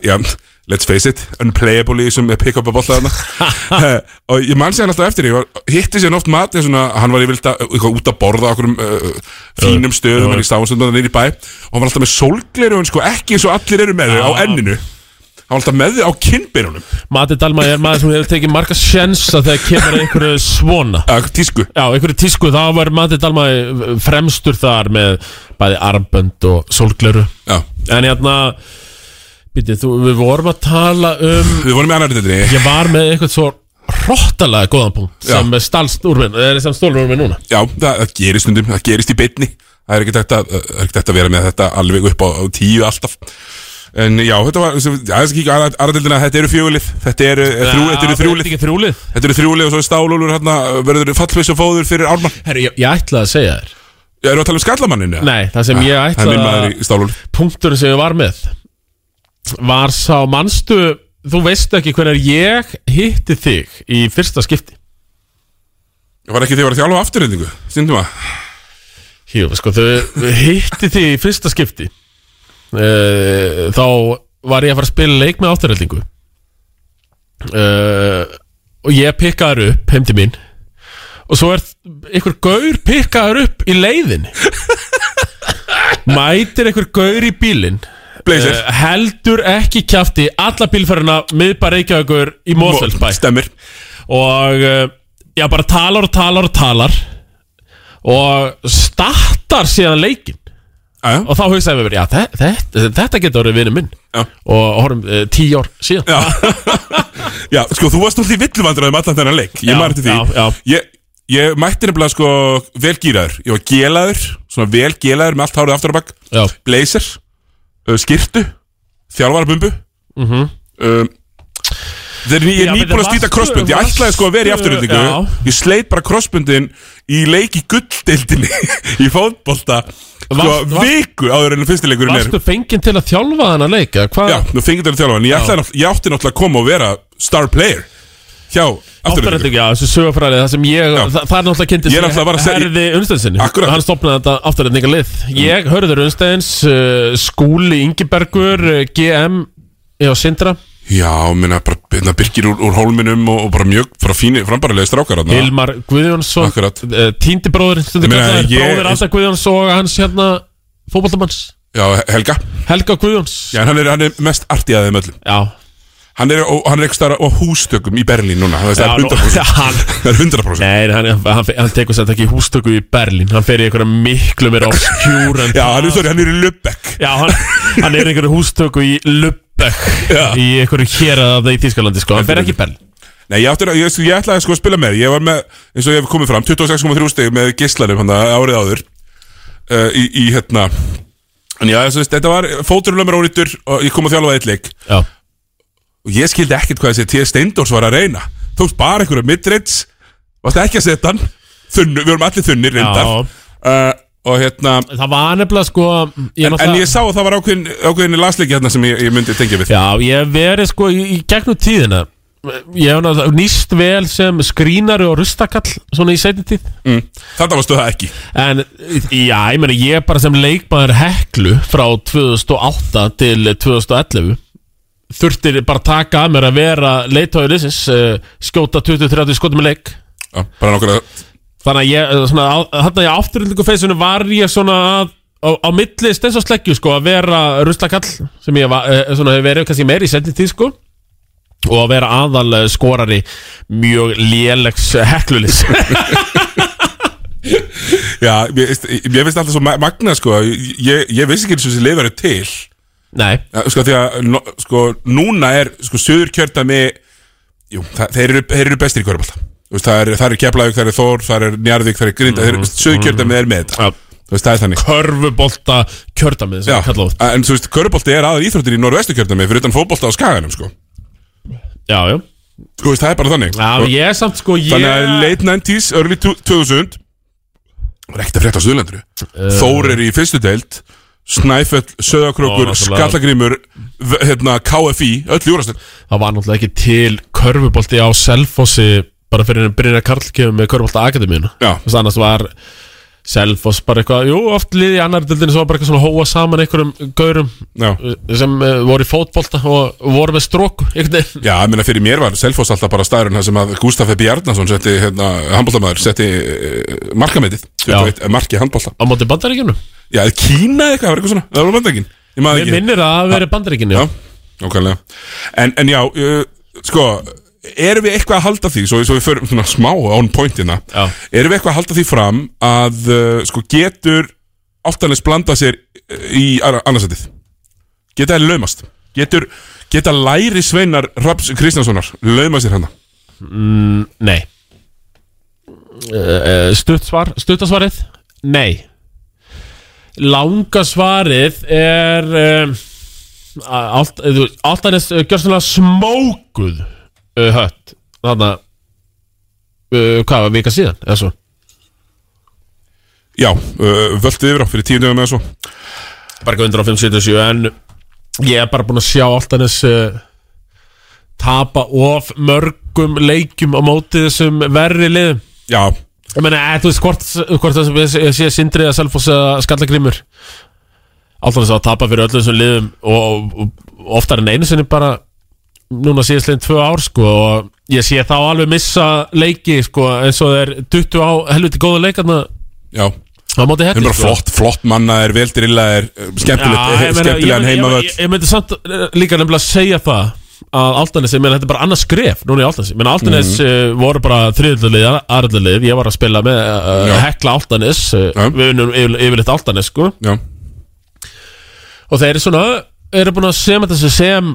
Speaker 1: já, let's face it, unplayable í þessum pick-up að bolla þarna Eh, Og ég man sér hann alltaf eftir, ég var, hitti sér oft mati svona, hann var yfirleitt að- eitthvað út að borða á okkurum uh, fínum stöðum,
Speaker 20: já.
Speaker 1: hann í stáðunstundunum niður í bæ Og hann var alltaf með sólgleru, sko, ekki eins og allir eru með þau á enninu Hann var alltaf með þau á kinnbyrjunum
Speaker 2: Mati Dalma er maður sem hefur tekið marga sjensa þegar kemur að einhverju svona
Speaker 1: Já, tísku
Speaker 2: Já, einhverju tísku, þá var Mati Dalma fremstur þar með bæði armbönd og sólgleru
Speaker 1: Já
Speaker 2: En hérna, býtti, þú, við vorum að tala um
Speaker 1: Við vorum í annar deildinni
Speaker 2: Ég var með eitthvað svo hrottalega góðan punkt
Speaker 1: Já.
Speaker 2: sem stálst úr minn, eða sem stólur úr minn núna
Speaker 1: Já, það, það gerist stundum, það gerist í beinni Það er ekkert hægt að, það er ekkert hægt að vera með þetta alveg upp á, á tíu alltaf En já, þetta var, sem- já, þess að kíkja aðradeldina, þetta eru fjögulið, þetta eru eh, þrjú, þetta eru þrjúlið
Speaker 2: þrjúlið
Speaker 1: Þetta eru þrjúlið og svo er stálólur hérna, verður fallfis og fóður fyrir ármann
Speaker 2: Herri, ég, ég ætlaði að segja þér
Speaker 1: Já, erum við að tala um skallamanninu?
Speaker 2: Nei, það sem ég
Speaker 1: Ah,
Speaker 2: ætlaði
Speaker 1: Það er minn maður í stálólur
Speaker 2: punkturinn sem ég var með var sá manstu þú veist ekki hvernig ég hitti þig í fyrsta skipti
Speaker 1: Það var ekki þegar ég var að þjálfa afturreyndingu, stundum að
Speaker 2: Eh, Jú, sko, þau hitti þig í fyrsta skipti uh, þá var ég að fara að spila leik með áttarheldingu uh, og ég pikkaður upp heim til mín og svo er einhver gaur pikkaður upp í leiðin mætir einhver gaur í bílinn
Speaker 1: Blazer.
Speaker 2: Eh, heldur ekki kjafti alla bílferðina miðbæ Reykjavíkur í Mósfellsbæ
Speaker 1: Stemmir
Speaker 2: Og eh, já bara talar og talar og talar Og startar síðan leikin
Speaker 1: Aja.
Speaker 2: Og þá hugsaði við mér, já þe- þetta, þetta getur orðið vinur minn
Speaker 1: já.
Speaker 2: Og horfum uh, tíu ár síðan
Speaker 1: Já, já sko, þú varst út í villumandræðum allan þennan leik Ég
Speaker 2: Já,
Speaker 1: maður til því
Speaker 2: já, já.
Speaker 1: Ég, ég mætti nefnilega sko vel gíraður Ég var gelaður, svona vel gelaður með allt hárið aftur á bakk
Speaker 2: Já.
Speaker 1: Blazer, uh, skirtu, þjálfarabumbu
Speaker 2: Mhm.
Speaker 1: um, Þegar ég
Speaker 2: Já,
Speaker 1: er
Speaker 2: menn,
Speaker 1: nýbúin að
Speaker 2: það
Speaker 1: stýta
Speaker 2: varstu-
Speaker 1: crossbund Ég
Speaker 2: varstu-
Speaker 1: ætlaði sko að vera í afturöldingu
Speaker 2: Já.
Speaker 1: Ég sleit bara crossbundin í leik í gulldeildinni Í fótbolta Sko
Speaker 2: Varst- var-
Speaker 1: viku áður en fyrstileikurinn er
Speaker 2: Varstu fenginn til að þjálfa þennan leik? eða Hvað?
Speaker 1: Já, nú fengið þetta að þjálfa En ég, ætlaði, nátt- ég átti náttúrulega að koma og vera star player Hjá afturöldingu
Speaker 2: Afturhending, já, þessu sögufræði Það sem ég,
Speaker 1: Já.
Speaker 2: það, það er náttúrulega
Speaker 1: Ég er náttúrulega bara að
Speaker 2: kynntist
Speaker 1: segja-
Speaker 2: Herði Unnsteinsinni
Speaker 1: Akkurat.
Speaker 2: Hann stopnaði þetta afturhendingalið Ég, Hörður Unnsteins, uh, Skúli Ingibergur, uh, GM Já, Sindra
Speaker 1: Já, minna bara hérna, Birgir úr, úr hólminum og, og bara mjög bara fínir frambarilega strákar þarna.
Speaker 2: Hilmar Guðjónsson
Speaker 1: Akkurat
Speaker 2: Eh, Týndi bróður
Speaker 1: Ég meina, ég-
Speaker 2: Bróður Asa Guðjóns og hans hérna Fótballamanns
Speaker 1: Já, Helga
Speaker 2: Helga Guðjóns
Speaker 1: Já, en hann er, hann er mest artið af þeim öllum
Speaker 2: Já
Speaker 1: Hann er, og, hann er ekki stara á hústökum í Berlín núna Það
Speaker 2: Já,
Speaker 1: er
Speaker 2: nú-
Speaker 1: 100%
Speaker 2: hann,
Speaker 1: Það er 100%
Speaker 2: Nei, hann, hann, fer- hann tekur sér ekki í hústöku í Berlín Hann fer í einhverja miklu meira obskjúr
Speaker 1: Já, hann er, sorry, hann er í Lübeck
Speaker 2: Já, hann, hann er í einhverju hústöku í Lübeck Í einhverju hér að það í Þískalandi sko Hann fer ekki í Berlín
Speaker 1: Nei, ég, átti, ég, ég, ég ætlaði sko að spila með Ég var með, eins og ég hef komið fram 26,3 steg með gislanum hann árið áður uh, í, í hérna En já, þessu, þetta var fóturinn lömur ónýttur og ég kom að þjálfa eitt leik
Speaker 2: Já
Speaker 1: Og ég skildi ekkert hvað þessi T. Steindors var að reyna Tókst bara einhverja midreits Varst ekki að setja hann Þunnu, Við vorum allir þunnir reyndar uh, Og hérna
Speaker 2: Það var nefnilega sko ég
Speaker 1: En, en
Speaker 2: náttúrulega-
Speaker 1: ég sá að það var ákveðin, ákveðin lasleiki hérna sem ég, ég myndi tengja við
Speaker 2: Já, ég hef verið sko í, í gegnum tíðina Ég hef náttúrulega nýst vel sem skrínari og rustakall Svona í setjum tíð
Speaker 1: mm, Þetta varstu það ekki
Speaker 2: En já, ég meni ég er bara sem leikmaður heklu Frá 2008 til 2011 Þurftir bara taka að mér að vera leitóður lýsins uh, Skjóta 20-30 skotum í leik
Speaker 1: Já, bara nokkra
Speaker 2: Þannig að ég, eh, svona, hann að ég afturlíku feysunum var ég svona að Á, á milli stens og sleggju sko að vera rustakall sem ég var, eh, svona hefur verið kannski meiri í setjum tíð sko og að vera aðal eh, skorari mjög lélegs eh, heklulis
Speaker 1: Já, ég, ég finnst alltaf svo ma- magnað sko Ég, ég vissi ekki eins og þessi lið verið til
Speaker 2: Nei
Speaker 1: Sko því að no, sko, núna er sko söður kjördami Jú, það, þeir, eru, þeir eru bestir í körbólta Það er, það er Keflavík, það er Þór, það er Njarðvík, það er Grinda mm, Söður kjördami er með þetta Þú veist, það er þannig
Speaker 2: Körfubolta kjördamið
Speaker 1: Já, en þú veist, körfubolti er aðal íþróttir í norvestu kjördami Fyrir utan fótbolta á skaganum sko
Speaker 2: Já, já
Speaker 1: Þú veist, það er bara þannig
Speaker 2: Já,
Speaker 1: Og-
Speaker 2: ég er samt sko ég...
Speaker 1: Þannig að late 90s, early 2000 var ekkert að frétta á Suðurlandinu
Speaker 2: Eh.
Speaker 1: Þór er í fyrstu deild Snæfell, Söðakrókur,
Speaker 2: Ó, náttúrulega.
Speaker 1: Skallagrímur v- hérna, KFI, öll í úrastin
Speaker 2: Það var náttúrulega ekki til körfubolti á Selfossi bara fyrir en Brynja Karl kemur með körfubolta akademíuna Þess að annars var Selfoss bara eitthvað, jú, oft liði í annar dildinu sem var bara eitthvað svona að hóa saman einhverjum gaurum
Speaker 1: Já.
Speaker 2: eh, sem uh, voru í fótbolta og voru með stróku einhvern veginn
Speaker 1: Já, ég meina fyrir mér var Selfoss alltaf bara staðurinn þar sem að Gustaf Ebbi Arnason setti, hérna, handbóltamæður setti uh, markametið, 21, marki handbólta
Speaker 2: Á móti bandaríkjunum?
Speaker 1: Já, Kína eitthvað, það var eitthvað svona, það var bandaríkin Ég maður
Speaker 2: Mér
Speaker 1: ekki
Speaker 2: minnir að það veri bandaríkinu
Speaker 1: Já, okkarlega En, en já, uh, sko Erum við eitthvað að halda því Svo, svo við förum svona smá án pointina já. Erum við eitthvað að halda því fram Að uh, sko getur Áltanis blanda sér uh, í ar- annarsætið Geta það laumast Getur, geta læri sveinar Raps Kristjánssonar, lauma sér hérna? hana
Speaker 2: mm, Nei uh, Stuttsvar Stuttasvarið? Nei Langa svarið er um, allt, eh, þú veist, Altanes uh, gjörstulega smókuð uh, hött Þarna uh, Hvað var vika síðan? Eða svo
Speaker 1: Já, uh, völdu yfir á fyrir tíu dögum eða svo
Speaker 2: Bara ekki 157 en Ég er bara búinn að sjá Altanes uh, Tapa of mörgum leikjum á móti þessum verri liðum
Speaker 1: Já
Speaker 2: Ég meina, eh, þú veist hvort, hvort það sem ég sé- ég sé Sindri eða Selfoss eða Skallagrímur Alltaf þess að tapa fyrir öllum þessum liðum og, og, og oftar en einu sinni bara núna síðast liðin tvö ár sko og ég sé þá alveg missa leiki sko eins og þeir duttu á helviti góða leikarna
Speaker 1: Já
Speaker 2: á
Speaker 1: Það
Speaker 2: móti sko.
Speaker 1: er
Speaker 2: hætti
Speaker 1: bara flott, flott manna er veldrilla er skemmtilegt,
Speaker 2: Já, ég meina,
Speaker 1: skemmtilegan
Speaker 2: ég-
Speaker 1: heimavöld
Speaker 2: ég, ég, ég myndi samt eh, líka nefnilega segja það að Altanes, ég meina þetta er bara annars skref núna í Altanes, ég meina Altanes
Speaker 1: Mhm.
Speaker 2: mm. voru bara þriðlið, aðrlið, ég var að spila með uh, hekla Altanes uh, við unum yfir, yfirleitt Altanes sko
Speaker 1: Já.
Speaker 2: og þeir eru svona eru búin að segja með þessu sem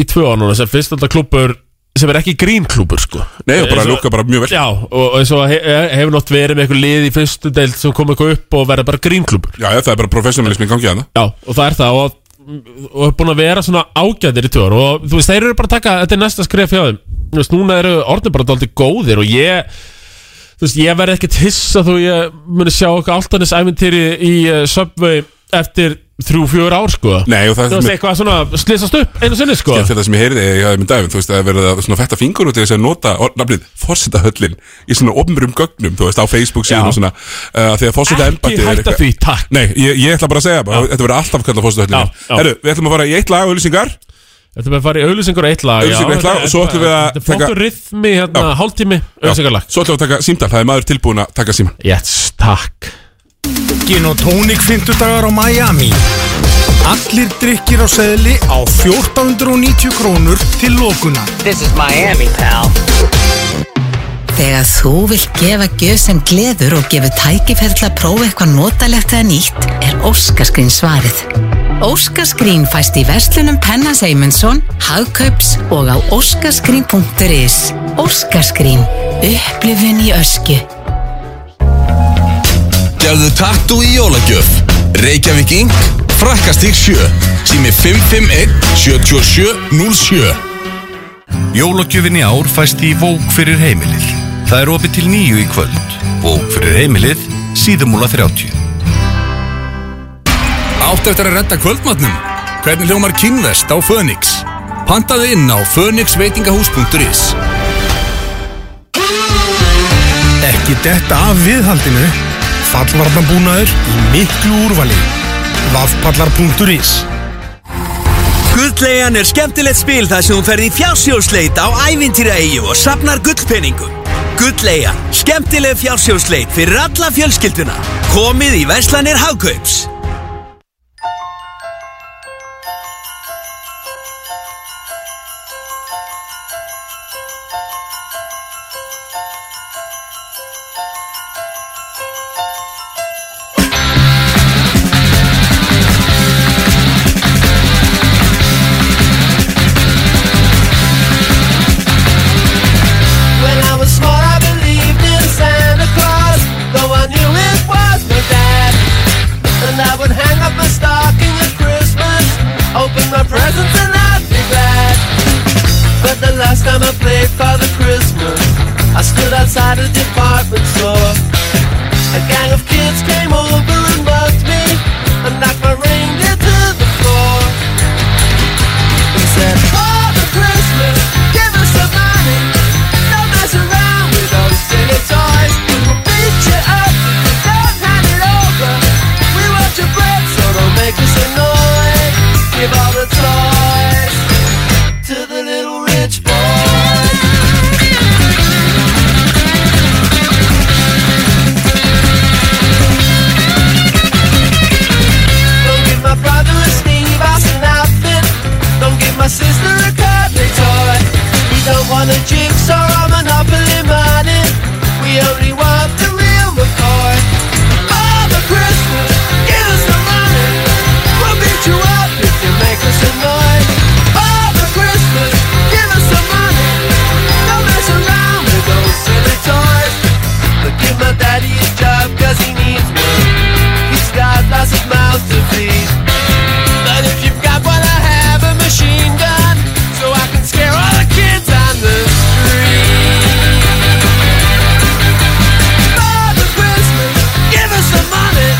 Speaker 2: í tvö ár núna sem fyrst alltaf klúpur sem er ekki grínklúpur sko
Speaker 1: Nei, og bara
Speaker 2: Eins og-
Speaker 1: lúka bara mjög vel
Speaker 2: Já, og, og svo he, he- hefur nátt verið með eitthvað lið í fyrstu deild sem kom eitthvað upp og verða bara grínklúpur
Speaker 1: Já, já, það er bara professionalismi í gangi hérna. að það
Speaker 2: Já, og það er það og og er búin að vera svona ágæðir í tvör og þú veist, þeir eru bara að taka, þetta er næsta skref hjá þeim þú veist, núna eru orðin bara dálítið góðir og ég þú veist, ég verði ekkert hissa þó ég muni sjá okkar alltanis æventýri í uh, Subway eftir þrjú, fjör ár, sko
Speaker 1: Nei, og það
Speaker 2: þú veist, eitthvað svona slissast upp einu sinni, sko
Speaker 1: Skemmt þetta sem ég heyrði ég hafði með dæfin, þú veist, að verða að svona fætta fingur út í þess að nota, or- nafnið, fórseta höllin í svona ofnbrum gögnum, þú veist, á Facebook síðan og svona, uh, þegar fórseta embættið er
Speaker 2: hætta
Speaker 1: eitthvað-
Speaker 2: því, takk.
Speaker 1: Nei, ég, ég ætla bara að segja, bara, þetta verður alltaf kallað fórseta höllin
Speaker 2: Já, já.
Speaker 1: Herru, við ætlum að fara í eitt lag og auðlýsingar
Speaker 2: Þetta með að fara í auðlýsingur og eitt lag já.
Speaker 1: Auglýsingar og eitt lag og svo ætlum við að
Speaker 2: Þetta er flottur rithmi, hérna, hálftími
Speaker 1: auðlýsingarlag Svo ætlum við að taka símtal, það er maður tilbúin að taka síman
Speaker 2: Yes, takk
Speaker 3: Gin og tónik 50 dagar á Miami Allir drikkir á seðli á 1490 krónur til lokuna
Speaker 8: This is Miami, pal Þegar þú vilt gefa gjöf sem gleður og gefur tækifæri til að prófa eitthvað notalegt eða nýtt, er Óskaskrín svarið. Óskaskrín fæst í verslunum Pennans Eymundsson, Hagkaups og á óskaskrín.is. Óskaskrín. Upplifun í ösku.
Speaker 12: Gerðu tattu í jólagjöf Reykjavík Inc. Frakkastík 7 Sími 551 77 07
Speaker 21: Jólagjöfin í ár fæst í Vók fyrir heimilið. Það er opið til nýju í kvöld. Vók fyrir heimilið, síðumúla 30.
Speaker 12: Áttu eftir að redda kvöldmatnum? Hvernig hljómar kynvest á Fönix? Pantaðu inn á fönixveitingahús.is
Speaker 3: Ekki detta af viðhaldinu Fallvarnabúnaður í miklu úrvali Vafpallar.is
Speaker 22: Guldlegan er skemmtilegt spil þar sem hún ferði í fjársjóðsleit á ævintýraeyju og sapnar gullpenningum. Guldlegan, skemmtileg fjársjóðsleit fyrir alla fjölskylduna. Komið í Verslanir Hagkaups.
Speaker 17: When I was small, I believed in Santa Claus, though I knew it was my dad. And I would hang up my stocking at Christmas, open my presents, and I'd be glad. But the last time I played Father Christmas, I stood outside a department store. A gang of kids came over and mugged me, and knocked my reindeer to the floor. They said, Father Christmas, give us some money. Don't mess around with those silly toys. We will beat you up if you don't hand it over. We want your bread, so don't make us annoyed. Give all the toys to the little rich boy. Don't give my brother a Steve Austin outfit. Don't give my sister a cuddly toy. We don't want a jigsaw or monopoly money. We only want the real McCoy. Father Christmas, give us the money. We'll beat you up if you make us annoyed. Father Christmas, give us the money. Don't mess around with those silly toys. But give my daddy his job cause he needs one. He's got lots of mouths to feed. But if you've got what I have, a machine gun, so I can scare all the kids on the street. Father Christmas, give us some money.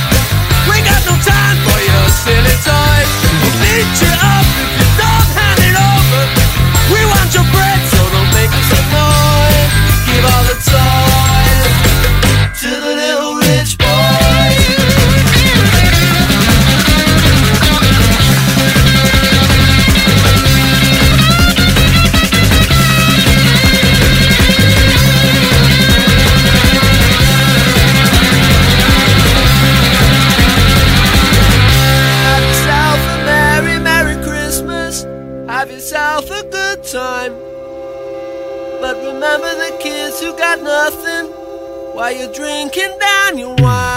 Speaker 17: We got no time for your silly toys. We'll beat you up if you don't hand it over. We want your bread, so don't make us annoyed. Give all the toys to the little rich boy. Have yourself a merry, merry Christmas. Have yourself a good time. But remember the kids who got nothing while you're drinking down your wine.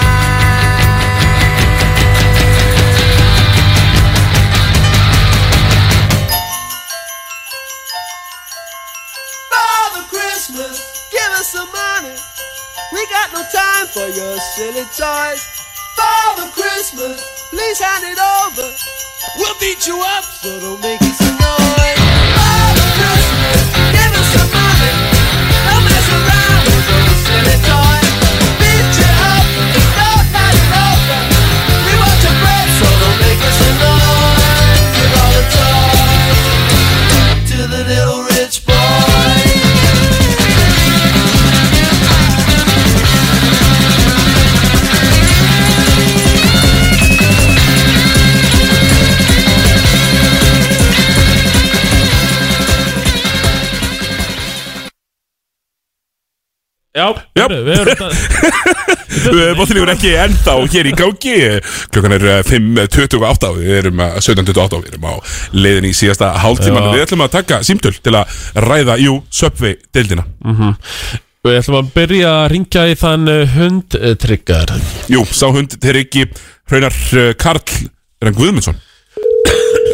Speaker 17: Father Christmas, give us some money. We got no time for your silly toys. Father Christmas, please hand it over. We'll beat you up, so don't make us annoyed. Father Christmas, give us some money. Don't mess around with those silly toys. We'll beat you up, it's dark night is over. We want your bread, so don't make us annoyed. Give all the toys to the little rich boy.
Speaker 2: Já,
Speaker 1: Já.
Speaker 2: heyrðu, við erum
Speaker 1: Bóttilífur Eh, ekki ennþá hér í gangi Klukkan er eh, 5.28 Við erum eh, 17.28 Við erum á leiðin í síðasta hálftíman
Speaker 2: Já.
Speaker 1: Við ætlum að taka símtöl til að ræða Jú, söpvi deildina
Speaker 2: Mhm. Við ætlum að byrja að ringja í þann uh, hundtryggar
Speaker 1: Jú, sá hund þeir ekki Hraunar eh, Karl Er hann Guðmundsson?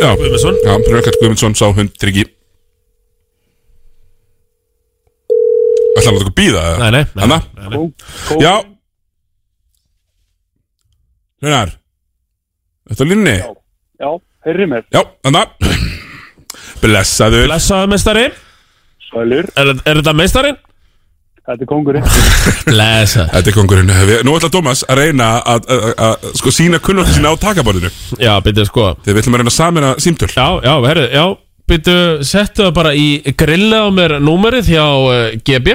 Speaker 1: Já, Guðmundsson Já, Hraunar Karl Guðmundsson sá hund þeir ekki Ætla hann að okkur býða? Nei, nei, nei Hanna? Já Hraunar Þetta er línni? Já
Speaker 13: Já, heyrðu mér
Speaker 1: Já, þannig Blessaður
Speaker 2: Blessaður mestari
Speaker 13: Svælur
Speaker 2: Er, er þetta mestarinn?
Speaker 13: Þetta er kongurinn
Speaker 2: Blessaður
Speaker 1: Þetta er kongurinn Við- Nú ætla Thomas að reyna að, að, að, að sko sína kunnum sína á takaborðinu
Speaker 2: Já, byrja sko
Speaker 1: Þegar við ætlum að reyna samin að símtöl
Speaker 2: Já, já, herru, já Byrju, settu það bara í grilla á mér númerið hjá uh, GB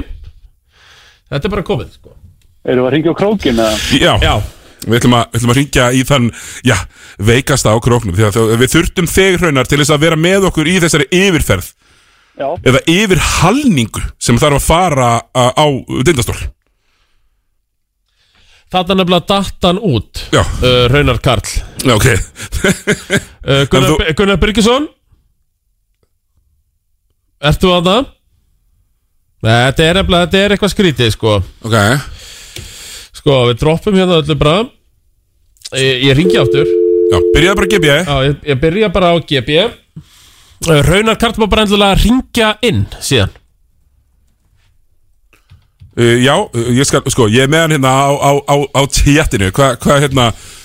Speaker 2: Þetta er bara komið sko.
Speaker 13: Erum við að ringja á krókin eða?
Speaker 1: Já, já. Við ætlum, að, við ætlum að ringja í þann, já, veikasta á króknum Því að þau- við þurftum þeg hraunar til þess að vera með okkur í þessari yfirferð
Speaker 13: Já.
Speaker 1: Eða yfirhalningu sem þarf að fara uh, á dindastól
Speaker 2: Þetta er nefnilega dattan út
Speaker 1: Já
Speaker 2: uh, Raunar Karl
Speaker 1: Já, ok
Speaker 2: uh, Gunnar, þú... Gunnar Byrkesson Ertu að það? Nei, þetta er nefnilega, þetta er eitthvað skrítið sko
Speaker 1: Ok
Speaker 2: Sko, við droppum hérna öllu bara Ég, ég ringi aftur
Speaker 1: Já, byrjaði bara GB Já,
Speaker 2: ég, ég byrja bara á GB uh, Raunar Karl má bara endilega ringja inn síðan
Speaker 1: Uh, já, uh, ég skal, sko, ég er með hann hérna á, á, á, á tjættinu Hvað hva, er hérna,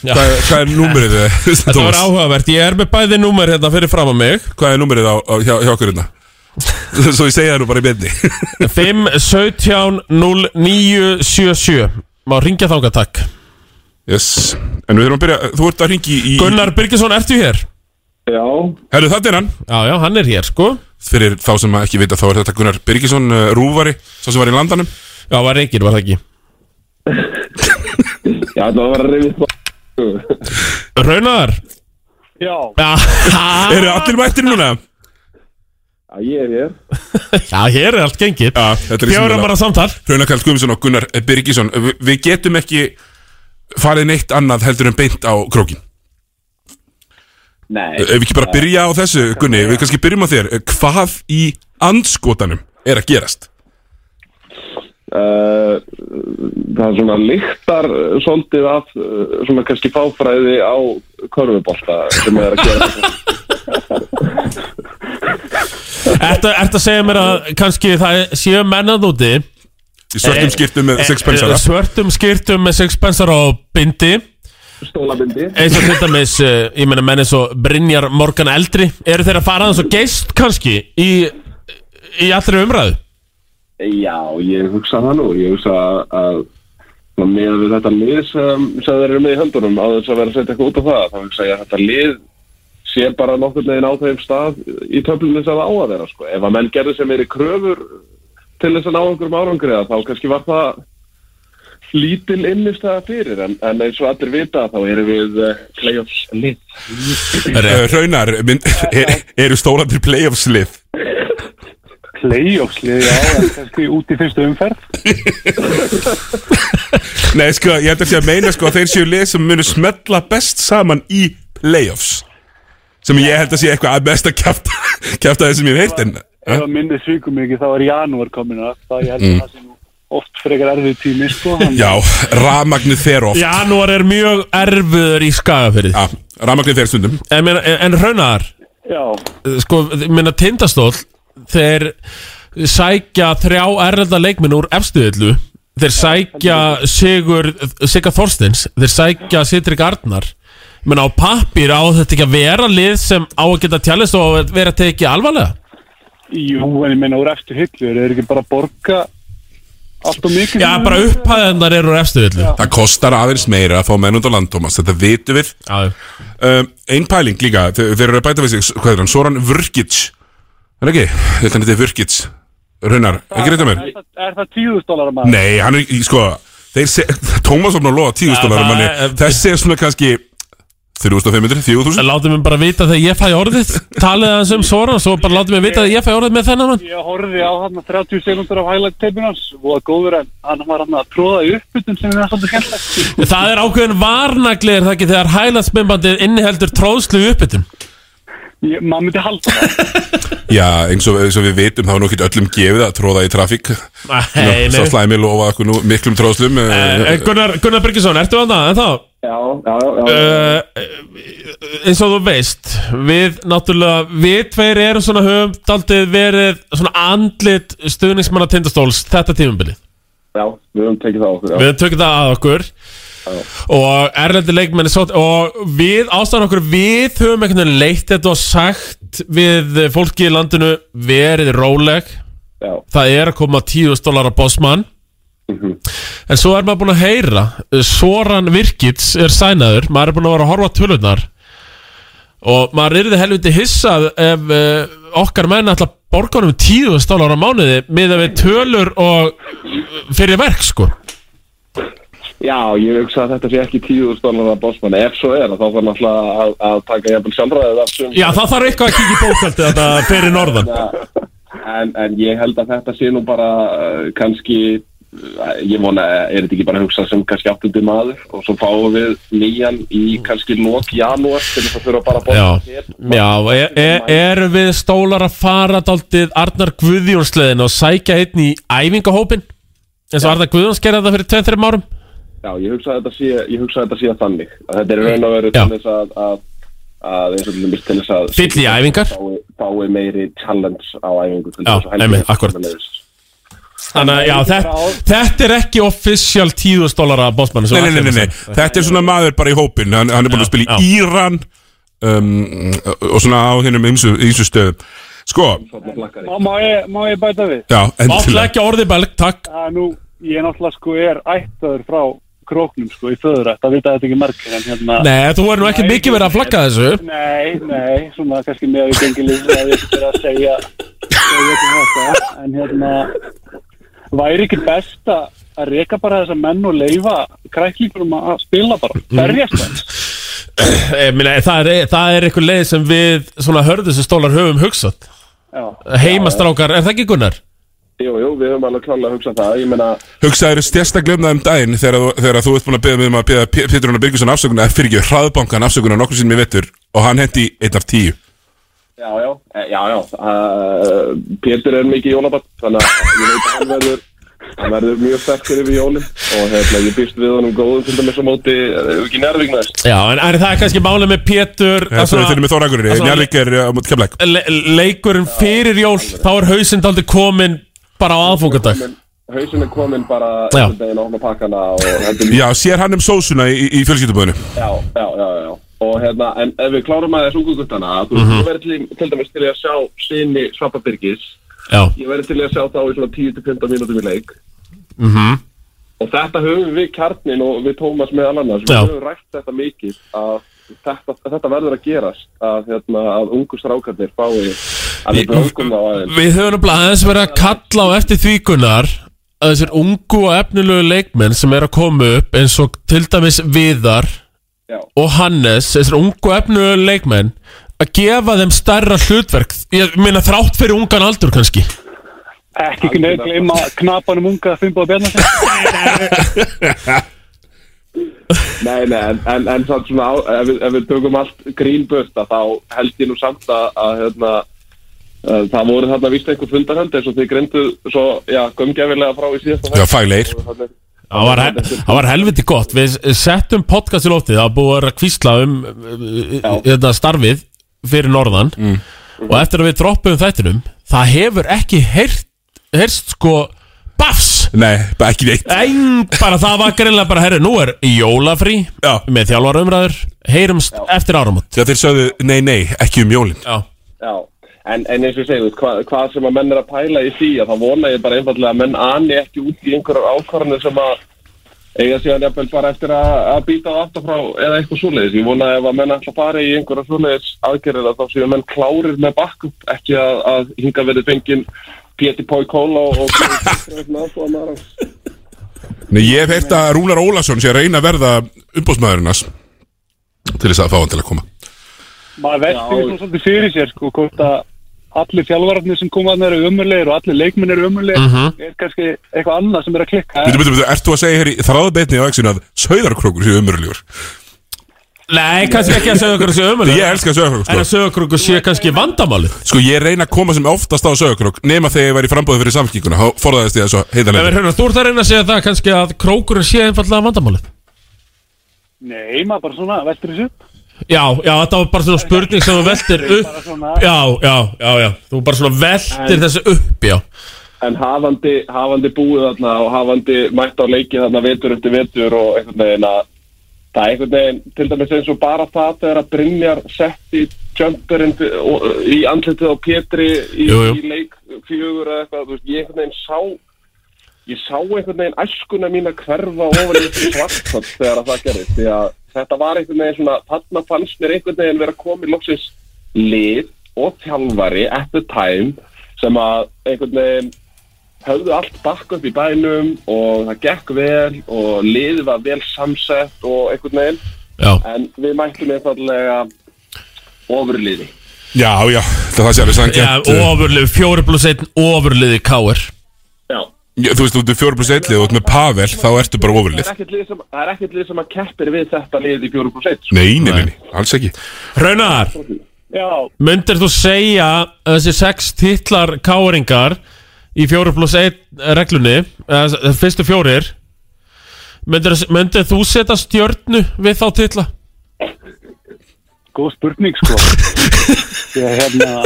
Speaker 2: Já.
Speaker 1: hvað hva er númerið eh,
Speaker 2: Þetta var áhugavert, ég er með bæði númer hérna fyrir fram að mig
Speaker 1: Hvað er númerið á, á, hjá, hjá okkur hérna? Svo ég segja það nú bara í beinni
Speaker 2: 5 17 0 9 77 Má ringja þangað takk
Speaker 1: Yes, en við þurfum að byrja, þú ert að ringi í
Speaker 2: Gunnar Byrkesson, ertu hér?
Speaker 13: Já
Speaker 1: Herru, þetta er hann
Speaker 2: Já, já, hann er hér, sko
Speaker 1: Fyrir þá sem að ekki vita, þá er þetta Gunnar Birgisson uh, Rúvari, sá sem var í landanum
Speaker 2: Já, var reykir, var það ekki
Speaker 13: Já, það var að reyfið
Speaker 2: Raunar
Speaker 13: Já
Speaker 1: Eru allir mættir núna?
Speaker 13: Já, ég er hér
Speaker 2: Já, hér er allt gengið
Speaker 1: Já, þetta er í
Speaker 2: Fjóra
Speaker 1: sinni
Speaker 2: bara
Speaker 1: lag.
Speaker 2: samtal
Speaker 1: Hraunar Karl Guðmundsson og Gunnar Birgisson Vi, Við getum ekki farið neitt annað heldur en beint á krókin
Speaker 13: Nei
Speaker 1: Ef við ekki bara byrja á þessu, Gunni, við kannski byrjum á þér Eh, Hvað í andskotanum er að gerast?
Speaker 13: Uh, það svona lyktar uh, svolítið af uh, svona kannski fáfræði á körfubolta sem er að gera
Speaker 2: Ertu ertu að segja mér að kannski það séu mennað úti Eh,
Speaker 1: Í svörtum skyrtum með sixpensara.
Speaker 2: Svörtum skýrtum með sixpensara og bindi
Speaker 13: stólabindi
Speaker 2: Eins og til dæmis, eh, ég meina menn eins og Brynjar Morgan Eldri Eru þeir að fara aðeins og geist kannski í, í allri umræðu?
Speaker 13: Já, ég hugsa það nú ég hugsa að að með við þetta lið sem, sem þeir eru með í höndunum á þess að vera að setja eitthvað út á það þá hugsa ég að þetta lið sé bara nokkur neginn á þeim stað í töflunum sem það á að vera sko. ef að menn gerðu sem er í kröfur til þess að ná einhverjum árangriða þá kannski var það lítil innistæða fyrir en, en eins og allir vita þá erum við uh, playoffs lið
Speaker 1: Uh, Raunar, mynd, er, eru stólandir playoffs lið?
Speaker 13: Playoffs lið, já, en kannski út í fyrstu umferð
Speaker 1: Nei, sko, ég held að sé að meina sko að þeir séu lið sem munu smetla best saman í playoffs sem ég held að sé eitthvað að best að kjafta kjafta þeir sem ég veit en
Speaker 13: ef að minni svikum mikið þá er janúar komin að það ég held að
Speaker 1: Mm.
Speaker 13: það sé nú oft frekar erfið tími sko hann-
Speaker 1: Já, rafmagnið fer oft
Speaker 2: Janúar er mjög erfiður í skagafyrði
Speaker 1: Já, rafmagnið fer stundum
Speaker 2: En, meina- en, en raunar
Speaker 13: Já
Speaker 2: Sko, ég meina tindastól Þeir sækja þrjá erlenda leikminn úr efstuðillu Þeir sækja Sigur Sigga Þorstins Þeir sækja Sitrik Arnar menn á pappir á þetta ekki að vera lið sem á að geta tjálist og að vera tekið alvarlega
Speaker 17: Jú, en ég meina úr eftir hillur, er ekki bara að borga allt og mikið?
Speaker 2: Já, bara upphæðanar eru efstu villu
Speaker 1: Það kostar aðeins meira að fá menn út á land, Thomas Þetta vitum við um, Einn pæling líka, þe- þeir eru að bæta við sig Hvað er hann, Soran Vurkic Er það ekki, þetta hann þetta er Vurkic Raunar, ekki reynda mér
Speaker 17: Er það- Er það tíðust dólar maður?
Speaker 1: Nei, hann er, í- sko Þeir se, Thomas var nú að loða
Speaker 2: Já,
Speaker 1: 10.000 dólar
Speaker 2: það
Speaker 1: manni Þessi er svona kannski 3.500, 4.000
Speaker 2: Látum við bara vita þegar ég fæ orðið talið aðeins um Soran svo bara látum við vita þegar ég fæ orðið með þennan mann
Speaker 17: Ég horfði á hann 30 sekundur af highlight teipinu hans og að góður en hann var hann að tróða í uppbytun sem er svolítið skemmtilegt.
Speaker 2: Það er ákveðin varnagli er það ekki þegar hælaðsbembandið inniheldur tróðslu í uppbytun
Speaker 17: Ég- Maður myndi halda það.
Speaker 1: Já, eins og, eins og við vitum, þá er nú ekki öllum gefið að tróða í trafík
Speaker 2: nei.
Speaker 1: Sá slæmi lofa okkur nú miklum tróðslum
Speaker 2: Eh, Gunnar, Gunnar Byrkesson, ertu að það en þá?
Speaker 13: Já, já, já,
Speaker 2: Eh. eins og þú veist við náttúrulega, við tveir erum svona höfum daldið verið svona andlit stuðningsmanna tindastóls þetta tímumbilið
Speaker 13: já, við höfum tekið það á okkur já.
Speaker 2: Við tökum það að okkur Og erlendi leikmenni svo Og við ástæðan okkur Við höfum einhvern veginn leitt þetta og sagt Við fólki í landinu Verið róleg
Speaker 13: Já.
Speaker 2: Það er að koma 10.000 dólar á bossmann
Speaker 13: Mhm.
Speaker 2: En svo er maður búin að heyra uh, Soran Virkits er sænaður Maður er búin að vera að horfa á tölurnar Og maður yrði helviti hissað Ef uh, okkar menn ætla að borga honum 10.000 dólar á mánuði Miðað við tölur og uh, Fyrir verk sko
Speaker 13: já, ég hugsa að þetta sé ekki tíðust dólar að bossmann Ef svo er, þá þarf hann alltaf að, að taka jafnvel sjálfræðið af sum
Speaker 2: Já, það þarf eitthvað að kíkja í bókaldi þetta fyrir norðan
Speaker 13: en, en ég held að þetta sé nú bara uh, kannski uh, ég vona, er þetta ekki bara að hugsa sem kannski áttundi maður og svo fáum við nýjan í kannski lók janúar til þess að þurfa bara að
Speaker 2: Já,
Speaker 13: borga hér.
Speaker 2: já e e eru við stólar að fara daldið Arnar Guðjónsleðin og sækja einn í æfingahópin eins og Arnar Guðjóns gerði þetta fyrir 2-3 árum
Speaker 13: Já, ég hugsa að þetta sé, ég hugsa að þetta sé þannig að þetta er raun og veru til þess að, að, að eins og til þess til þess að
Speaker 2: Fyll í æfingar.
Speaker 13: fái, fái meiri challenge á æfingu
Speaker 2: Já,
Speaker 13: til þess að helgina.
Speaker 2: einmitt, akkúrat. Þannig að já, þetta, þetta er ekki official 10.000 dólara bótsmann
Speaker 1: Nei, nei, nei, nei, nei, þetta er svona maður bara í hópin Hann, hann er búin að spila í Íran um, Og svona á hennum ýmsu ýmsu stöðum Sko,
Speaker 17: Má- Má ég, má ég bæta við?
Speaker 1: já, endilega
Speaker 2: ekki orðið belg, takk
Speaker 17: Það er nú, ég náttúrulega sko er ættaður frá króknum sko í föðurætt, það vita þetta ekki margir en hérna
Speaker 2: Nei, þú er nú ekkert mikið verið að flagga þessu.
Speaker 17: Nei, nei, svona kannski með að við gengið lýsum að ég ekki verið að segja segja ekki þetta, en hérna væri ekki best að að reka bara þessa menn og leifa kræklingunum að spila bara, berjast það
Speaker 2: Eh, minna, það, er, það er eitthvað leið sem við svona hörðu sem stólar höfum hugsað
Speaker 13: Já.
Speaker 2: Heimastrákar, er það ekki Gunnar?
Speaker 13: Jú, jú, við höfum alveg klálega að hugsa það ég meina,
Speaker 1: Hugsaður stjæstaklega um það um daginn Þegar, þú- þegar þú ert búin að beða mig um að beða Pétur Rúnar Birgisson afsökunar Fyrir ekki hraðbankan afsökunar nokkur sinni í vettur Og hann hendi einn af tíu
Speaker 13: já, já, e, já, já uh, Pétur er mikið jólabatt þannig að ég veit að hann verður hann verður mjög sterkur yfir jólum og hérna, ég býst við honum góðum til dæmis á móti, ef ekki nærvíkna þess
Speaker 2: Já, en, en það er kannski málið með Pétur
Speaker 1: Þegar þeir eru með Þórakurinn Njarvík er eh, á móti kemleik
Speaker 2: le leikurinn fyrir jól þá er hausinn aldrei komin bara á aðfungardag
Speaker 13: Hausin er komin bara
Speaker 2: Já.
Speaker 13: einhvern veginn á hann að pakka hana og hendur
Speaker 1: Já, sér hann um sósuna í, í fjölskylduböðinu
Speaker 13: Já, já, já, já. Og hérna, en ef við klárum að þessu unguguttana, þú mm
Speaker 1: Mhm.
Speaker 13: -hmm. verður til, til dæmis til í að sjá sinni Svapa Birgis.
Speaker 2: Já.
Speaker 13: Ég verður til í að sjá þá í svona 10-15 mínútum í leik.
Speaker 2: mm -hmm.
Speaker 13: Og þetta höfum við kjarnin og við Tómas með annars. Við
Speaker 2: Já.
Speaker 13: höfum rætt þetta mikið að þetta, þetta verður að gerast að, hérna, að ungu strákarnir fái að við blókum á aðeins.
Speaker 2: Við höfum nefnilega aðeins verið að kalla á eftir þvíkunar að þessir ungu og efnilegu leikmenn sem er að koma upp eins og til dæmis Viðar
Speaker 13: Já.
Speaker 2: og Hannes, þessir ungu og efnilegu leikmenn að gefa þeim stærra hlutverk ég meina þrátt fyrir ungan aldur kannski
Speaker 17: Ekki kunni gleyma knapanum unga að fimba á bjarnarsin
Speaker 13: Nei, nei, en, en, en samt svona, á- ef við, ef við tökum allt grínbösta, þá held ég nú samt að, að hérna, að það voru þarna vist einhver fundarhönd eins og þið grinduð svo, já, gömgefilega frá í síðasta
Speaker 1: Já, faglegir.
Speaker 2: Það var, hel- það var helviti gott Við settum podcast í lótið Það var búið að vera að kvísla um uh, uh, þetta starfið fyrir norðan og eftir að við droppum þættinum það hefur ekki heyrt, heyrst sko bafs
Speaker 1: Nei, bara ekki neitt
Speaker 2: En bara það var greinlega bara, herru, nú er jólafrí Já. Með þjálfarumræður Heyrumst eftir áramót
Speaker 1: Já, þeir sögðu, nei, nei, ekki um jólin
Speaker 2: Já
Speaker 13: Já, en, en eins og ég segi, þú veist, hvað, hvað sem að menn er að pæla í því að þá vona ég bara einfallega að menn ani ekki út í einhverjar ákvarðanir sem að eiga síðan jafnvel bara eftir að, að býta á aftur frá eða eitthvað svoleiðis. Ég vona ef að menn ætla að fara í einhverjar svoleiðis aðgerðir að þá séu menn klárir með bakkup, ekki að, að hinga verið fengin Péti Pói Kóla og Péti
Speaker 1: Nei, ég hef heyrt að Rúnar Ólason sé að reyna að verða umbóðsmaðurinas til þess að fá hann til að koma
Speaker 17: maður veldi svo svolítið fyrir sér sko, hvort að allir fjálvararnir sem koma að það eru ömurlegir og allir leikmenn eru ömurlegir
Speaker 1: Mhm.
Speaker 17: er kannski eitthvað annað sem er að klikka
Speaker 1: Býtu, býtu, býtu, ert þú að segja hér í þráðbeitni á exinu að sauðarkrókur séu umurljúr?
Speaker 2: Nei, kannski ekki að sögurkrókur séu ömulegur.
Speaker 1: Ég elska sko. sauðarkrókur,
Speaker 2: En að sögurkrókur séu kannski vandamálið
Speaker 1: Sko, ég reyna að koma sem oftast á sauðarkrók nema þegar ég væri frambóðið fyrir samfélkinguna þá forðaðist ég þessu
Speaker 2: En við
Speaker 1: heiðarlega
Speaker 2: höfum, þú ert að reyna að segja það kannski að krókurinn sé einfallega vandamálið
Speaker 17: nei, maður bara svona veldur þessu
Speaker 2: Já, já, þetta var bara svona spurning sem þú veltir upp Já, já, já, já Þú bara svona veltir
Speaker 13: En-
Speaker 2: þessu upp, já
Speaker 13: En hafandi, hafandi búið þarna og hafandi mætt á leiki þarna vetur eftir vetur og einhvern veginn að það er einhvern veginn, til dæmis eins og bara það þegar að Brynjar setti jumperinn til- og- í andlitið á Pétri í,
Speaker 2: Jú, jú.
Speaker 13: í leik fjögur eða eitthvað, þú veist, ég einhvern veginn sá ég sá einhvern veginn æskuna mín að hverfa ofan í svartkott þegar að það gerist, því að þetta var einhvern veginn svona, þarna fannst mér einhvern veginn vera komið loksins lið og þjálfari at the time sem að einhvern veginn höfðu allt bakk upp í bænum og það gekk vel og liðið var vel samsett og einhvern veginn
Speaker 2: Já.
Speaker 13: en við mættum einfallega ofurliði
Speaker 1: Já, já, það sé alveg
Speaker 2: Já,
Speaker 1: sannkjönt
Speaker 2: ofurlið, 4 plus 1 ofurliði káir
Speaker 13: Já
Speaker 1: Þú veist, þú ert 4 plus 1 og þú ert með Pavel, þá ertu bara
Speaker 13: það
Speaker 1: ofurlið
Speaker 13: er ekkert lið sem, það er ekkert lið sem að keppir við þetta lið í 4%
Speaker 1: Nei, nei, nei, nei, alls ekki
Speaker 2: Raunar,
Speaker 17: Já,
Speaker 2: myndir þú segja að þessi 6 titlar káringar í 4 plus 1 reglunni eða þess- þess fyrstu fjórir myndir, myndir þú setja stjörnu við þá titla?
Speaker 17: góð spurning sko ég hérna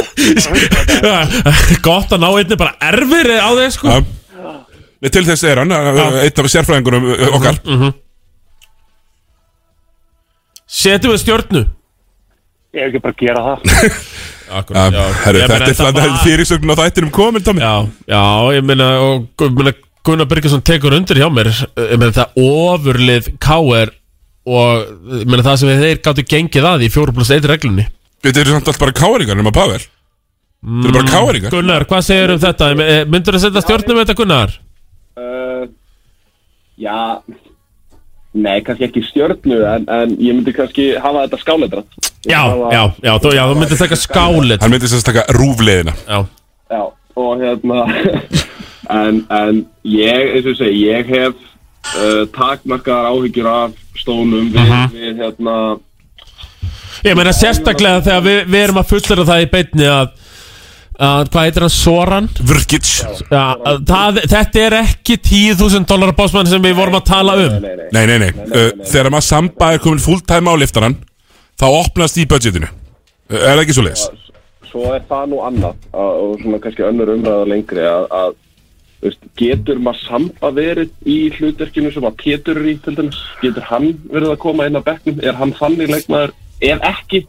Speaker 2: Gott að ná einni bara erfir á þeir sko
Speaker 1: Nei, Til þess er hann, eitt af sérfræðingunum uh, okkar
Speaker 2: Mm, Setjum við stjörnu
Speaker 17: ég hef ekki bara að gera það
Speaker 1: Akkurat, já. herru,
Speaker 2: mm. Ég meina,
Speaker 1: þetta er
Speaker 2: þetta
Speaker 1: það
Speaker 2: var-
Speaker 1: fyrirsögn á þættinum komin, Tommy
Speaker 2: Já, já, ég meina, og, ég meina Gunnar Birgisson tekur undir hjá mér ég meina það ofurlið KR og ég meina það sem þeir gáttu gengið að í 4 plus 1 reglunni
Speaker 1: Þetta eru samt allt bara káringar nema Pavel Þetta eru bara káringar
Speaker 2: Mm, Gunnar, hvað segir um þetta? Myndur að setja stjórnum þetta Gunnar?
Speaker 13: uh, já nei, kannski ekki stjörnu en, en ég myndi kannski hafa þetta skáleitra
Speaker 2: Já, já, já, þú, já, þú myndir taka skálit
Speaker 1: Hann myndir sérst taka rúfleðina
Speaker 2: Já
Speaker 13: Já, og hérna en, en ég, eins og ég segi, ég hef uh, takmarkaðar áhyggjur af stónum við,
Speaker 2: Mhm.
Speaker 13: við hérna
Speaker 2: Ég meina sérstaklega þegar við, við erum að fullera það í beinni að, að hvað heitir hann, Soran?
Speaker 1: Vrkic
Speaker 2: ja, að það, Þetta er ekki 10.000 dólar básmann sem við vorum að tala um
Speaker 1: Nei, nei, nei, Uh, Þegar maður samba er komin fulltime á liftaran Þá opnast í budgetinu Uh, Er það ekki svo leiðis?
Speaker 13: svo er það nú annað að, og svona kannski önnur umræða lengri að, að þú veist, getur maður samba verið í hlutverkinu sem að Pétur er í til dæmis, getur hann verið að koma inn á bekknum, er hann þannig leikmaður ef ekki,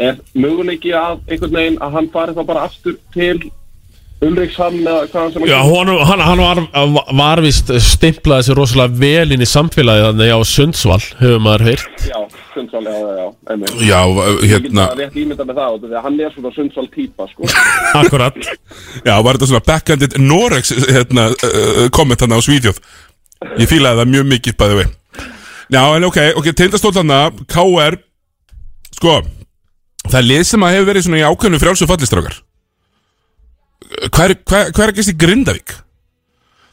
Speaker 13: er möguleiki að einhvern veginn að hann fari þá bara aftur til Ulrikshamn eða hvað hann sem að
Speaker 2: Já, honum, hann, hann var, var vist stimplaði sér rosalega vel inn í samfélagið þannig á Sundsvall, hefur maður heyrt
Speaker 13: Já, Sundsvall, já, já, já, einmitt.
Speaker 1: Já, hérna-
Speaker 13: Ég get bara rétt ímynda með það, út af því að hann er svona Sundsvall típa, sko
Speaker 2: Akkurat
Speaker 1: Já, var þetta svona backhanded Norex hérna, uh, komment hann á Svíþjóð Ég fílaði það mjög mikið bæði við Já, en ok, ok, tindastólana KR Sko, það er lið sem að hefur verið svona í ákveðnu frjálsum fallistrákar Hver, hver, hver er gæst í Grindavík?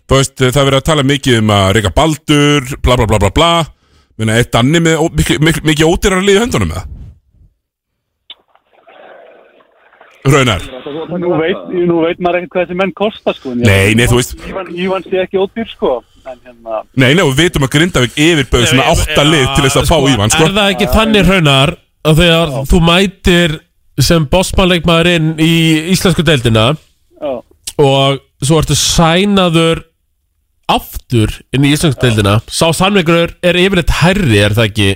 Speaker 1: Þú veist, það er verið að tala mikið um að reyka baldur, bla bla bla bla bla Minna, eitt annir með ó- mikið mik, mik, ódýrar liði höndunum með það Raunar
Speaker 17: nú veit, nú veit maður ekkert hvað þessi menn kosta sko en ég-
Speaker 1: Nei, nei, þú veist.
Speaker 17: Ívan, Ívan sé ekki ódýr sko en hérna
Speaker 1: Nei, nei, og við veitum að Grindavík yfirbauð svona átta lið til þess að fá Ívan, sko
Speaker 2: Er það ekki þannig raunar að þegar þú mætir sem bossmannleikmaður inn í íslensku deildina
Speaker 17: Já.
Speaker 2: og svo ertu sænaður aftur inn í Íslandsdeildina Sá sannleikur er yfirleitt hærri, er það ekki?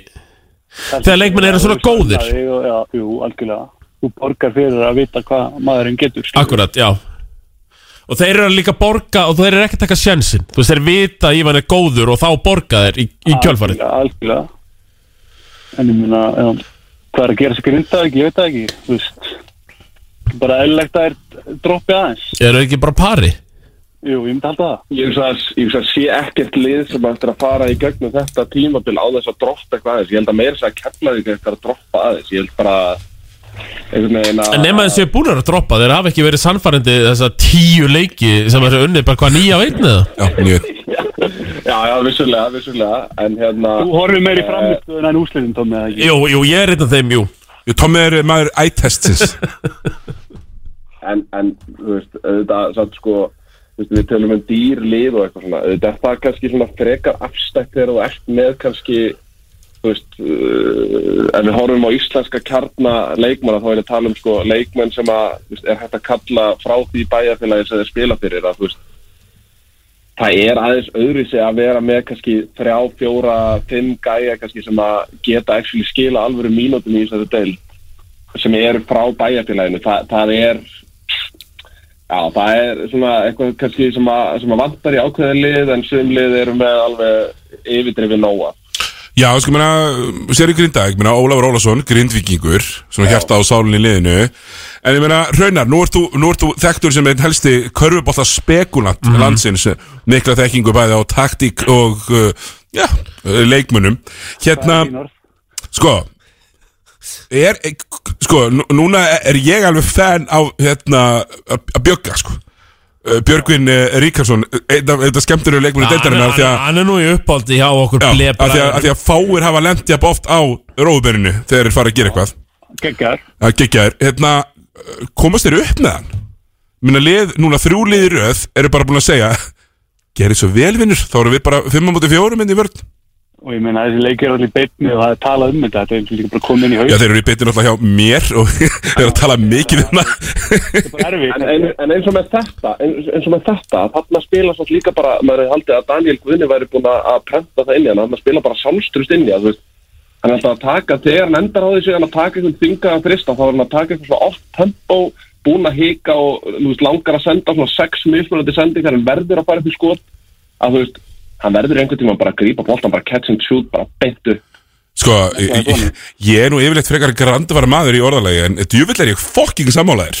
Speaker 2: Þegar leikmenn eru svona góðir
Speaker 17: Já, jú, algjörlega Þú borgar fyrir að vita hvað maðurinn getur skilur.
Speaker 2: Akkurat, já Og þeir eru líka að borga og þeir eru ekki að taka sjensin Þú veist, þeir vita að Ívan er góður og þá borga þeir í, í kjölfarið
Speaker 17: Algjörlega En ég meina, já, hvað er að gera sér grinda ekki, ég veit það ekki, þú veist Bara eðlilegt að er droppið aðeins
Speaker 2: Eru ekki bara pari?
Speaker 17: Jú, ég myndi halda það
Speaker 13: Ég hugsa að, ég hugsa að sé ekkert lið sem ættir að fara í gegnum þetta tímabil á þess að droppa eitthvað aðeins. Ég held að meira þess að kemla því eitthvað að droppa aðeins. Ég held bara einhvern veginn að...
Speaker 2: En nema þessi er búin að droppa, þeir hafa ekki verið sannfærandi þessa tíu leiki sem þessu unni bara hvað nýja veitnið
Speaker 1: Já, mjög
Speaker 13: Já, já, vissulega, vissulega. En hérna...
Speaker 17: Þú horfir meiri
Speaker 13: eh,
Speaker 17: framlistöðun en úsliðin, Tómi, eða ekki?
Speaker 2: Jú, jú, ég er einn af þeim, jú
Speaker 1: Tommi er maður ættestsins
Speaker 13: en, en þú veist, auðvitað samt sko, þú veist, við tölum um dýr lið og eitthvað svona, auðvitað er það kannski svona frekar afstætt þegar þú ert með kannski þú veist uh, en við horfum á íslenska kjarna leikmanna, þá er ég að tala um sko leikmenn sem að, þú veist, er hægt að kalla frá því bæjarfélagi sem þeir spila fyrir að, þú veist, það er aðeins öðru sig að vera með kannski þrjá, fjóra, fimm gæja kannski sem að geta actually skila alvöru mínútum í þessu deil sem er frá bæjarfélaginu Þa, það er já, það er svona eitthvað kannski sem að, sem að vantar í ákveðin lið en sum lið eru með alveg yfirdrifin nóa
Speaker 1: Já, sko, meina, sér í Grindag, meina, Ólafur Ólafsson, Grindvíkingur, svona hjarta á sálinni í liðinu, en ég meina, Raunar, nú ert þú, nú ert þú þekktur sem einn helsti körfubóta spekulant
Speaker 2: Mhm.
Speaker 1: landsins, mikla þekkingu bæði á taktík og, uh, já, uh, leikmunum. Hérna, sko, er, sko, nú- núna er ég alveg fan á, hérna, að að bjögga, sko. Uh, Björgvin eh, Ríkarsson, einn af þetta skemmtur í leikmunum deildarinnar, því að
Speaker 2: Hann er nú í uppáldi hjá okkur
Speaker 1: Já,
Speaker 2: blebra.
Speaker 1: af því, að, af því að fáir hafa lendið upp oft á róðbyrinu þegar þeir fara að gera eitthvað
Speaker 17: Geggar
Speaker 1: að gegja þér, hérna uh, komast þeir upp með hann minna lið, núna þrjú lið í röð eru bara búin að segja gerið svo velvinnur, þá erum við bara 5 mútið 4 minni hérna í vörð
Speaker 17: Og ég meina, þessi leikir er allir beitni og það er talað um þetta, þetta er líka bara komið inn í haug
Speaker 1: Já, þeir eru í beitin alltaf hjá mér og þeir eru að tala mikið um það
Speaker 13: en, en, en eins og með þetta eins, eins og með þetta, þarna spila svo líka bara, maður hefði haldið að Daniel Guðni væri búin að að prenta það inn í hann, hann spila bara samstrust inn í hann, þú veist hann er alltaf að taka, þegar hann endar á þessu hann að taka einhvern þyngaðan frista, þá er hann að taka eitthvað svo oft tempo, búin að hika og þú veist, langar að senda svona sex mismunandi sendingar en verður að fara upp í skot að þú veist, hann verður einhvern tíma bara að grípa boltan, bara catch and shoot, bara beint upp
Speaker 1: Sko, ég, ég- ég er nú yfirleitt frekar grandvara maður í orðalegi en djúvill er ég fokking sammálaðir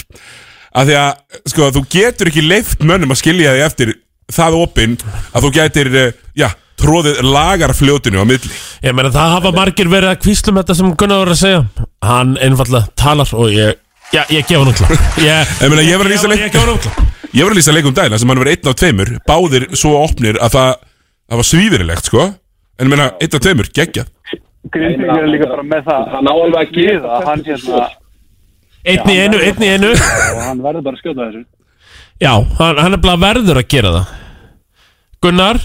Speaker 1: af því að, sko, þú getur ekki leift mönnum að skilja því eftir það opinn að þú getur, eh, já, tróðið lagarfljótinu á milli
Speaker 2: Ég meina það hafa margir verið að kvíslum þetta sem Gunnar var að segja Hann einfallega talar og ég Já, ég gefa hann útla Ég,
Speaker 1: ég, meina, ég var að lýsa leik
Speaker 2: Ég gefa hann útla
Speaker 1: Ég var að lýsa leikum dæla sem hann var einn af tveimur Báðir svo opnir að það Það var svífirilegt sko En ég meina, einn af tveimur, geggjað
Speaker 17: Grindvík er líka bara með það
Speaker 13: Hann á alveg að
Speaker 17: gera það Hann sé svona
Speaker 2: Einn í einu, einn í einu
Speaker 17: Og hann verður bara að skjóta þessu
Speaker 2: Já, hann, hann er bara verður að gera það Gunnar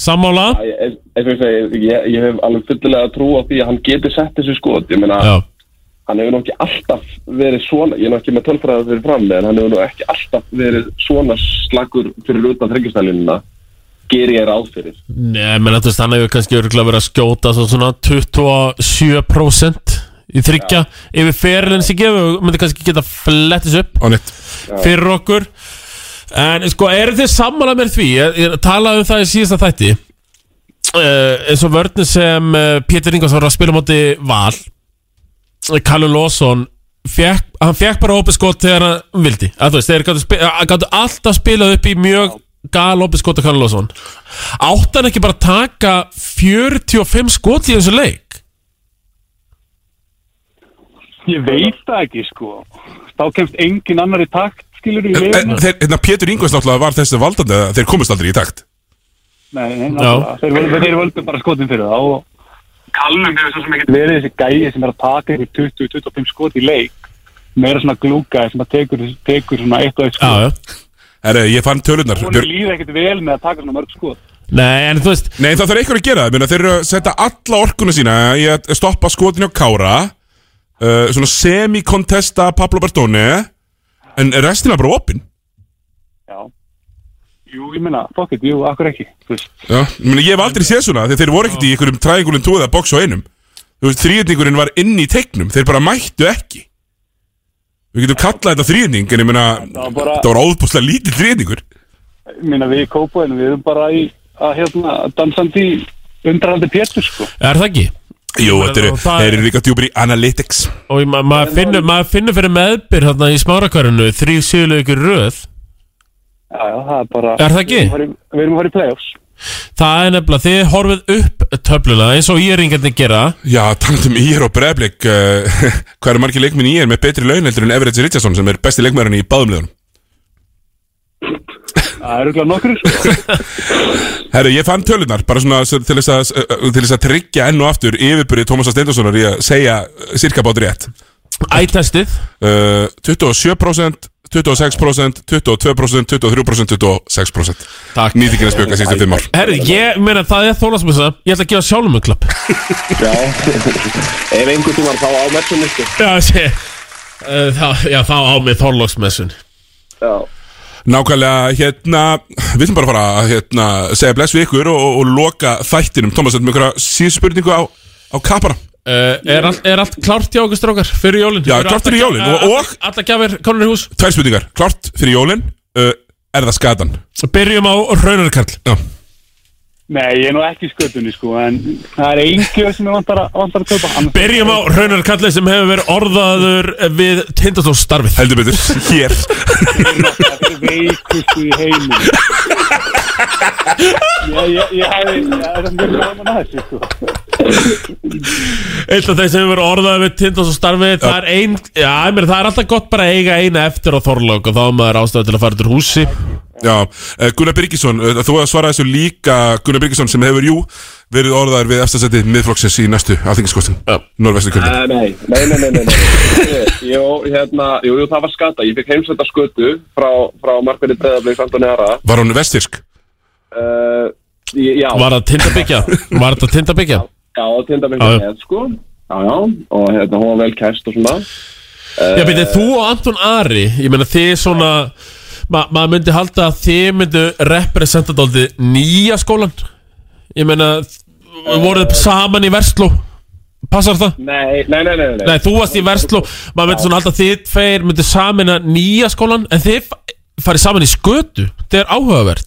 Speaker 2: Sammála
Speaker 13: Já, ég- eins eins og ég segi, ég, ég hef alveg fullilega trú á því að hann geti sett þessu skot ég meina, hann hefur nú ekki alltaf verið svona, ég er nú ekki með tölfræða fyrir fram en hann hefur nú ekki alltaf verið svona slagur fyrir utan þryggjastælinuna ger ég ráð fyrir
Speaker 2: Nei, menn að þú veist, hann hefur kannski örgulega verið að skjóta svo svona 27% í þryggja yfir ferilinn sem gefur og myndi kannski geta flettis upp fyrir okkur en sko, eru þið sammála með því ég, ég talaði um það í síðasta þætti uh, eins og vörðin sem uh, Pétur Ingvars var að spila á móti val Kallur Lawson fekk, hann fekk bara opið skot þegar hann vildi að þú veist, þeir gáttu spi- að- gáttu alltaf spilað upp í mjög gal opið skot að Kallur Lawson átt hann ekki bara að taka 45 skot í þessu leik
Speaker 17: Ég veit það ekki sko Þá kemst engin annar í takt skilur í
Speaker 1: En- en
Speaker 17: liðinu
Speaker 1: þeir- Hérna, Pétur Ingvars náttúrulega var þessi valdandi að Þeir komist aldrei í takt
Speaker 17: Nei, nei, náttúrulega. þeir, völdu- þeir völdu bara skotin fyrir það og Kallum hefur svo sem ekkert verið þessi gæi sem er að taka ykkur 20-25 skot í leik meira svona glúkaði sem að tekur, tekur svona eitt og eitt skot
Speaker 1: Herre, ég fann tölunar
Speaker 17: Hún líði ekkert vel með að taka svona mörg skot
Speaker 2: Nei, en þú veist
Speaker 1: Nei, það þarf eitthvað að gera það Meina, Þeir eru að setja alla orkuna sína Í að stoppa skotin hjá Kára uh, Svona semi-contesta Pablo Bertone En restina bara opinn
Speaker 17: Já Jú, ég meina, fuck it, jú, akkur ekki Þú veist,
Speaker 1: Já, ég meina, ég hef aldrei séð svona þegar þeir voru ekkert í einhverjum træðingulum tóða að bóksa á einum Þú veist, þrýðningurinn var inn í teiknum, þeir bara mættu ekki Við getum kallað þetta þrýðning en ég meina,
Speaker 17: var bara-
Speaker 1: þetta var óðbúslega lítill þrýðningur
Speaker 17: ég meina við í Kópaðinu, við erum bara í að hérna, dansandi í undraldi pétur, sko
Speaker 2: Er það ekki?
Speaker 1: Jú, þetta eru-
Speaker 2: það-
Speaker 1: þeir eru líka djúpir í analytics
Speaker 2: Og ég- ma- maður finnur ma finnu fyrir meðbyr hérna í smárakvarinu Þrjú síðulegur röð
Speaker 17: Já, já, það er bara
Speaker 2: Er það ekki?
Speaker 17: Við erum að fara í- Við erum að fara í playoffs
Speaker 2: Það er nefnilega, þið horfið upp töfluna eins og ég er einhvernig gera
Speaker 1: Já, talandum í er og breflik uh, Hvað eru margir leikminn í er með betri laun heldur en Everett Richardson sem er besti leikmærin í báðum liðunum
Speaker 17: Það eru glæð nokkur, sko
Speaker 1: Herru, ég fann tölunar bara svona s- til þess að, til þess að tryggja enn og aftur yfirbyrði Tómasa Steindorssonar í að segja uh, sirka bát rétt
Speaker 2: Ætestið
Speaker 1: uh, 27%, 26%, 22%, 23%, 26% Takk Nýtingina spjöka sístu fimm ár
Speaker 2: Herri, ég meina það er þólasmessa Ég ætla að gefa sjálfum um klapp
Speaker 13: Já, ef einhvern tímann þá á messunni, sko.
Speaker 2: Já, sé uh, það, Já, þá á mig þólasmessun
Speaker 13: Já
Speaker 1: Nákvæmlega, hérna, við viljum bara fara að hérna, segja bless við ykkur og, og, og loka þættinum Tómas, þetta með einhverja síðan spurningu á, á kapara
Speaker 2: Uh, er, all, er allt klárt hjá okkur strókar fyrir jólin?
Speaker 1: Já, klárt fyrir jólin og, og
Speaker 2: Alla gjafir konur í hús
Speaker 1: Tvær spurningar, klárt fyrir jólin, uh, er það skatan?
Speaker 2: Byrjum á Raunarkarl
Speaker 1: Já,
Speaker 17: Nei, ég er nú ekki í skötunni, sko En það er engjöf sem ég vantar að, vantar að kaupa annars-
Speaker 2: Byrjum á Raunarkalli sem hefur verið orðaður við tindastólsstarfið
Speaker 1: Heldur betur, hér
Speaker 17: veikustu í heiminn Ég, ég, ég hafi, ég er mjög gaman að þessu, sko
Speaker 2: Eitt af þeir sem hefur verið orðaður við tindastólsstarfið Það er ein, já, ég meina það er alltaf gott bara að eiga eina eftir á Þorlók og þá er maður ástæða til að fara til húsi
Speaker 1: já uh, Gunnar Byrgisson, uh, þú að svara þessu líka Gunnar Byrgisson sem hefur, jú, verið orðaður við efstarsæti miðflokksins í næstu alþingiskostum Norvestu kjörni
Speaker 13: Nei, nei, nei, nei, nei, nei, nei. Jó, hérna, jú, jú, það var skata Ég fikk heimsenda skötu frá, frá markverði breyðablið Sandon Jara
Speaker 1: Var hún vestfyrsk?
Speaker 13: uh, Já
Speaker 2: Var það tindabyggja? Var það tindabyggja? Já,
Speaker 13: Já,
Speaker 2: já.
Speaker 13: tindabyggja með, sko Já, já, og hérna, hún var vel kæst og svona uh,
Speaker 2: Já, betur þú og Anton Ari Ég meina þið svona ma Maður myndi halda að þið myndu representa dálítið nýja skólan Ég meina uh, Voruð saman í Versló Passar það?
Speaker 13: Nei, nei, nei, nei, nei.
Speaker 2: Nei, þú varst í Versló Maður myndi svona halda að þið tveir myndu saman að nýja skólan En þið fa- farið saman í skötu Það er áhugavert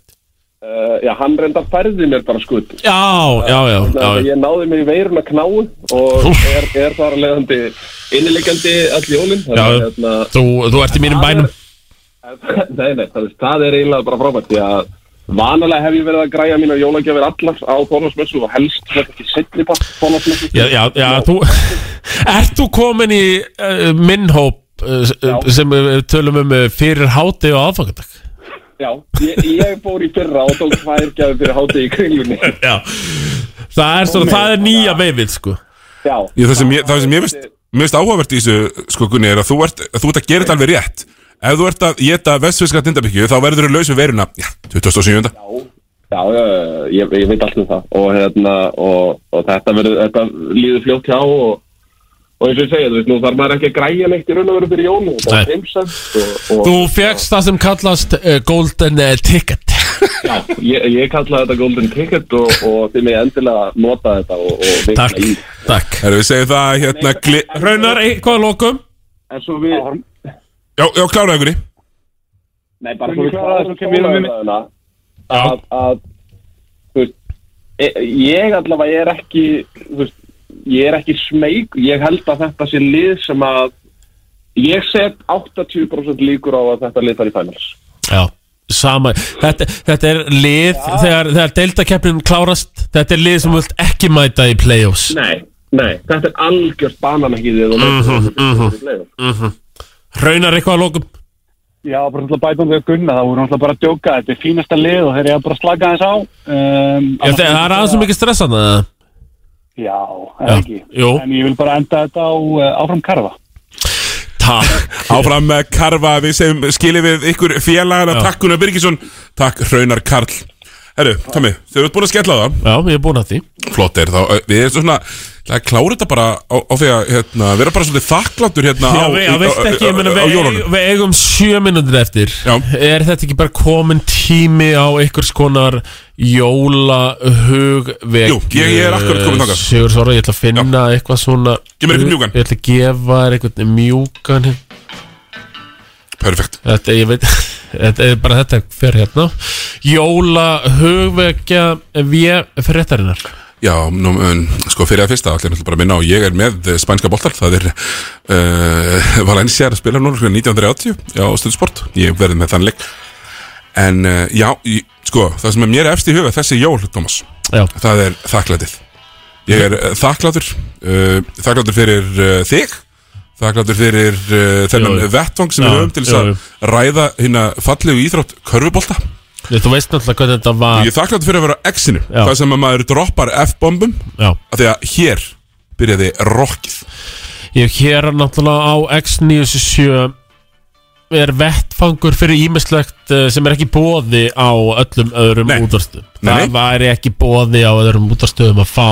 Speaker 13: Uh, já, hann reyndar færði mér bara skutt
Speaker 2: Já, já, já, já,
Speaker 13: Þannig að
Speaker 2: já.
Speaker 13: ég náði mér í veiruna knáu og er, er þar að leiðandi innilegjandi all jólinn
Speaker 2: Já,
Speaker 13: Þannig að, hérna,
Speaker 2: þú, þú ert í mínum bænum
Speaker 13: Nei, nei, það, það er eiginlega bara frábært því að vanalega hef ég verið að græja mína jólagjafir allar á Þorlásmessu og helst þetta ekki setni part Þorlásmessu
Speaker 2: Já, já, já, þú Ert þú komin í uh, minnhóp uh, s- uh, sem við tölum um uh, fyrir háti og aðfangadag?
Speaker 13: Já, ég, ég fór í fyrra og tók tvær gjafir fyrir hátegi í kringlunni
Speaker 2: Já, það er svona, það er nýja veifið sko
Speaker 13: Já,
Speaker 1: Ég, það sem ég, það sem ég veist, mér veist áhugavert í þessu sko Gunni er að þú ert, þú ert að gera þetta alveg rétt Ef þú ert að geta vestfiska tindabyggju þá verður þú laus við veruna já, 27.
Speaker 13: já, já, já, ég, ég veit allt um það og, hérna, og, og þetta, verið, þetta líður fljótt hjá og, og eins og ég segja, þú veist, nú þarf maður ekki að græja neitt í raun og veru fyrir jónu það
Speaker 2: Nei.
Speaker 13: er heimsend og, og
Speaker 2: Þú fegst það sem kallast uh, golden uh, ticket
Speaker 13: Já, ég, ég kalla þetta golden ticket og, og þið með endilega nota þetta og, og vitna
Speaker 2: Takk,
Speaker 13: í
Speaker 2: takk
Speaker 1: Erum við segið það hérna gli...
Speaker 2: Raunar, eitthvað að lokum?
Speaker 13: En svo við
Speaker 1: Já, já, kláraðu ykkur í
Speaker 13: Nei, bara
Speaker 17: Ég
Speaker 13: svo við
Speaker 17: klára
Speaker 13: klára
Speaker 17: þessu,
Speaker 13: þessu
Speaker 17: kemur við-
Speaker 13: skólaðana að, að þú veist e- ég allavega er ekki þú veist, ég er ekki smeg ég held að þetta sé lið sem að ég set 80% líkur á að þetta lið fari í finals
Speaker 2: Já, sama Þetta, þetta er lið, þegar, þegar deltakeppnin klárast Þetta er lið sem þú vilt ekki mæta í play-offs
Speaker 13: Nei, nei, þetta er algjörst banan ekki því
Speaker 2: Mhm, mhm, mhm. Raunar, eitthvað að lokum?
Speaker 17: Já, bara náttúrulega bæta um þau gunna, það voru náttúrulega bara að djóka, þetta er fínasta lið og þeir eru bara að slaka þess á. Um,
Speaker 2: Er það það er aðeins um ekki stressan að
Speaker 17: Já, eða ekki.
Speaker 2: Jú.
Speaker 17: En ég vil bara enda þetta á uh, áfram karfa.
Speaker 1: Takk Áfram með Karfa, við segjum skilið við ykkur félagana Takk Gunnar Birgisson, takk Raunar Karl Herru, Tommi, þau eru búin að skella á það
Speaker 2: Já, ég er búin að því
Speaker 1: Flott er þá, ö, við erum svona Það klára þetta bara á, á því að hérna, vera bara svolítið þakklandur hérna
Speaker 2: Já,
Speaker 1: á,
Speaker 2: við, já, veistu ekki, ég meina,
Speaker 1: á, á, á
Speaker 2: við,
Speaker 1: jólunum
Speaker 2: við eigum sjö minútur eftir já. Er þetta ekki bara komin tími á einhvers konar jólahugveg
Speaker 1: Jú, ég- ég er akkurat kominn þangað.
Speaker 2: Sigur Svára, ég ætla að finna eitthvað svona
Speaker 1: Gef mér einhvern mjúkan.
Speaker 2: Ég ætla að gefa þér einhvern mjúkan
Speaker 1: Perfekt
Speaker 2: Þetta, ég veit, þetta er bara þetta fyrir hérna Jólahugvegja við fréttarinnar
Speaker 1: Já, nú, um, sko fyrir að fyrsta allir náttúrulega bara að minna á Ég er með eh, spænska boltar, það er uh, Valencia er að spila núna klukkan 1980 á Stöldsport Ég verði með þann leik En uh, já, ég, sko, það sem er mér efst í huga þessi jól, Thomas
Speaker 2: Já.
Speaker 1: Það er þakklætið Ég er uh, þakklátur uh, Þakklátur fyrir uh, þig Þakklátur fyrir uh, þennan
Speaker 2: Jú, jú.
Speaker 1: vettvang sem
Speaker 2: Já,
Speaker 1: við höfum til þess
Speaker 2: jú,
Speaker 1: að
Speaker 2: jú.
Speaker 1: ræða hérna fallegu íþrótt körfubolta
Speaker 2: Nei, Þú veist náttúrulega hvað þetta var
Speaker 1: Ég er þakklátt fyrir að vera á X-inu
Speaker 2: Já.
Speaker 1: Það sem að maður droppar F-bombum
Speaker 2: Já.
Speaker 1: af Því að hér byrjaði rockið
Speaker 2: Ég hef hér náttúrulega á X977 er vettfangur fyrir ímislegt sem er ekki bóði á öllum öðrum útastöðum
Speaker 1: Nei, nei.
Speaker 2: Það væri ekki bóði á öðrum útastöðum að fá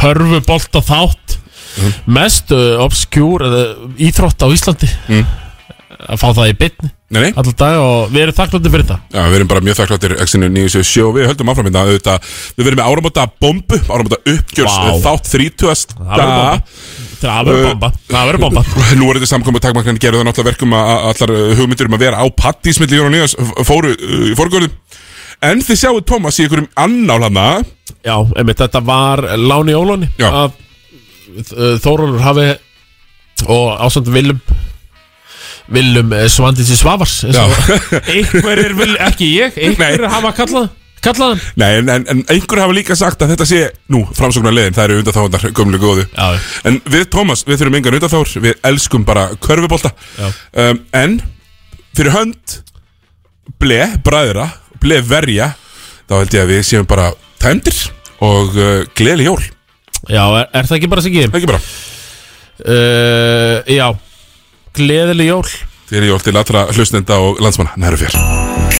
Speaker 2: körfubolta þátt
Speaker 1: Mhm.
Speaker 2: mest uh, obskjúr eða íþrótt á Íslandi
Speaker 1: Mhm.
Speaker 2: að fá það í bytni
Speaker 1: nei, nei.
Speaker 2: allar dag og við erum þakklandi fyrir það
Speaker 1: Já, við erum bara mjög þakkláttir X-inu 977 og við höldum áfram hérna auðvitað, Við verðum með áramóta bombu, áramóta uppgjörs
Speaker 2: Vá.
Speaker 1: þátt 30.
Speaker 2: Það verður bomba. Það verður
Speaker 1: Uh,
Speaker 2: bomba. Það verður bomba.
Speaker 1: Nú er þetta samkomið takmarkan gerðu það náttúrulega verkum að að allar uh, hugmyndir um að vera á pattís milli Jón og Nías fóru uh, í forgörðum En þið sjáu Thomas í einhverjum annál hana
Speaker 2: Já, einmitt, þetta var Láni Ólóni að uh, Þórólur hafi og ásand Vilum Vilum Svandinsi eh, Svavars eins og- einhverjir vil, ekki ég einhverjir
Speaker 1: Nei.
Speaker 2: hafa kallað kallaðan
Speaker 1: Nei, en, en, en einhver hafa líka sagt að þetta sé Nú, framsóknarlegin, það eru undanþáðunar gömlu góðu
Speaker 2: Já.
Speaker 1: En við, Tómas, við þurfum engan undanþáður Við elskum bara körfubólta
Speaker 2: Já.
Speaker 1: um, En fyrir hönd Ble, bræðra Ble verja Þá held ég að við séum bara tæmdir Og uh, gleðli jól
Speaker 2: Já, er, er það ekki bara sikið?
Speaker 1: Ekki bara
Speaker 2: uh, Já, gleðileg jól
Speaker 1: Gleðli jól til allra hlustnenda og landsmanna Næru fjör